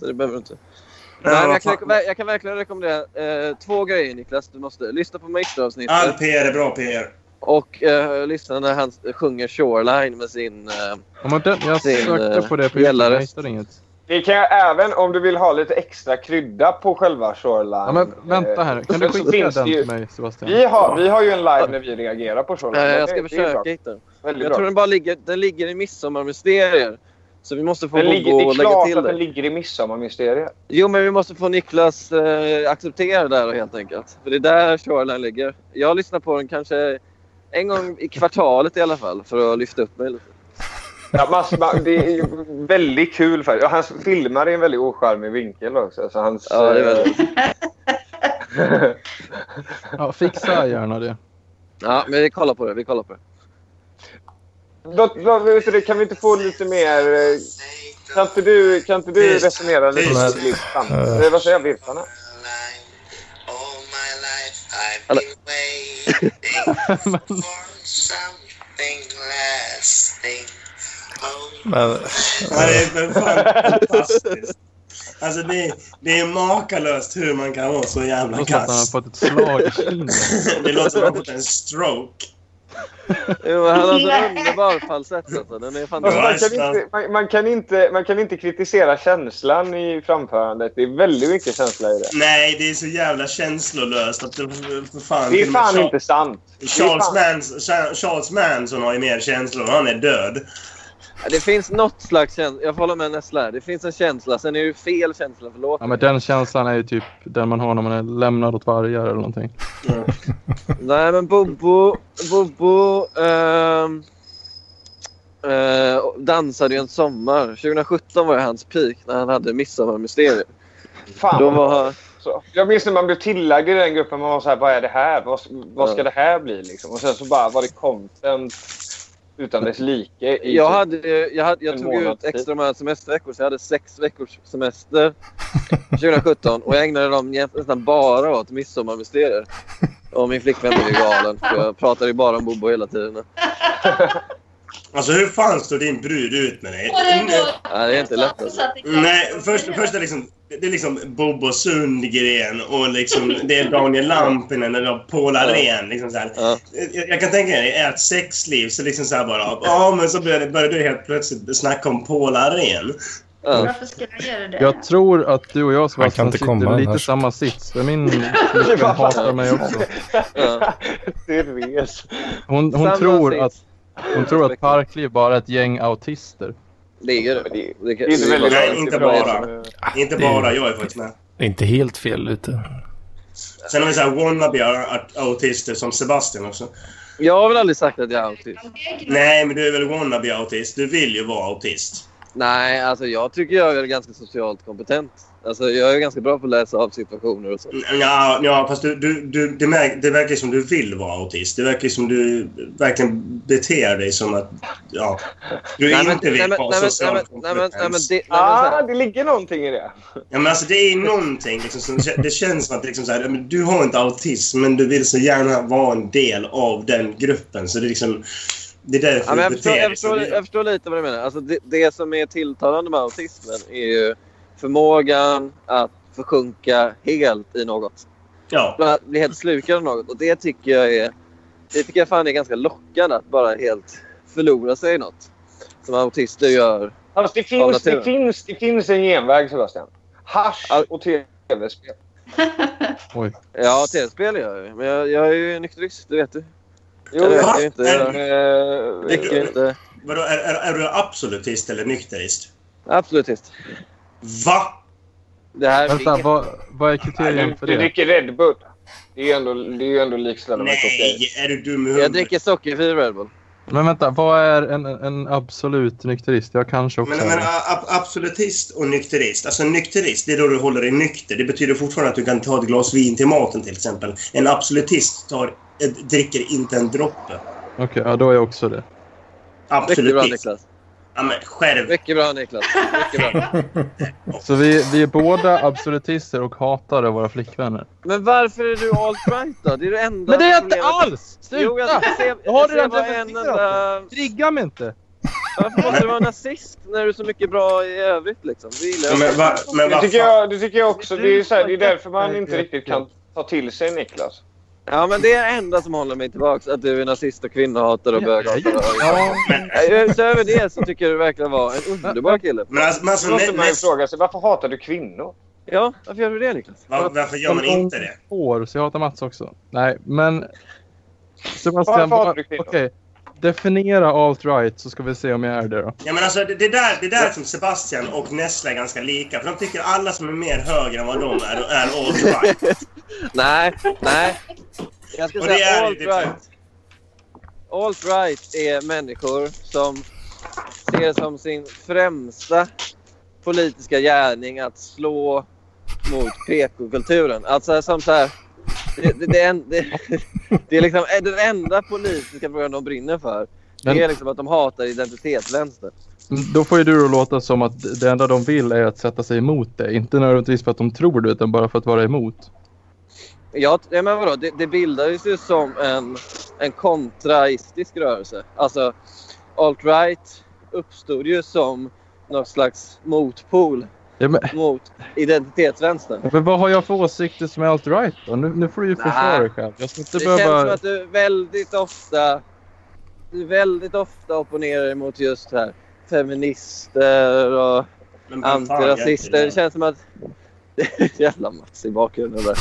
[SPEAKER 6] Så det behöver du inte.
[SPEAKER 3] Ja,
[SPEAKER 6] Nej, men
[SPEAKER 3] vad
[SPEAKER 6] jag, kan,
[SPEAKER 3] fan.
[SPEAKER 6] jag kan verkligen rekommendera eh, två grejer Niklas. Du måste lyssna på Maestro-avsnittet
[SPEAKER 3] All PR är bra PR.
[SPEAKER 6] och eh, lyssna när han sjunger Shoreline med sin... Eh,
[SPEAKER 5] Ja, men den, jag
[SPEAKER 6] Till,
[SPEAKER 5] sökte
[SPEAKER 6] eh,
[SPEAKER 5] på det på
[SPEAKER 6] gällare.
[SPEAKER 5] Youtube, jag hittade inget.
[SPEAKER 1] Det kan jag även om du vill ha lite extra krydda på själva Shoreline. Eh,
[SPEAKER 5] Ja, men vänta här nu. Kan du
[SPEAKER 1] Så- så
[SPEAKER 5] skicka
[SPEAKER 1] finns
[SPEAKER 5] den
[SPEAKER 1] det ju-
[SPEAKER 5] till mig Sebastian?
[SPEAKER 1] Vi har, vi har ju en live när vi reagerar på Shoreline.
[SPEAKER 6] eh, jag ska
[SPEAKER 1] Det- det är
[SPEAKER 6] försöka
[SPEAKER 1] bra.
[SPEAKER 6] hitta den.
[SPEAKER 1] Väldigt
[SPEAKER 6] Jag tror
[SPEAKER 1] bra.
[SPEAKER 6] den bara ligger, den ligger i Midsommarmysterier. Så vi måste få
[SPEAKER 1] Den ligger, det är
[SPEAKER 6] Bobo att lägga
[SPEAKER 1] klart
[SPEAKER 6] till
[SPEAKER 1] att den
[SPEAKER 6] det.
[SPEAKER 1] ligger i Midsommarmysteriet.
[SPEAKER 6] Jo, men vi måste få Niklas eh, acceptera det här helt enkelt. För det är där Shoreline ligger. Jag lyssnar på den kanske en gång i kvartalet i alla fall för att lyfta upp mig lite.
[SPEAKER 1] Ja, mass, ma- det är ju väldigt kul faktiskt. Och Han filmar i en väldigt ocharmig vinkel också. Så hans,
[SPEAKER 6] Ja, det är
[SPEAKER 1] eh,
[SPEAKER 6] väl.
[SPEAKER 5] Ja, fixa gärna det.
[SPEAKER 6] Ja, men vi kollar på det. Vi kollar på det.
[SPEAKER 1] eh, Då, då, vet du det, kan vi inte få lite mer...
[SPEAKER 8] uh,
[SPEAKER 1] eh, Kan inte du, kan inte du
[SPEAKER 8] Tyst.
[SPEAKER 1] resonera lite
[SPEAKER 3] Tyst.
[SPEAKER 1] med Liftan?
[SPEAKER 2] Eh.
[SPEAKER 1] Eh, Vad säger jag? Liftan?
[SPEAKER 8] All my life I've
[SPEAKER 6] Eller-
[SPEAKER 8] been waiting for something lasting. Oh,
[SPEAKER 2] Men,
[SPEAKER 3] Ja, det är för fan fantastiskt. Alltså det, det är makalöst hur man kan vara så jävla
[SPEAKER 5] Då satt han
[SPEAKER 3] kass.
[SPEAKER 5] fått ett slag i kinden.
[SPEAKER 3] Det låter som att man fått en stroke.
[SPEAKER 6] Jo, men han har så underbar falsett alltså. Den är
[SPEAKER 1] Alltså,
[SPEAKER 6] fantastisk.
[SPEAKER 1] man, kan inte, man, man, kan inte, man kan inte kritisera känslan i framförandet. Det är väldigt mycket känsla i det.
[SPEAKER 3] Nej, det är så jävla känslolöst att det för fan...
[SPEAKER 1] Det är
[SPEAKER 3] till och med
[SPEAKER 1] fan
[SPEAKER 3] Charles-
[SPEAKER 1] inte sant. Det är
[SPEAKER 3] Charles,
[SPEAKER 1] fan-
[SPEAKER 3] Mans, Cha- Charles Manson har ju mer känslor. Han är död.
[SPEAKER 6] Det finns något slags känsla. Jag får hålla med Nessla. här. Det finns en känsla. Sen är det ju fel känsla för låten.
[SPEAKER 5] Ja, men den känslan är ju typ den man har när man är lämnad åt vargar eller någonting.
[SPEAKER 6] Nej, men Bobo... Bobo... ehm, eh, dansade ju en sommar. 2017 var ju hans peak när han hade Midsommarmysteriet. Då
[SPEAKER 1] Fan.
[SPEAKER 6] var han...
[SPEAKER 1] Så, jag minns när man blev tillagd i den gruppen. Man var så här, vad är det här? Vad, vad ska
[SPEAKER 6] Ja.
[SPEAKER 1] det här bli? Liksom? Och sen så bara var det content utan dess like. I
[SPEAKER 6] Jag, hade, ju- jag, hade, jag
[SPEAKER 1] En
[SPEAKER 6] tog
[SPEAKER 1] månad
[SPEAKER 6] ut
[SPEAKER 1] tid.
[SPEAKER 6] extra många semesterveckor, så jag hade sex veckors semester 2017. Och jag ägnade dem jämt- nästan bara åt Midsommarmysteriet. Och min flickvän blev ju galen. för Jag pratade ju bara om Bobo hela tiden.
[SPEAKER 3] Alltså hur fan står din brud ut med dig? Mm,
[SPEAKER 4] Och det går-
[SPEAKER 6] Nej, det är inte lätt alltså.
[SPEAKER 3] Nej, först, först är liksom, det är liksom Bobo Sundgren och liksom, det är Daniel Lampinen eller Paul Arén. Liksom så här.
[SPEAKER 6] Ja.
[SPEAKER 3] Jag, jag kan tänka mig ert sexliv, så liksom så här bara... Ja, men så började, började du helt plötsligt snacka om Paul Arén.
[SPEAKER 6] Ja.
[SPEAKER 4] Varför skulle han göra det?
[SPEAKER 5] Jag tror att du och jag
[SPEAKER 2] Han kan
[SPEAKER 5] Sebastian
[SPEAKER 2] inte
[SPEAKER 5] sitter
[SPEAKER 2] komma
[SPEAKER 5] lite
[SPEAKER 2] annars.
[SPEAKER 5] samma sits. För min flickvän hatar mig också.
[SPEAKER 6] Ja.
[SPEAKER 1] Det res.
[SPEAKER 5] Hon, hon,
[SPEAKER 6] Samma
[SPEAKER 5] tror
[SPEAKER 6] sits.
[SPEAKER 5] att, hon tror att Parkliv bara är ett gäng autister.
[SPEAKER 6] Det är det.
[SPEAKER 1] Det-
[SPEAKER 6] Det
[SPEAKER 1] Det
[SPEAKER 6] kan-
[SPEAKER 1] är inte
[SPEAKER 6] det är
[SPEAKER 1] väldigt
[SPEAKER 3] Nej,
[SPEAKER 6] bra.
[SPEAKER 3] inte
[SPEAKER 1] bra.
[SPEAKER 3] bara. Inte bara, jag är faktiskt med.
[SPEAKER 2] inte helt fel ute.
[SPEAKER 3] Sen har vi så här wannabe aut- autister som Sebastian också.
[SPEAKER 6] Jag har väl aldrig sagt att jag är autist.
[SPEAKER 3] Nej, men du är väl wannabe autist? Du vill ju vara autist.
[SPEAKER 6] Nej, alltså jag tycker jag är ganska socialt kompetent. Alltså jag är ganska bra på att läsa av situationer och så.
[SPEAKER 3] Ja, ja fast du, du, du, det, mär, det verkar som du vill vara autist. Det verkar som du verkligen beter dig som att... Ja, du
[SPEAKER 6] Nej, men-
[SPEAKER 3] inte vill
[SPEAKER 6] nej, men-
[SPEAKER 3] vara
[SPEAKER 6] nej, men-
[SPEAKER 3] social
[SPEAKER 6] nej, men- nej, men- nej, men
[SPEAKER 3] kompetens.
[SPEAKER 6] det- nej, men så
[SPEAKER 1] Ah,
[SPEAKER 6] här.
[SPEAKER 1] det ligger någonting i det.
[SPEAKER 3] Ja, men alltså, det är någonting liksom, som, Det känns som att liksom, så här, ja, men du har inte autism, men du vill så gärna vara en del av den gruppen. Så det är liksom... Det är därför
[SPEAKER 6] Ja, men jag,
[SPEAKER 3] du
[SPEAKER 6] förstår,
[SPEAKER 3] beter
[SPEAKER 6] jag,
[SPEAKER 3] dig som
[SPEAKER 6] förstår,
[SPEAKER 3] du gör.
[SPEAKER 6] jag förstår lite vad du menar. Alltså det, det som är tilltalande med autismen är ju förmågan att försjunka helt i något.
[SPEAKER 3] Ja.
[SPEAKER 6] Bara Att bli helt slukad av något. Och det tycker jag är... Det tycker jag fan är ganska lockande att bara helt förlora sig i något. Som autister gör.
[SPEAKER 1] Alltså, det,
[SPEAKER 6] Av
[SPEAKER 1] finns,
[SPEAKER 6] naturen.
[SPEAKER 1] det, finns, det finns en genväg, Sebastian. Hasch
[SPEAKER 6] Al-
[SPEAKER 1] och tv-spel.
[SPEAKER 6] Ja, tv-spel gör jag ju. Men jag, jag är ju nykterist, det vet du.
[SPEAKER 1] Jo,
[SPEAKER 6] jag
[SPEAKER 1] jag
[SPEAKER 6] dricker inte. Jag
[SPEAKER 1] Eh,
[SPEAKER 6] dricker inte.
[SPEAKER 3] Vadå, är, är, är du absolutist eller nykterist?
[SPEAKER 6] Absolutist.
[SPEAKER 3] Va?
[SPEAKER 6] Det här
[SPEAKER 5] Vänta,
[SPEAKER 6] är
[SPEAKER 5] vad, vad är
[SPEAKER 1] du,
[SPEAKER 5] kriterien för
[SPEAKER 1] du
[SPEAKER 5] det?
[SPEAKER 1] dricker Red Bull. Det är ju ändå, det är ju ändå likställande med kokain.
[SPEAKER 3] Nej, är du dum i
[SPEAKER 6] Jag
[SPEAKER 3] huvudet?
[SPEAKER 6] dricker sockerfri Red Bull.
[SPEAKER 5] Men vänta, vad är en, en absolut nykterist? Jag kanske också
[SPEAKER 3] Men,
[SPEAKER 5] är
[SPEAKER 3] men
[SPEAKER 5] det.
[SPEAKER 3] a- ab- absolutist och nykterist. Alltså nykterist, det är då du håller dig nykter. Det betyder fortfarande att du kan ta ett glas vin till maten till exempel. En absolutist tar, eh, dricker inte en droppe.
[SPEAKER 5] Okej, ja, då är jag också det.
[SPEAKER 6] Mycket bra
[SPEAKER 3] Absolutist.
[SPEAKER 6] Niklas.
[SPEAKER 3] Ja, men skärp
[SPEAKER 6] Mycket bra Niklas. Mycket bra.
[SPEAKER 5] Så vi, vi är båda absolutister och hatar våra flickvänner.
[SPEAKER 6] Men varför är du alt-right då? Det är det enda
[SPEAKER 5] Men det är jag inte
[SPEAKER 6] problemet.
[SPEAKER 5] alls!
[SPEAKER 6] Jo, jag
[SPEAKER 5] Sluta!
[SPEAKER 6] ser,
[SPEAKER 5] Jag har
[SPEAKER 6] jag ser
[SPEAKER 5] redan
[SPEAKER 6] bara en
[SPEAKER 5] reflekterat
[SPEAKER 6] enda...
[SPEAKER 5] Trigga mig inte!
[SPEAKER 6] Varför måste du vara nazist när du är så mycket bra i övrigt liksom? Det gillar jag.
[SPEAKER 3] Men, va, men
[SPEAKER 1] Det
[SPEAKER 3] vad
[SPEAKER 1] tycker
[SPEAKER 3] fan.
[SPEAKER 1] jag, det tycker jag också. Det är, ju så här, det är därför man inte riktigt kan ta till sig Niklas.
[SPEAKER 9] Alltså,
[SPEAKER 6] Ja men det är det enda som håller mig tillbaks, att du är nazist och kvinnohatare och böghatare.
[SPEAKER 5] Ja,
[SPEAKER 6] Ja, Utöver det så tycker jag du verkar vara en underbar kille.
[SPEAKER 3] Men alltså, men alltså
[SPEAKER 1] Då måste
[SPEAKER 3] nä,
[SPEAKER 1] man ju
[SPEAKER 3] näst,
[SPEAKER 1] fråga sig varför hatar du kvinnor?
[SPEAKER 6] Ja, varför gör du det Niklas?
[SPEAKER 3] va- varför gör man inte det?
[SPEAKER 5] Får, så jag hatar Mats också. Nej, men... Sebastian,
[SPEAKER 1] Varför hatar
[SPEAKER 5] vad-
[SPEAKER 1] du
[SPEAKER 5] okej.
[SPEAKER 1] kvinnor?
[SPEAKER 5] Definiera alt-right så ska vi se om jag är det då.
[SPEAKER 3] Ja, men alltså, det, det, där, det där som Sebastian och Nessla är ganska lika. För de tycker alla som är mer höger än vad de är, är alt-right.
[SPEAKER 6] Nej, nej. Jag ska
[SPEAKER 3] Och det
[SPEAKER 6] säga
[SPEAKER 3] är
[SPEAKER 6] alt
[SPEAKER 3] riktigt sant.
[SPEAKER 6] right. Alt right är människor som ser som sin främsta politiska gärning att slå mot PK-kulturen. Alltså som så här, det, det, det, är en- det, det är liksom den enda politiska frågan de brinner för.
[SPEAKER 5] Men-
[SPEAKER 6] Det är liksom att de hatar identitetsvänster.
[SPEAKER 5] Mm, Då får ju du då låta som att det enda de vill är att sätta sig emot dig. Inte nödvändigtvis för att de tror det, utan bara för att vara emot.
[SPEAKER 6] Ja, t- ja, men vadå? Det, det bildades ju som en, en kontraistisk rörelse. Alltså, alt-right uppstod ju som någon slags motpol
[SPEAKER 5] Ja, men,
[SPEAKER 6] mot identitetsvänstern.
[SPEAKER 5] men vad har jag för åsikter som är alt-right då? Nu, nu får du ju
[SPEAKER 6] Nej.
[SPEAKER 5] försvara dig själv. Jag ska inte
[SPEAKER 6] Det, känns
[SPEAKER 5] behöva...
[SPEAKER 6] som att du väldigt ofta du väldigt ofta opponerar dig mot just det här feminister och
[SPEAKER 3] Men vad fan gör inte
[SPEAKER 6] antirasister.
[SPEAKER 3] det?
[SPEAKER 6] Det känns som att... Jävla Mats i bakgrunden där.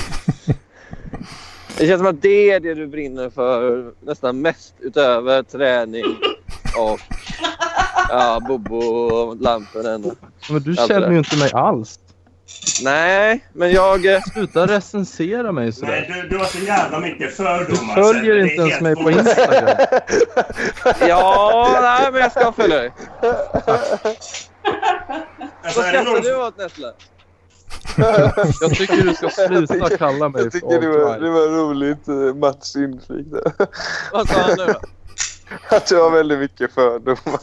[SPEAKER 6] Det känns som att det är det du brinner för nästan mest utöver träning och ja, Bobo och
[SPEAKER 5] Men
[SPEAKER 6] Lampinen.
[SPEAKER 5] du
[SPEAKER 6] Allt det
[SPEAKER 5] känner
[SPEAKER 6] där.
[SPEAKER 5] ju inte mig alls.
[SPEAKER 6] Nej, men jag... eh,
[SPEAKER 5] Sluta recensera mig sådär.
[SPEAKER 3] Nej, du, du har så jävla mycket fördomar. Sebbe.
[SPEAKER 5] Följer
[SPEAKER 3] Det är
[SPEAKER 5] inte ens
[SPEAKER 3] helt
[SPEAKER 5] mig på
[SPEAKER 3] sjukt.
[SPEAKER 5] Instagram.
[SPEAKER 6] Ja, nej, men jag ska följa dig.
[SPEAKER 3] Alltså,
[SPEAKER 6] Vad
[SPEAKER 3] är det
[SPEAKER 6] skrattar
[SPEAKER 3] någon
[SPEAKER 6] du åt Nessle?
[SPEAKER 5] Jag tycker du ska sluta kalla mig för alt-right.
[SPEAKER 9] var roligt eh, Mats inflik där.
[SPEAKER 6] Vad sa han nu då?
[SPEAKER 9] Att jag har väldigt mycket fördomar.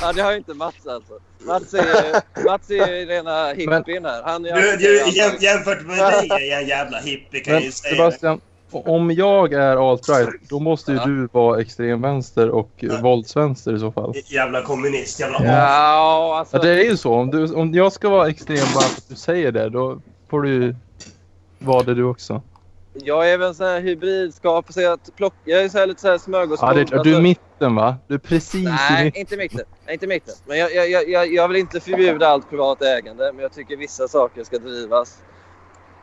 [SPEAKER 6] Ja, det har ju inte Mats alltså. Mats är, Mats är ju rena hippien här. Han är
[SPEAKER 3] Du, du, jäm- jämfört med dig är jag en jävla hippie kan jag ju
[SPEAKER 5] Men
[SPEAKER 3] säga. det.
[SPEAKER 5] Sebastian, om jag är alt-right, då måste ju
[SPEAKER 6] Ja.
[SPEAKER 5] du vara extremvänster och
[SPEAKER 3] Ja.
[SPEAKER 5] våldsvänster i så fall.
[SPEAKER 3] Jävla kommunist, jävla as.
[SPEAKER 6] Ja, alltså...
[SPEAKER 5] Ja, det är ju så. Om, du, om jag ska vara extrem bara för att du säger det, då får du ju vara det du också.
[SPEAKER 6] Jag är väl en sån här hybridskapelse. Jag, plock... jag är så här lite så här smörgåsbord.
[SPEAKER 5] Ja, det, är- du är
[SPEAKER 6] Alltså,
[SPEAKER 5] i mitten va? Du är precis i
[SPEAKER 6] Nej,
[SPEAKER 5] mitten.
[SPEAKER 6] inte mitten. Nej, inte mitten. Men jag, jag, jag- jag, jag vill inte förbjuda allt privat ägande. Men jag tycker vissa saker ska drivas.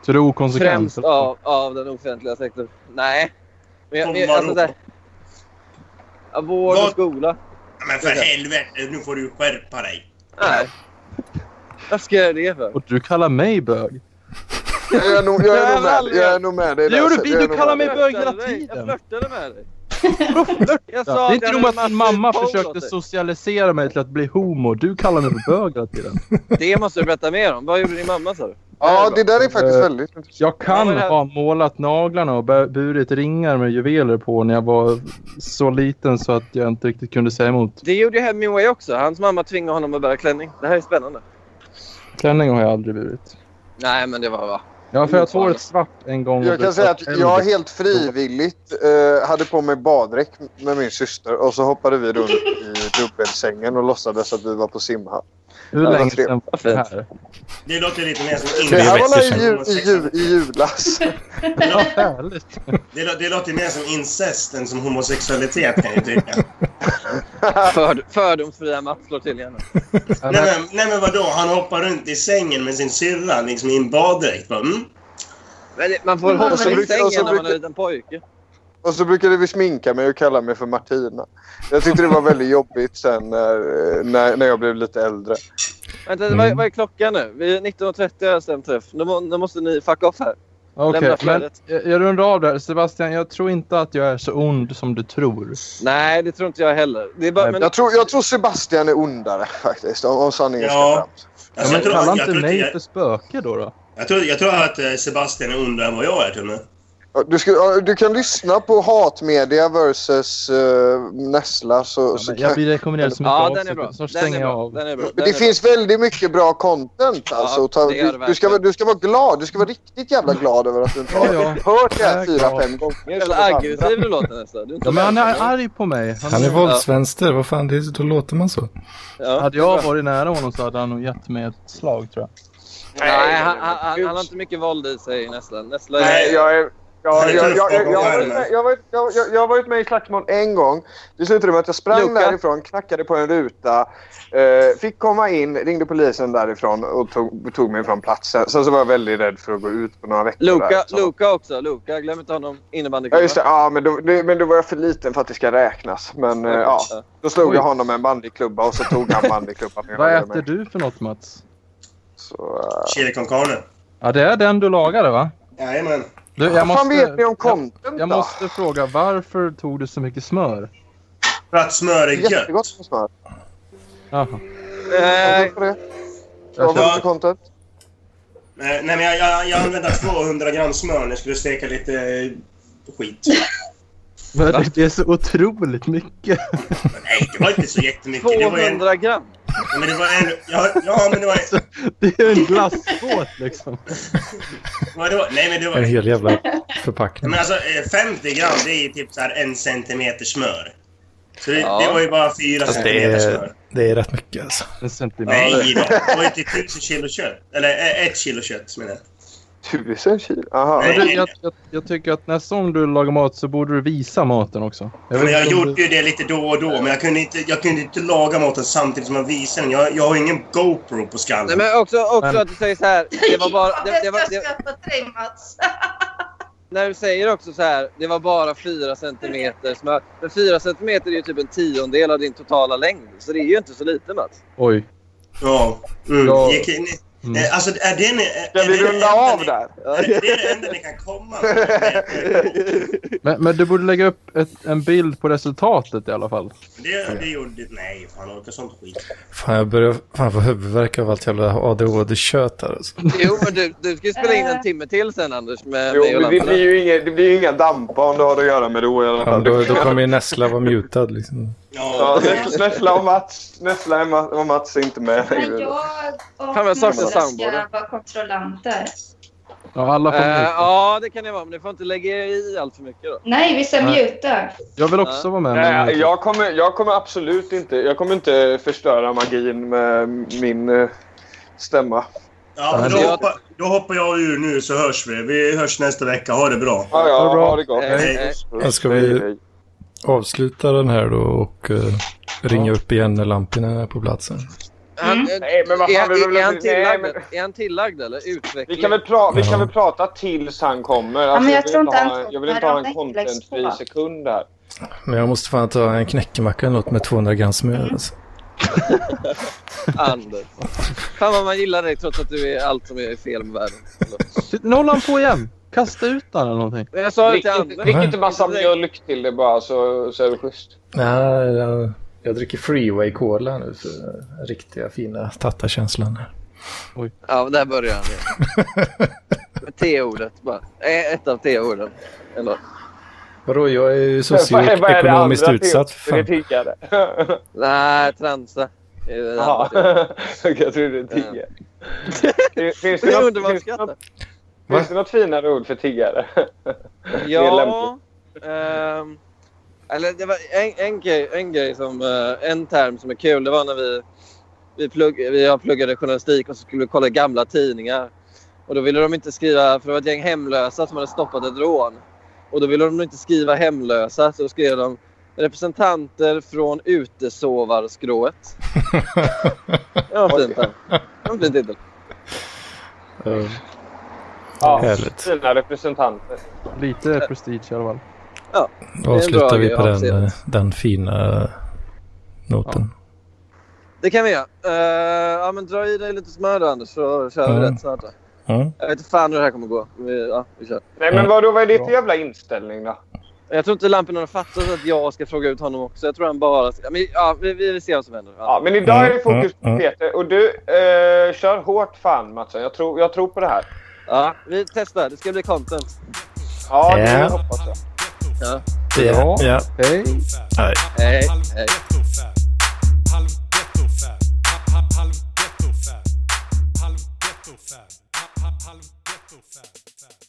[SPEAKER 5] Så du är okonsekvent.
[SPEAKER 6] Främst
[SPEAKER 5] eller?
[SPEAKER 6] av, av den offentliga sektorn. Nej. Men jag,
[SPEAKER 3] Som
[SPEAKER 6] jag,
[SPEAKER 3] vadå?
[SPEAKER 6] alltså, så här... ja, vård och
[SPEAKER 3] Vad?
[SPEAKER 6] skola.
[SPEAKER 3] Men för helvete, nu får du skärpa dig.
[SPEAKER 6] Nej. Varför ska jag göra det för?
[SPEAKER 5] Och du kallar mig bög.
[SPEAKER 9] Jag är nog, jag är nog med. Jag är nog med dig
[SPEAKER 5] Det gjorde
[SPEAKER 9] Sebbe.
[SPEAKER 5] vi,
[SPEAKER 9] Jag är
[SPEAKER 5] du
[SPEAKER 9] nog
[SPEAKER 5] kallar
[SPEAKER 9] med
[SPEAKER 5] mig
[SPEAKER 9] dig.
[SPEAKER 5] bög hela
[SPEAKER 6] Flörtade dig. Jag
[SPEAKER 5] tiden.
[SPEAKER 6] flörtade med dig.
[SPEAKER 5] Vadå flört? Det
[SPEAKER 6] Jag sa
[SPEAKER 5] är
[SPEAKER 6] jag
[SPEAKER 5] inte nog
[SPEAKER 6] hade
[SPEAKER 5] att
[SPEAKER 6] massvis
[SPEAKER 5] din mamma
[SPEAKER 6] polo åt
[SPEAKER 5] försökte
[SPEAKER 6] dig.
[SPEAKER 5] socialisera mig till att bli homo. Du kallar mig för bög hela tiden.
[SPEAKER 6] Det måste du berätta mer om. Vad gjorde din mamma sa du?
[SPEAKER 9] Ja, det där är faktiskt
[SPEAKER 5] Eh,
[SPEAKER 9] väldigt intressant.
[SPEAKER 5] Jag
[SPEAKER 6] Ja,
[SPEAKER 5] kan
[SPEAKER 6] men det här-
[SPEAKER 5] ha målat naglarna och bu- burit ringar med juveler på när jag var så liten så att jag inte riktigt kunde säga emot.
[SPEAKER 6] Det gjorde ju Hemingway också. Hans mamma tvingade honom att bära klänning. Det här är spännande.
[SPEAKER 5] Klänning har jag aldrig burit.
[SPEAKER 6] Nej, men det var va?
[SPEAKER 5] Jag har färgat håret svart en gång. och
[SPEAKER 9] Jag kan
[SPEAKER 5] blivit
[SPEAKER 9] säga att
[SPEAKER 5] svart
[SPEAKER 9] jag
[SPEAKER 5] äldre.
[SPEAKER 9] helt frivilligt eh, hade på mig baddräkt med min syster och så hoppade vi runt i dubbelsängen och låtsades att vi var på simhall.
[SPEAKER 5] Hur länge
[SPEAKER 9] tre-
[SPEAKER 5] sedan var det här?
[SPEAKER 3] Det låter lite mer som
[SPEAKER 9] Det här var i,
[SPEAKER 3] incest.
[SPEAKER 9] ju, i, ju, i julas.
[SPEAKER 3] Det
[SPEAKER 5] Ja,
[SPEAKER 3] låter-
[SPEAKER 5] härligt.
[SPEAKER 3] Det, lå- det låter mer som incest än som homosexualitet kan jag tycka.
[SPEAKER 6] För, fördomsfria Mats slår till igen.
[SPEAKER 5] Ja,
[SPEAKER 3] nej,
[SPEAKER 5] men-
[SPEAKER 3] men, nej men vadå, han hoppar runt i sängen med sin syrra liksom i en baddräkt. Bara, mm.
[SPEAKER 6] Men det- man får
[SPEAKER 4] Ja,
[SPEAKER 6] hålla
[SPEAKER 4] men
[SPEAKER 6] sig
[SPEAKER 4] det-
[SPEAKER 6] i sängen
[SPEAKER 9] och
[SPEAKER 6] när
[SPEAKER 9] så
[SPEAKER 6] man är en
[SPEAKER 9] brukar-
[SPEAKER 6] liten pojke.
[SPEAKER 9] Och så brukade vi sminka mig och kalla mig för Martina. Jag tyckte det var väldigt jobbigt sen när, eh, när, när jag blev lite äldre.
[SPEAKER 6] Vänta,
[SPEAKER 2] Mm.
[SPEAKER 6] vad, vad är klockan nu? Vi är 19.30 har jag stämt träff. Nu, må, nu måste ni fuck off här.
[SPEAKER 5] Okej,
[SPEAKER 6] Lämna
[SPEAKER 5] men
[SPEAKER 6] flödet.
[SPEAKER 5] jag, jag rundar av där. Sebastian, jag tror inte att jag är så ond som du tror.
[SPEAKER 6] Nej, det tror inte jag heller. Det är bara,
[SPEAKER 5] Nej,
[SPEAKER 6] men,
[SPEAKER 9] Jag tror, jag tror Sebastian är ondare faktiskt, om, om sanningen
[SPEAKER 3] Ja.
[SPEAKER 9] ska fram.
[SPEAKER 5] Ja,
[SPEAKER 3] Alltså,
[SPEAKER 5] men
[SPEAKER 3] jag, tror,
[SPEAKER 5] kalla
[SPEAKER 3] jag,
[SPEAKER 5] inte
[SPEAKER 3] tror,
[SPEAKER 5] mig
[SPEAKER 3] jag,
[SPEAKER 5] för spöke då. då.
[SPEAKER 3] jag, tror, jag tror att eh, Sebastian är ondare än vad jag är till och med.
[SPEAKER 9] Ja, Du, ska, ja, du kan lyssna på hatmedia versus uh, Nessla. Så,
[SPEAKER 5] Ja,
[SPEAKER 9] så
[SPEAKER 5] men
[SPEAKER 9] kan,
[SPEAKER 5] jag blir rekommenderad så mycket
[SPEAKER 6] ja,
[SPEAKER 5] av,
[SPEAKER 6] den är
[SPEAKER 5] så-
[SPEAKER 6] bra.
[SPEAKER 5] så
[SPEAKER 6] Den
[SPEAKER 5] stänger jag
[SPEAKER 6] är bra.
[SPEAKER 5] av.
[SPEAKER 6] Den är bra.
[SPEAKER 9] det
[SPEAKER 6] Den är
[SPEAKER 9] finns väldigt mycket bra content. Alltså,
[SPEAKER 6] Ja,
[SPEAKER 9] Och ta,
[SPEAKER 6] det gör det
[SPEAKER 9] du, du, ska, vara- du ska vara glad. Du ska vara riktigt jävla glad över att du inte har
[SPEAKER 5] Ja, ja.
[SPEAKER 9] hört det
[SPEAKER 5] Jag är
[SPEAKER 9] här fyra,
[SPEAKER 5] glad.
[SPEAKER 9] fem
[SPEAKER 6] bra.
[SPEAKER 9] gånger. som
[SPEAKER 6] Jävla
[SPEAKER 9] alla andra.
[SPEAKER 6] aggressiv du låter nästan. Du är inte
[SPEAKER 5] Ja, men han
[SPEAKER 6] välkommen.
[SPEAKER 5] är arg på mig. Han,
[SPEAKER 2] Han är våldsvänster, vad fan, det, är- då låter man så.
[SPEAKER 6] Ja.
[SPEAKER 5] Hade jag varit nära honom så hade han nog gett mig ett slag tror jag.
[SPEAKER 6] Nej, han, han, han, han har inte mycket våld i sig nästan. Nästan
[SPEAKER 9] Nej, jag är... Jag, jag, jag, jag, jag, jag, har varit med- jag, har varit- jag, jag, jag har varit med i slagsmål en gång. Det slutade med att jag sprang
[SPEAKER 6] Luca.
[SPEAKER 9] därifrån, knackade på en ruta, eh, fick komma in, ringde polisen därifrån och tog, tog mig från platsen. Sen så var jag väldigt rädd för att gå ut på några veckor.
[SPEAKER 6] Luka,
[SPEAKER 9] där, så.
[SPEAKER 6] Luka också. Luka, glöm inte honom.
[SPEAKER 9] Ja, just det.
[SPEAKER 6] Innebandyklubben.
[SPEAKER 9] Ja, men, då, det, men då var jag för liten för att det ska räknas. Men eh, ja, då slog jag
[SPEAKER 5] Oj.
[SPEAKER 9] honom med en bandyklubba och så tog han bandyklubban.
[SPEAKER 5] Vad äter du för något Mats?
[SPEAKER 9] Så, eh,
[SPEAKER 3] Chili con carne.
[SPEAKER 5] Ja, det är den du lagade va?
[SPEAKER 3] Jajamän.
[SPEAKER 5] Du,
[SPEAKER 9] Vad fan vet ni om content
[SPEAKER 5] jag,
[SPEAKER 9] då?
[SPEAKER 5] jag måste fråga, varför tog du så mycket smör?
[SPEAKER 3] För att smör är gött.
[SPEAKER 9] Jättegott med smör.
[SPEAKER 5] Jaha.
[SPEAKER 6] Nej,
[SPEAKER 9] Varför det?
[SPEAKER 5] Jag
[SPEAKER 9] Vad var det
[SPEAKER 3] känner-
[SPEAKER 9] för content?
[SPEAKER 3] Eh, Nej, men jag, jag, jag använde 200 gram smör när jag skulle steka lite eh, skit.
[SPEAKER 5] Men det- Det är så otroligt mycket.
[SPEAKER 3] Nej, det var inte så jättemycket. Det var en,
[SPEAKER 6] 200 gram.
[SPEAKER 3] ja, men det var en, ja, ja, men det var, en,
[SPEAKER 5] Det är en glasskåt liksom.
[SPEAKER 3] vad det var Nej, men det var...
[SPEAKER 2] En hel jävla
[SPEAKER 3] Ja,
[SPEAKER 2] förpackning.
[SPEAKER 3] Men alltså, eh, 50 gram, det är ju typ så här en centimeter smör. Så det,
[SPEAKER 6] Ja.
[SPEAKER 3] det var ju bara fyra
[SPEAKER 2] Fast det
[SPEAKER 3] centimeter
[SPEAKER 2] är,
[SPEAKER 3] smör.
[SPEAKER 2] det är rätt mycket alltså.
[SPEAKER 5] En centimeter.
[SPEAKER 3] Nej då, det var ju typ 1000 kilo kött. Eller eh, ett kilo kött menar jag.
[SPEAKER 9] Tusen kilo? Aha.
[SPEAKER 3] Nej.
[SPEAKER 5] Men du, jag, jag, jag tycker att nästa gång du lagar mat så borde du visa maten också.
[SPEAKER 3] Ja,
[SPEAKER 5] vet
[SPEAKER 3] men jag
[SPEAKER 5] inte om
[SPEAKER 3] gjorde ju det lite då och då, men jag kunde inte, jag kunde inte laga maten samtidigt som jag visade den. Jag, jag har ingen GoPro på
[SPEAKER 6] Nej,
[SPEAKER 3] skallen.
[SPEAKER 6] men också, också
[SPEAKER 5] Men-
[SPEAKER 6] att du säger så här. Det var bara... Det, det var,
[SPEAKER 4] Jag
[SPEAKER 6] det,
[SPEAKER 4] skrattar till dig Mats.
[SPEAKER 6] när du säger också så här. Det var bara 4 centimeter smör. Men 4 centimeter är ju typ en tiondel av din totala längd. Så det är ju inte så lite Mats.
[SPEAKER 5] Oj.
[SPEAKER 3] Ja. Mm.
[SPEAKER 5] Ja.
[SPEAKER 3] Gick in, i-
[SPEAKER 5] Mm.
[SPEAKER 3] Eh, Alltså, är det... en- är-
[SPEAKER 9] Ska
[SPEAKER 3] är
[SPEAKER 9] vi
[SPEAKER 3] det
[SPEAKER 9] runda
[SPEAKER 3] en-
[SPEAKER 9] av där?
[SPEAKER 3] är Det är det enda ni kan komma med.
[SPEAKER 5] Men, men du borde lägga upp ett, en bild på resultatet i alla fall.
[SPEAKER 3] Det, det gjorde... Nej, fan orkar sånt skit.
[SPEAKER 2] Fan, jag börjar fan få huvudvärk av allt jävla ADHD-kött här alltså.
[SPEAKER 6] Jo, men du, du ska ju spela in en timme till sen Anders med
[SPEAKER 9] Jo,
[SPEAKER 6] mig och
[SPEAKER 9] men det blir
[SPEAKER 6] Lampan.
[SPEAKER 9] ju inga, det blir ju inga dampar om du har att göra med Ro i alla
[SPEAKER 2] Ja,
[SPEAKER 9] fall.
[SPEAKER 2] då, då kommer ju Nessla vara mutad liksom.
[SPEAKER 9] Ja,
[SPEAKER 3] Ja.
[SPEAKER 9] Nessla och Mats, Nessla är Ma- och Mats är inte med
[SPEAKER 4] Men
[SPEAKER 9] längre.
[SPEAKER 4] jag och
[SPEAKER 6] Fan, jag saknar
[SPEAKER 4] Mats
[SPEAKER 6] sambo,
[SPEAKER 4] ska
[SPEAKER 6] det.
[SPEAKER 4] vara kontrollanter.
[SPEAKER 5] Ja, alla får
[SPEAKER 6] Eh,
[SPEAKER 5] mjuta.
[SPEAKER 6] ja, det kan det vara. Men du får inte lägga er i allt för mycket då.
[SPEAKER 4] Nej, vi ska
[SPEAKER 5] Nej.
[SPEAKER 4] mjuta.
[SPEAKER 5] Jag vill också vara med. men-
[SPEAKER 9] Nej, jag kommer, jag kommer absolut inte, jag kommer inte förstöra magin med min eh, stämma.
[SPEAKER 3] Ja, men då,
[SPEAKER 6] Jag-
[SPEAKER 3] hoppar, då hoppar jag ur nu så hörs vi. Vi hörs nästa vecka. Ha det bra.
[SPEAKER 9] Ja,
[SPEAKER 5] Ha
[SPEAKER 9] ja,
[SPEAKER 5] det bra.
[SPEAKER 9] ha det gott.
[SPEAKER 6] Eh,
[SPEAKER 3] Hej.
[SPEAKER 6] eh,
[SPEAKER 2] Men ska vi- Avsluta den här då och eh, ringa upp igen när lamporna är på platsen.
[SPEAKER 6] han- eh,
[SPEAKER 9] Nej, men vad
[SPEAKER 6] Är
[SPEAKER 9] fan,
[SPEAKER 6] han,
[SPEAKER 9] vi,
[SPEAKER 6] är, han
[SPEAKER 9] vi, nej,
[SPEAKER 6] tillagd,
[SPEAKER 9] men,
[SPEAKER 6] eller? är han tillagd eller? Utveckling?
[SPEAKER 9] vi, kan väl pra, vi kan
[SPEAKER 2] Ja.
[SPEAKER 9] väl prata tills han kommer.
[SPEAKER 4] men jag
[SPEAKER 9] vill
[SPEAKER 4] tror inte
[SPEAKER 9] ha,
[SPEAKER 4] han
[SPEAKER 9] jag vill inte
[SPEAKER 4] kommer.
[SPEAKER 9] ha en
[SPEAKER 4] Han läggs på.
[SPEAKER 9] contentfri sekund här.
[SPEAKER 2] Men jag måste fan ta en knäckemacka eller något med 200 gram smör alltså.
[SPEAKER 6] Anders. Fan vad man gillar dig trots att du är allt som är fel med världen.
[SPEAKER 5] Titta, Nu håller han på igen. Kasta ut den eller någonting.
[SPEAKER 6] Men Jag sa det till
[SPEAKER 9] Drick inte-
[SPEAKER 6] Anders.
[SPEAKER 2] Nej.
[SPEAKER 9] drick inte massa mjölk till det bara så, så är det schysst.
[SPEAKER 2] Nej, jag, jag dricker Freeway Cola nu för den riktiga fina tattakänslan. här.
[SPEAKER 6] Ja, där börjar han igen. Med T-ordet bara. Eh, Ett av T-orden. Eller?
[SPEAKER 2] Vadå, jag är ju
[SPEAKER 9] Vad är- vad är det
[SPEAKER 2] socioekonomiskt
[SPEAKER 9] andra
[SPEAKER 2] utsatt för
[SPEAKER 9] teorin?
[SPEAKER 2] fan.
[SPEAKER 9] Det tiggare.
[SPEAKER 6] Nej, transa. Eh, Det är det
[SPEAKER 9] Jaha.
[SPEAKER 6] andra.
[SPEAKER 9] Jag trodde det tiggare. Finns det
[SPEAKER 6] Det är
[SPEAKER 9] något-
[SPEAKER 6] underbart
[SPEAKER 9] finns det något-
[SPEAKER 6] skrattat.
[SPEAKER 9] Finns det något finare ord för tiggare? Det är
[SPEAKER 6] Ja.
[SPEAKER 9] lämpligt.
[SPEAKER 6] ehm, eller det var en, en, grej, en grej som... eh, en term som är kul, det var när vi... Vi, plugg, vi jag pluggade journalistik och så skulle vi kolla gamla tidningar. Och då ville de inte skriva... För det var ett gäng hemlösa som hade stoppat ett rån. Och då ville de inte skriva hemlösa, så då skrev de representanter från utesovarskrået. Det var fint. va? Det var en fin titel.
[SPEAKER 2] Eh,
[SPEAKER 9] Ja,
[SPEAKER 2] Härligt.
[SPEAKER 9] Fina representanter.
[SPEAKER 5] Lite prestige i alla fall.
[SPEAKER 2] Då
[SPEAKER 6] bra
[SPEAKER 2] avslutar vi
[SPEAKER 6] grej,
[SPEAKER 2] på den,
[SPEAKER 6] absolut.
[SPEAKER 2] eh, den fina eh, noten.
[SPEAKER 6] Det kan vi göra. Eh, ja, men dra i dig lite smör då, Anders, så kör vi
[SPEAKER 2] Mm.
[SPEAKER 6] rätt snart. Då.
[SPEAKER 2] Ja.
[SPEAKER 6] Jag vet inte fan hur det här kommer gå. Vi, ja, vi kör.
[SPEAKER 1] Nej men vadå, vad är det för jävla inställning då?
[SPEAKER 6] Jag tror inte Lampinen har fattat att jag ska fråga ut honom också. Jag tror han bara ska... Men, ja, vi, vi, vi ser vad som händer.
[SPEAKER 1] Ja, men idag är det fokus på Peter och du eh, kör hårt fan Matsen. Jag tror, jag tror på det här.
[SPEAKER 6] Ja, vi testar. Det ska bli content.
[SPEAKER 1] Ja, det
[SPEAKER 2] Ja.
[SPEAKER 1] hoppas jag.
[SPEAKER 6] Ja.
[SPEAKER 2] Ja.
[SPEAKER 5] Ja.
[SPEAKER 2] ja.
[SPEAKER 5] Hej.
[SPEAKER 2] Nej.
[SPEAKER 6] Hej, hej.
[SPEAKER 8] Halv ghetto-fab. Halv ghetto-fab. Halv ghetto-fab.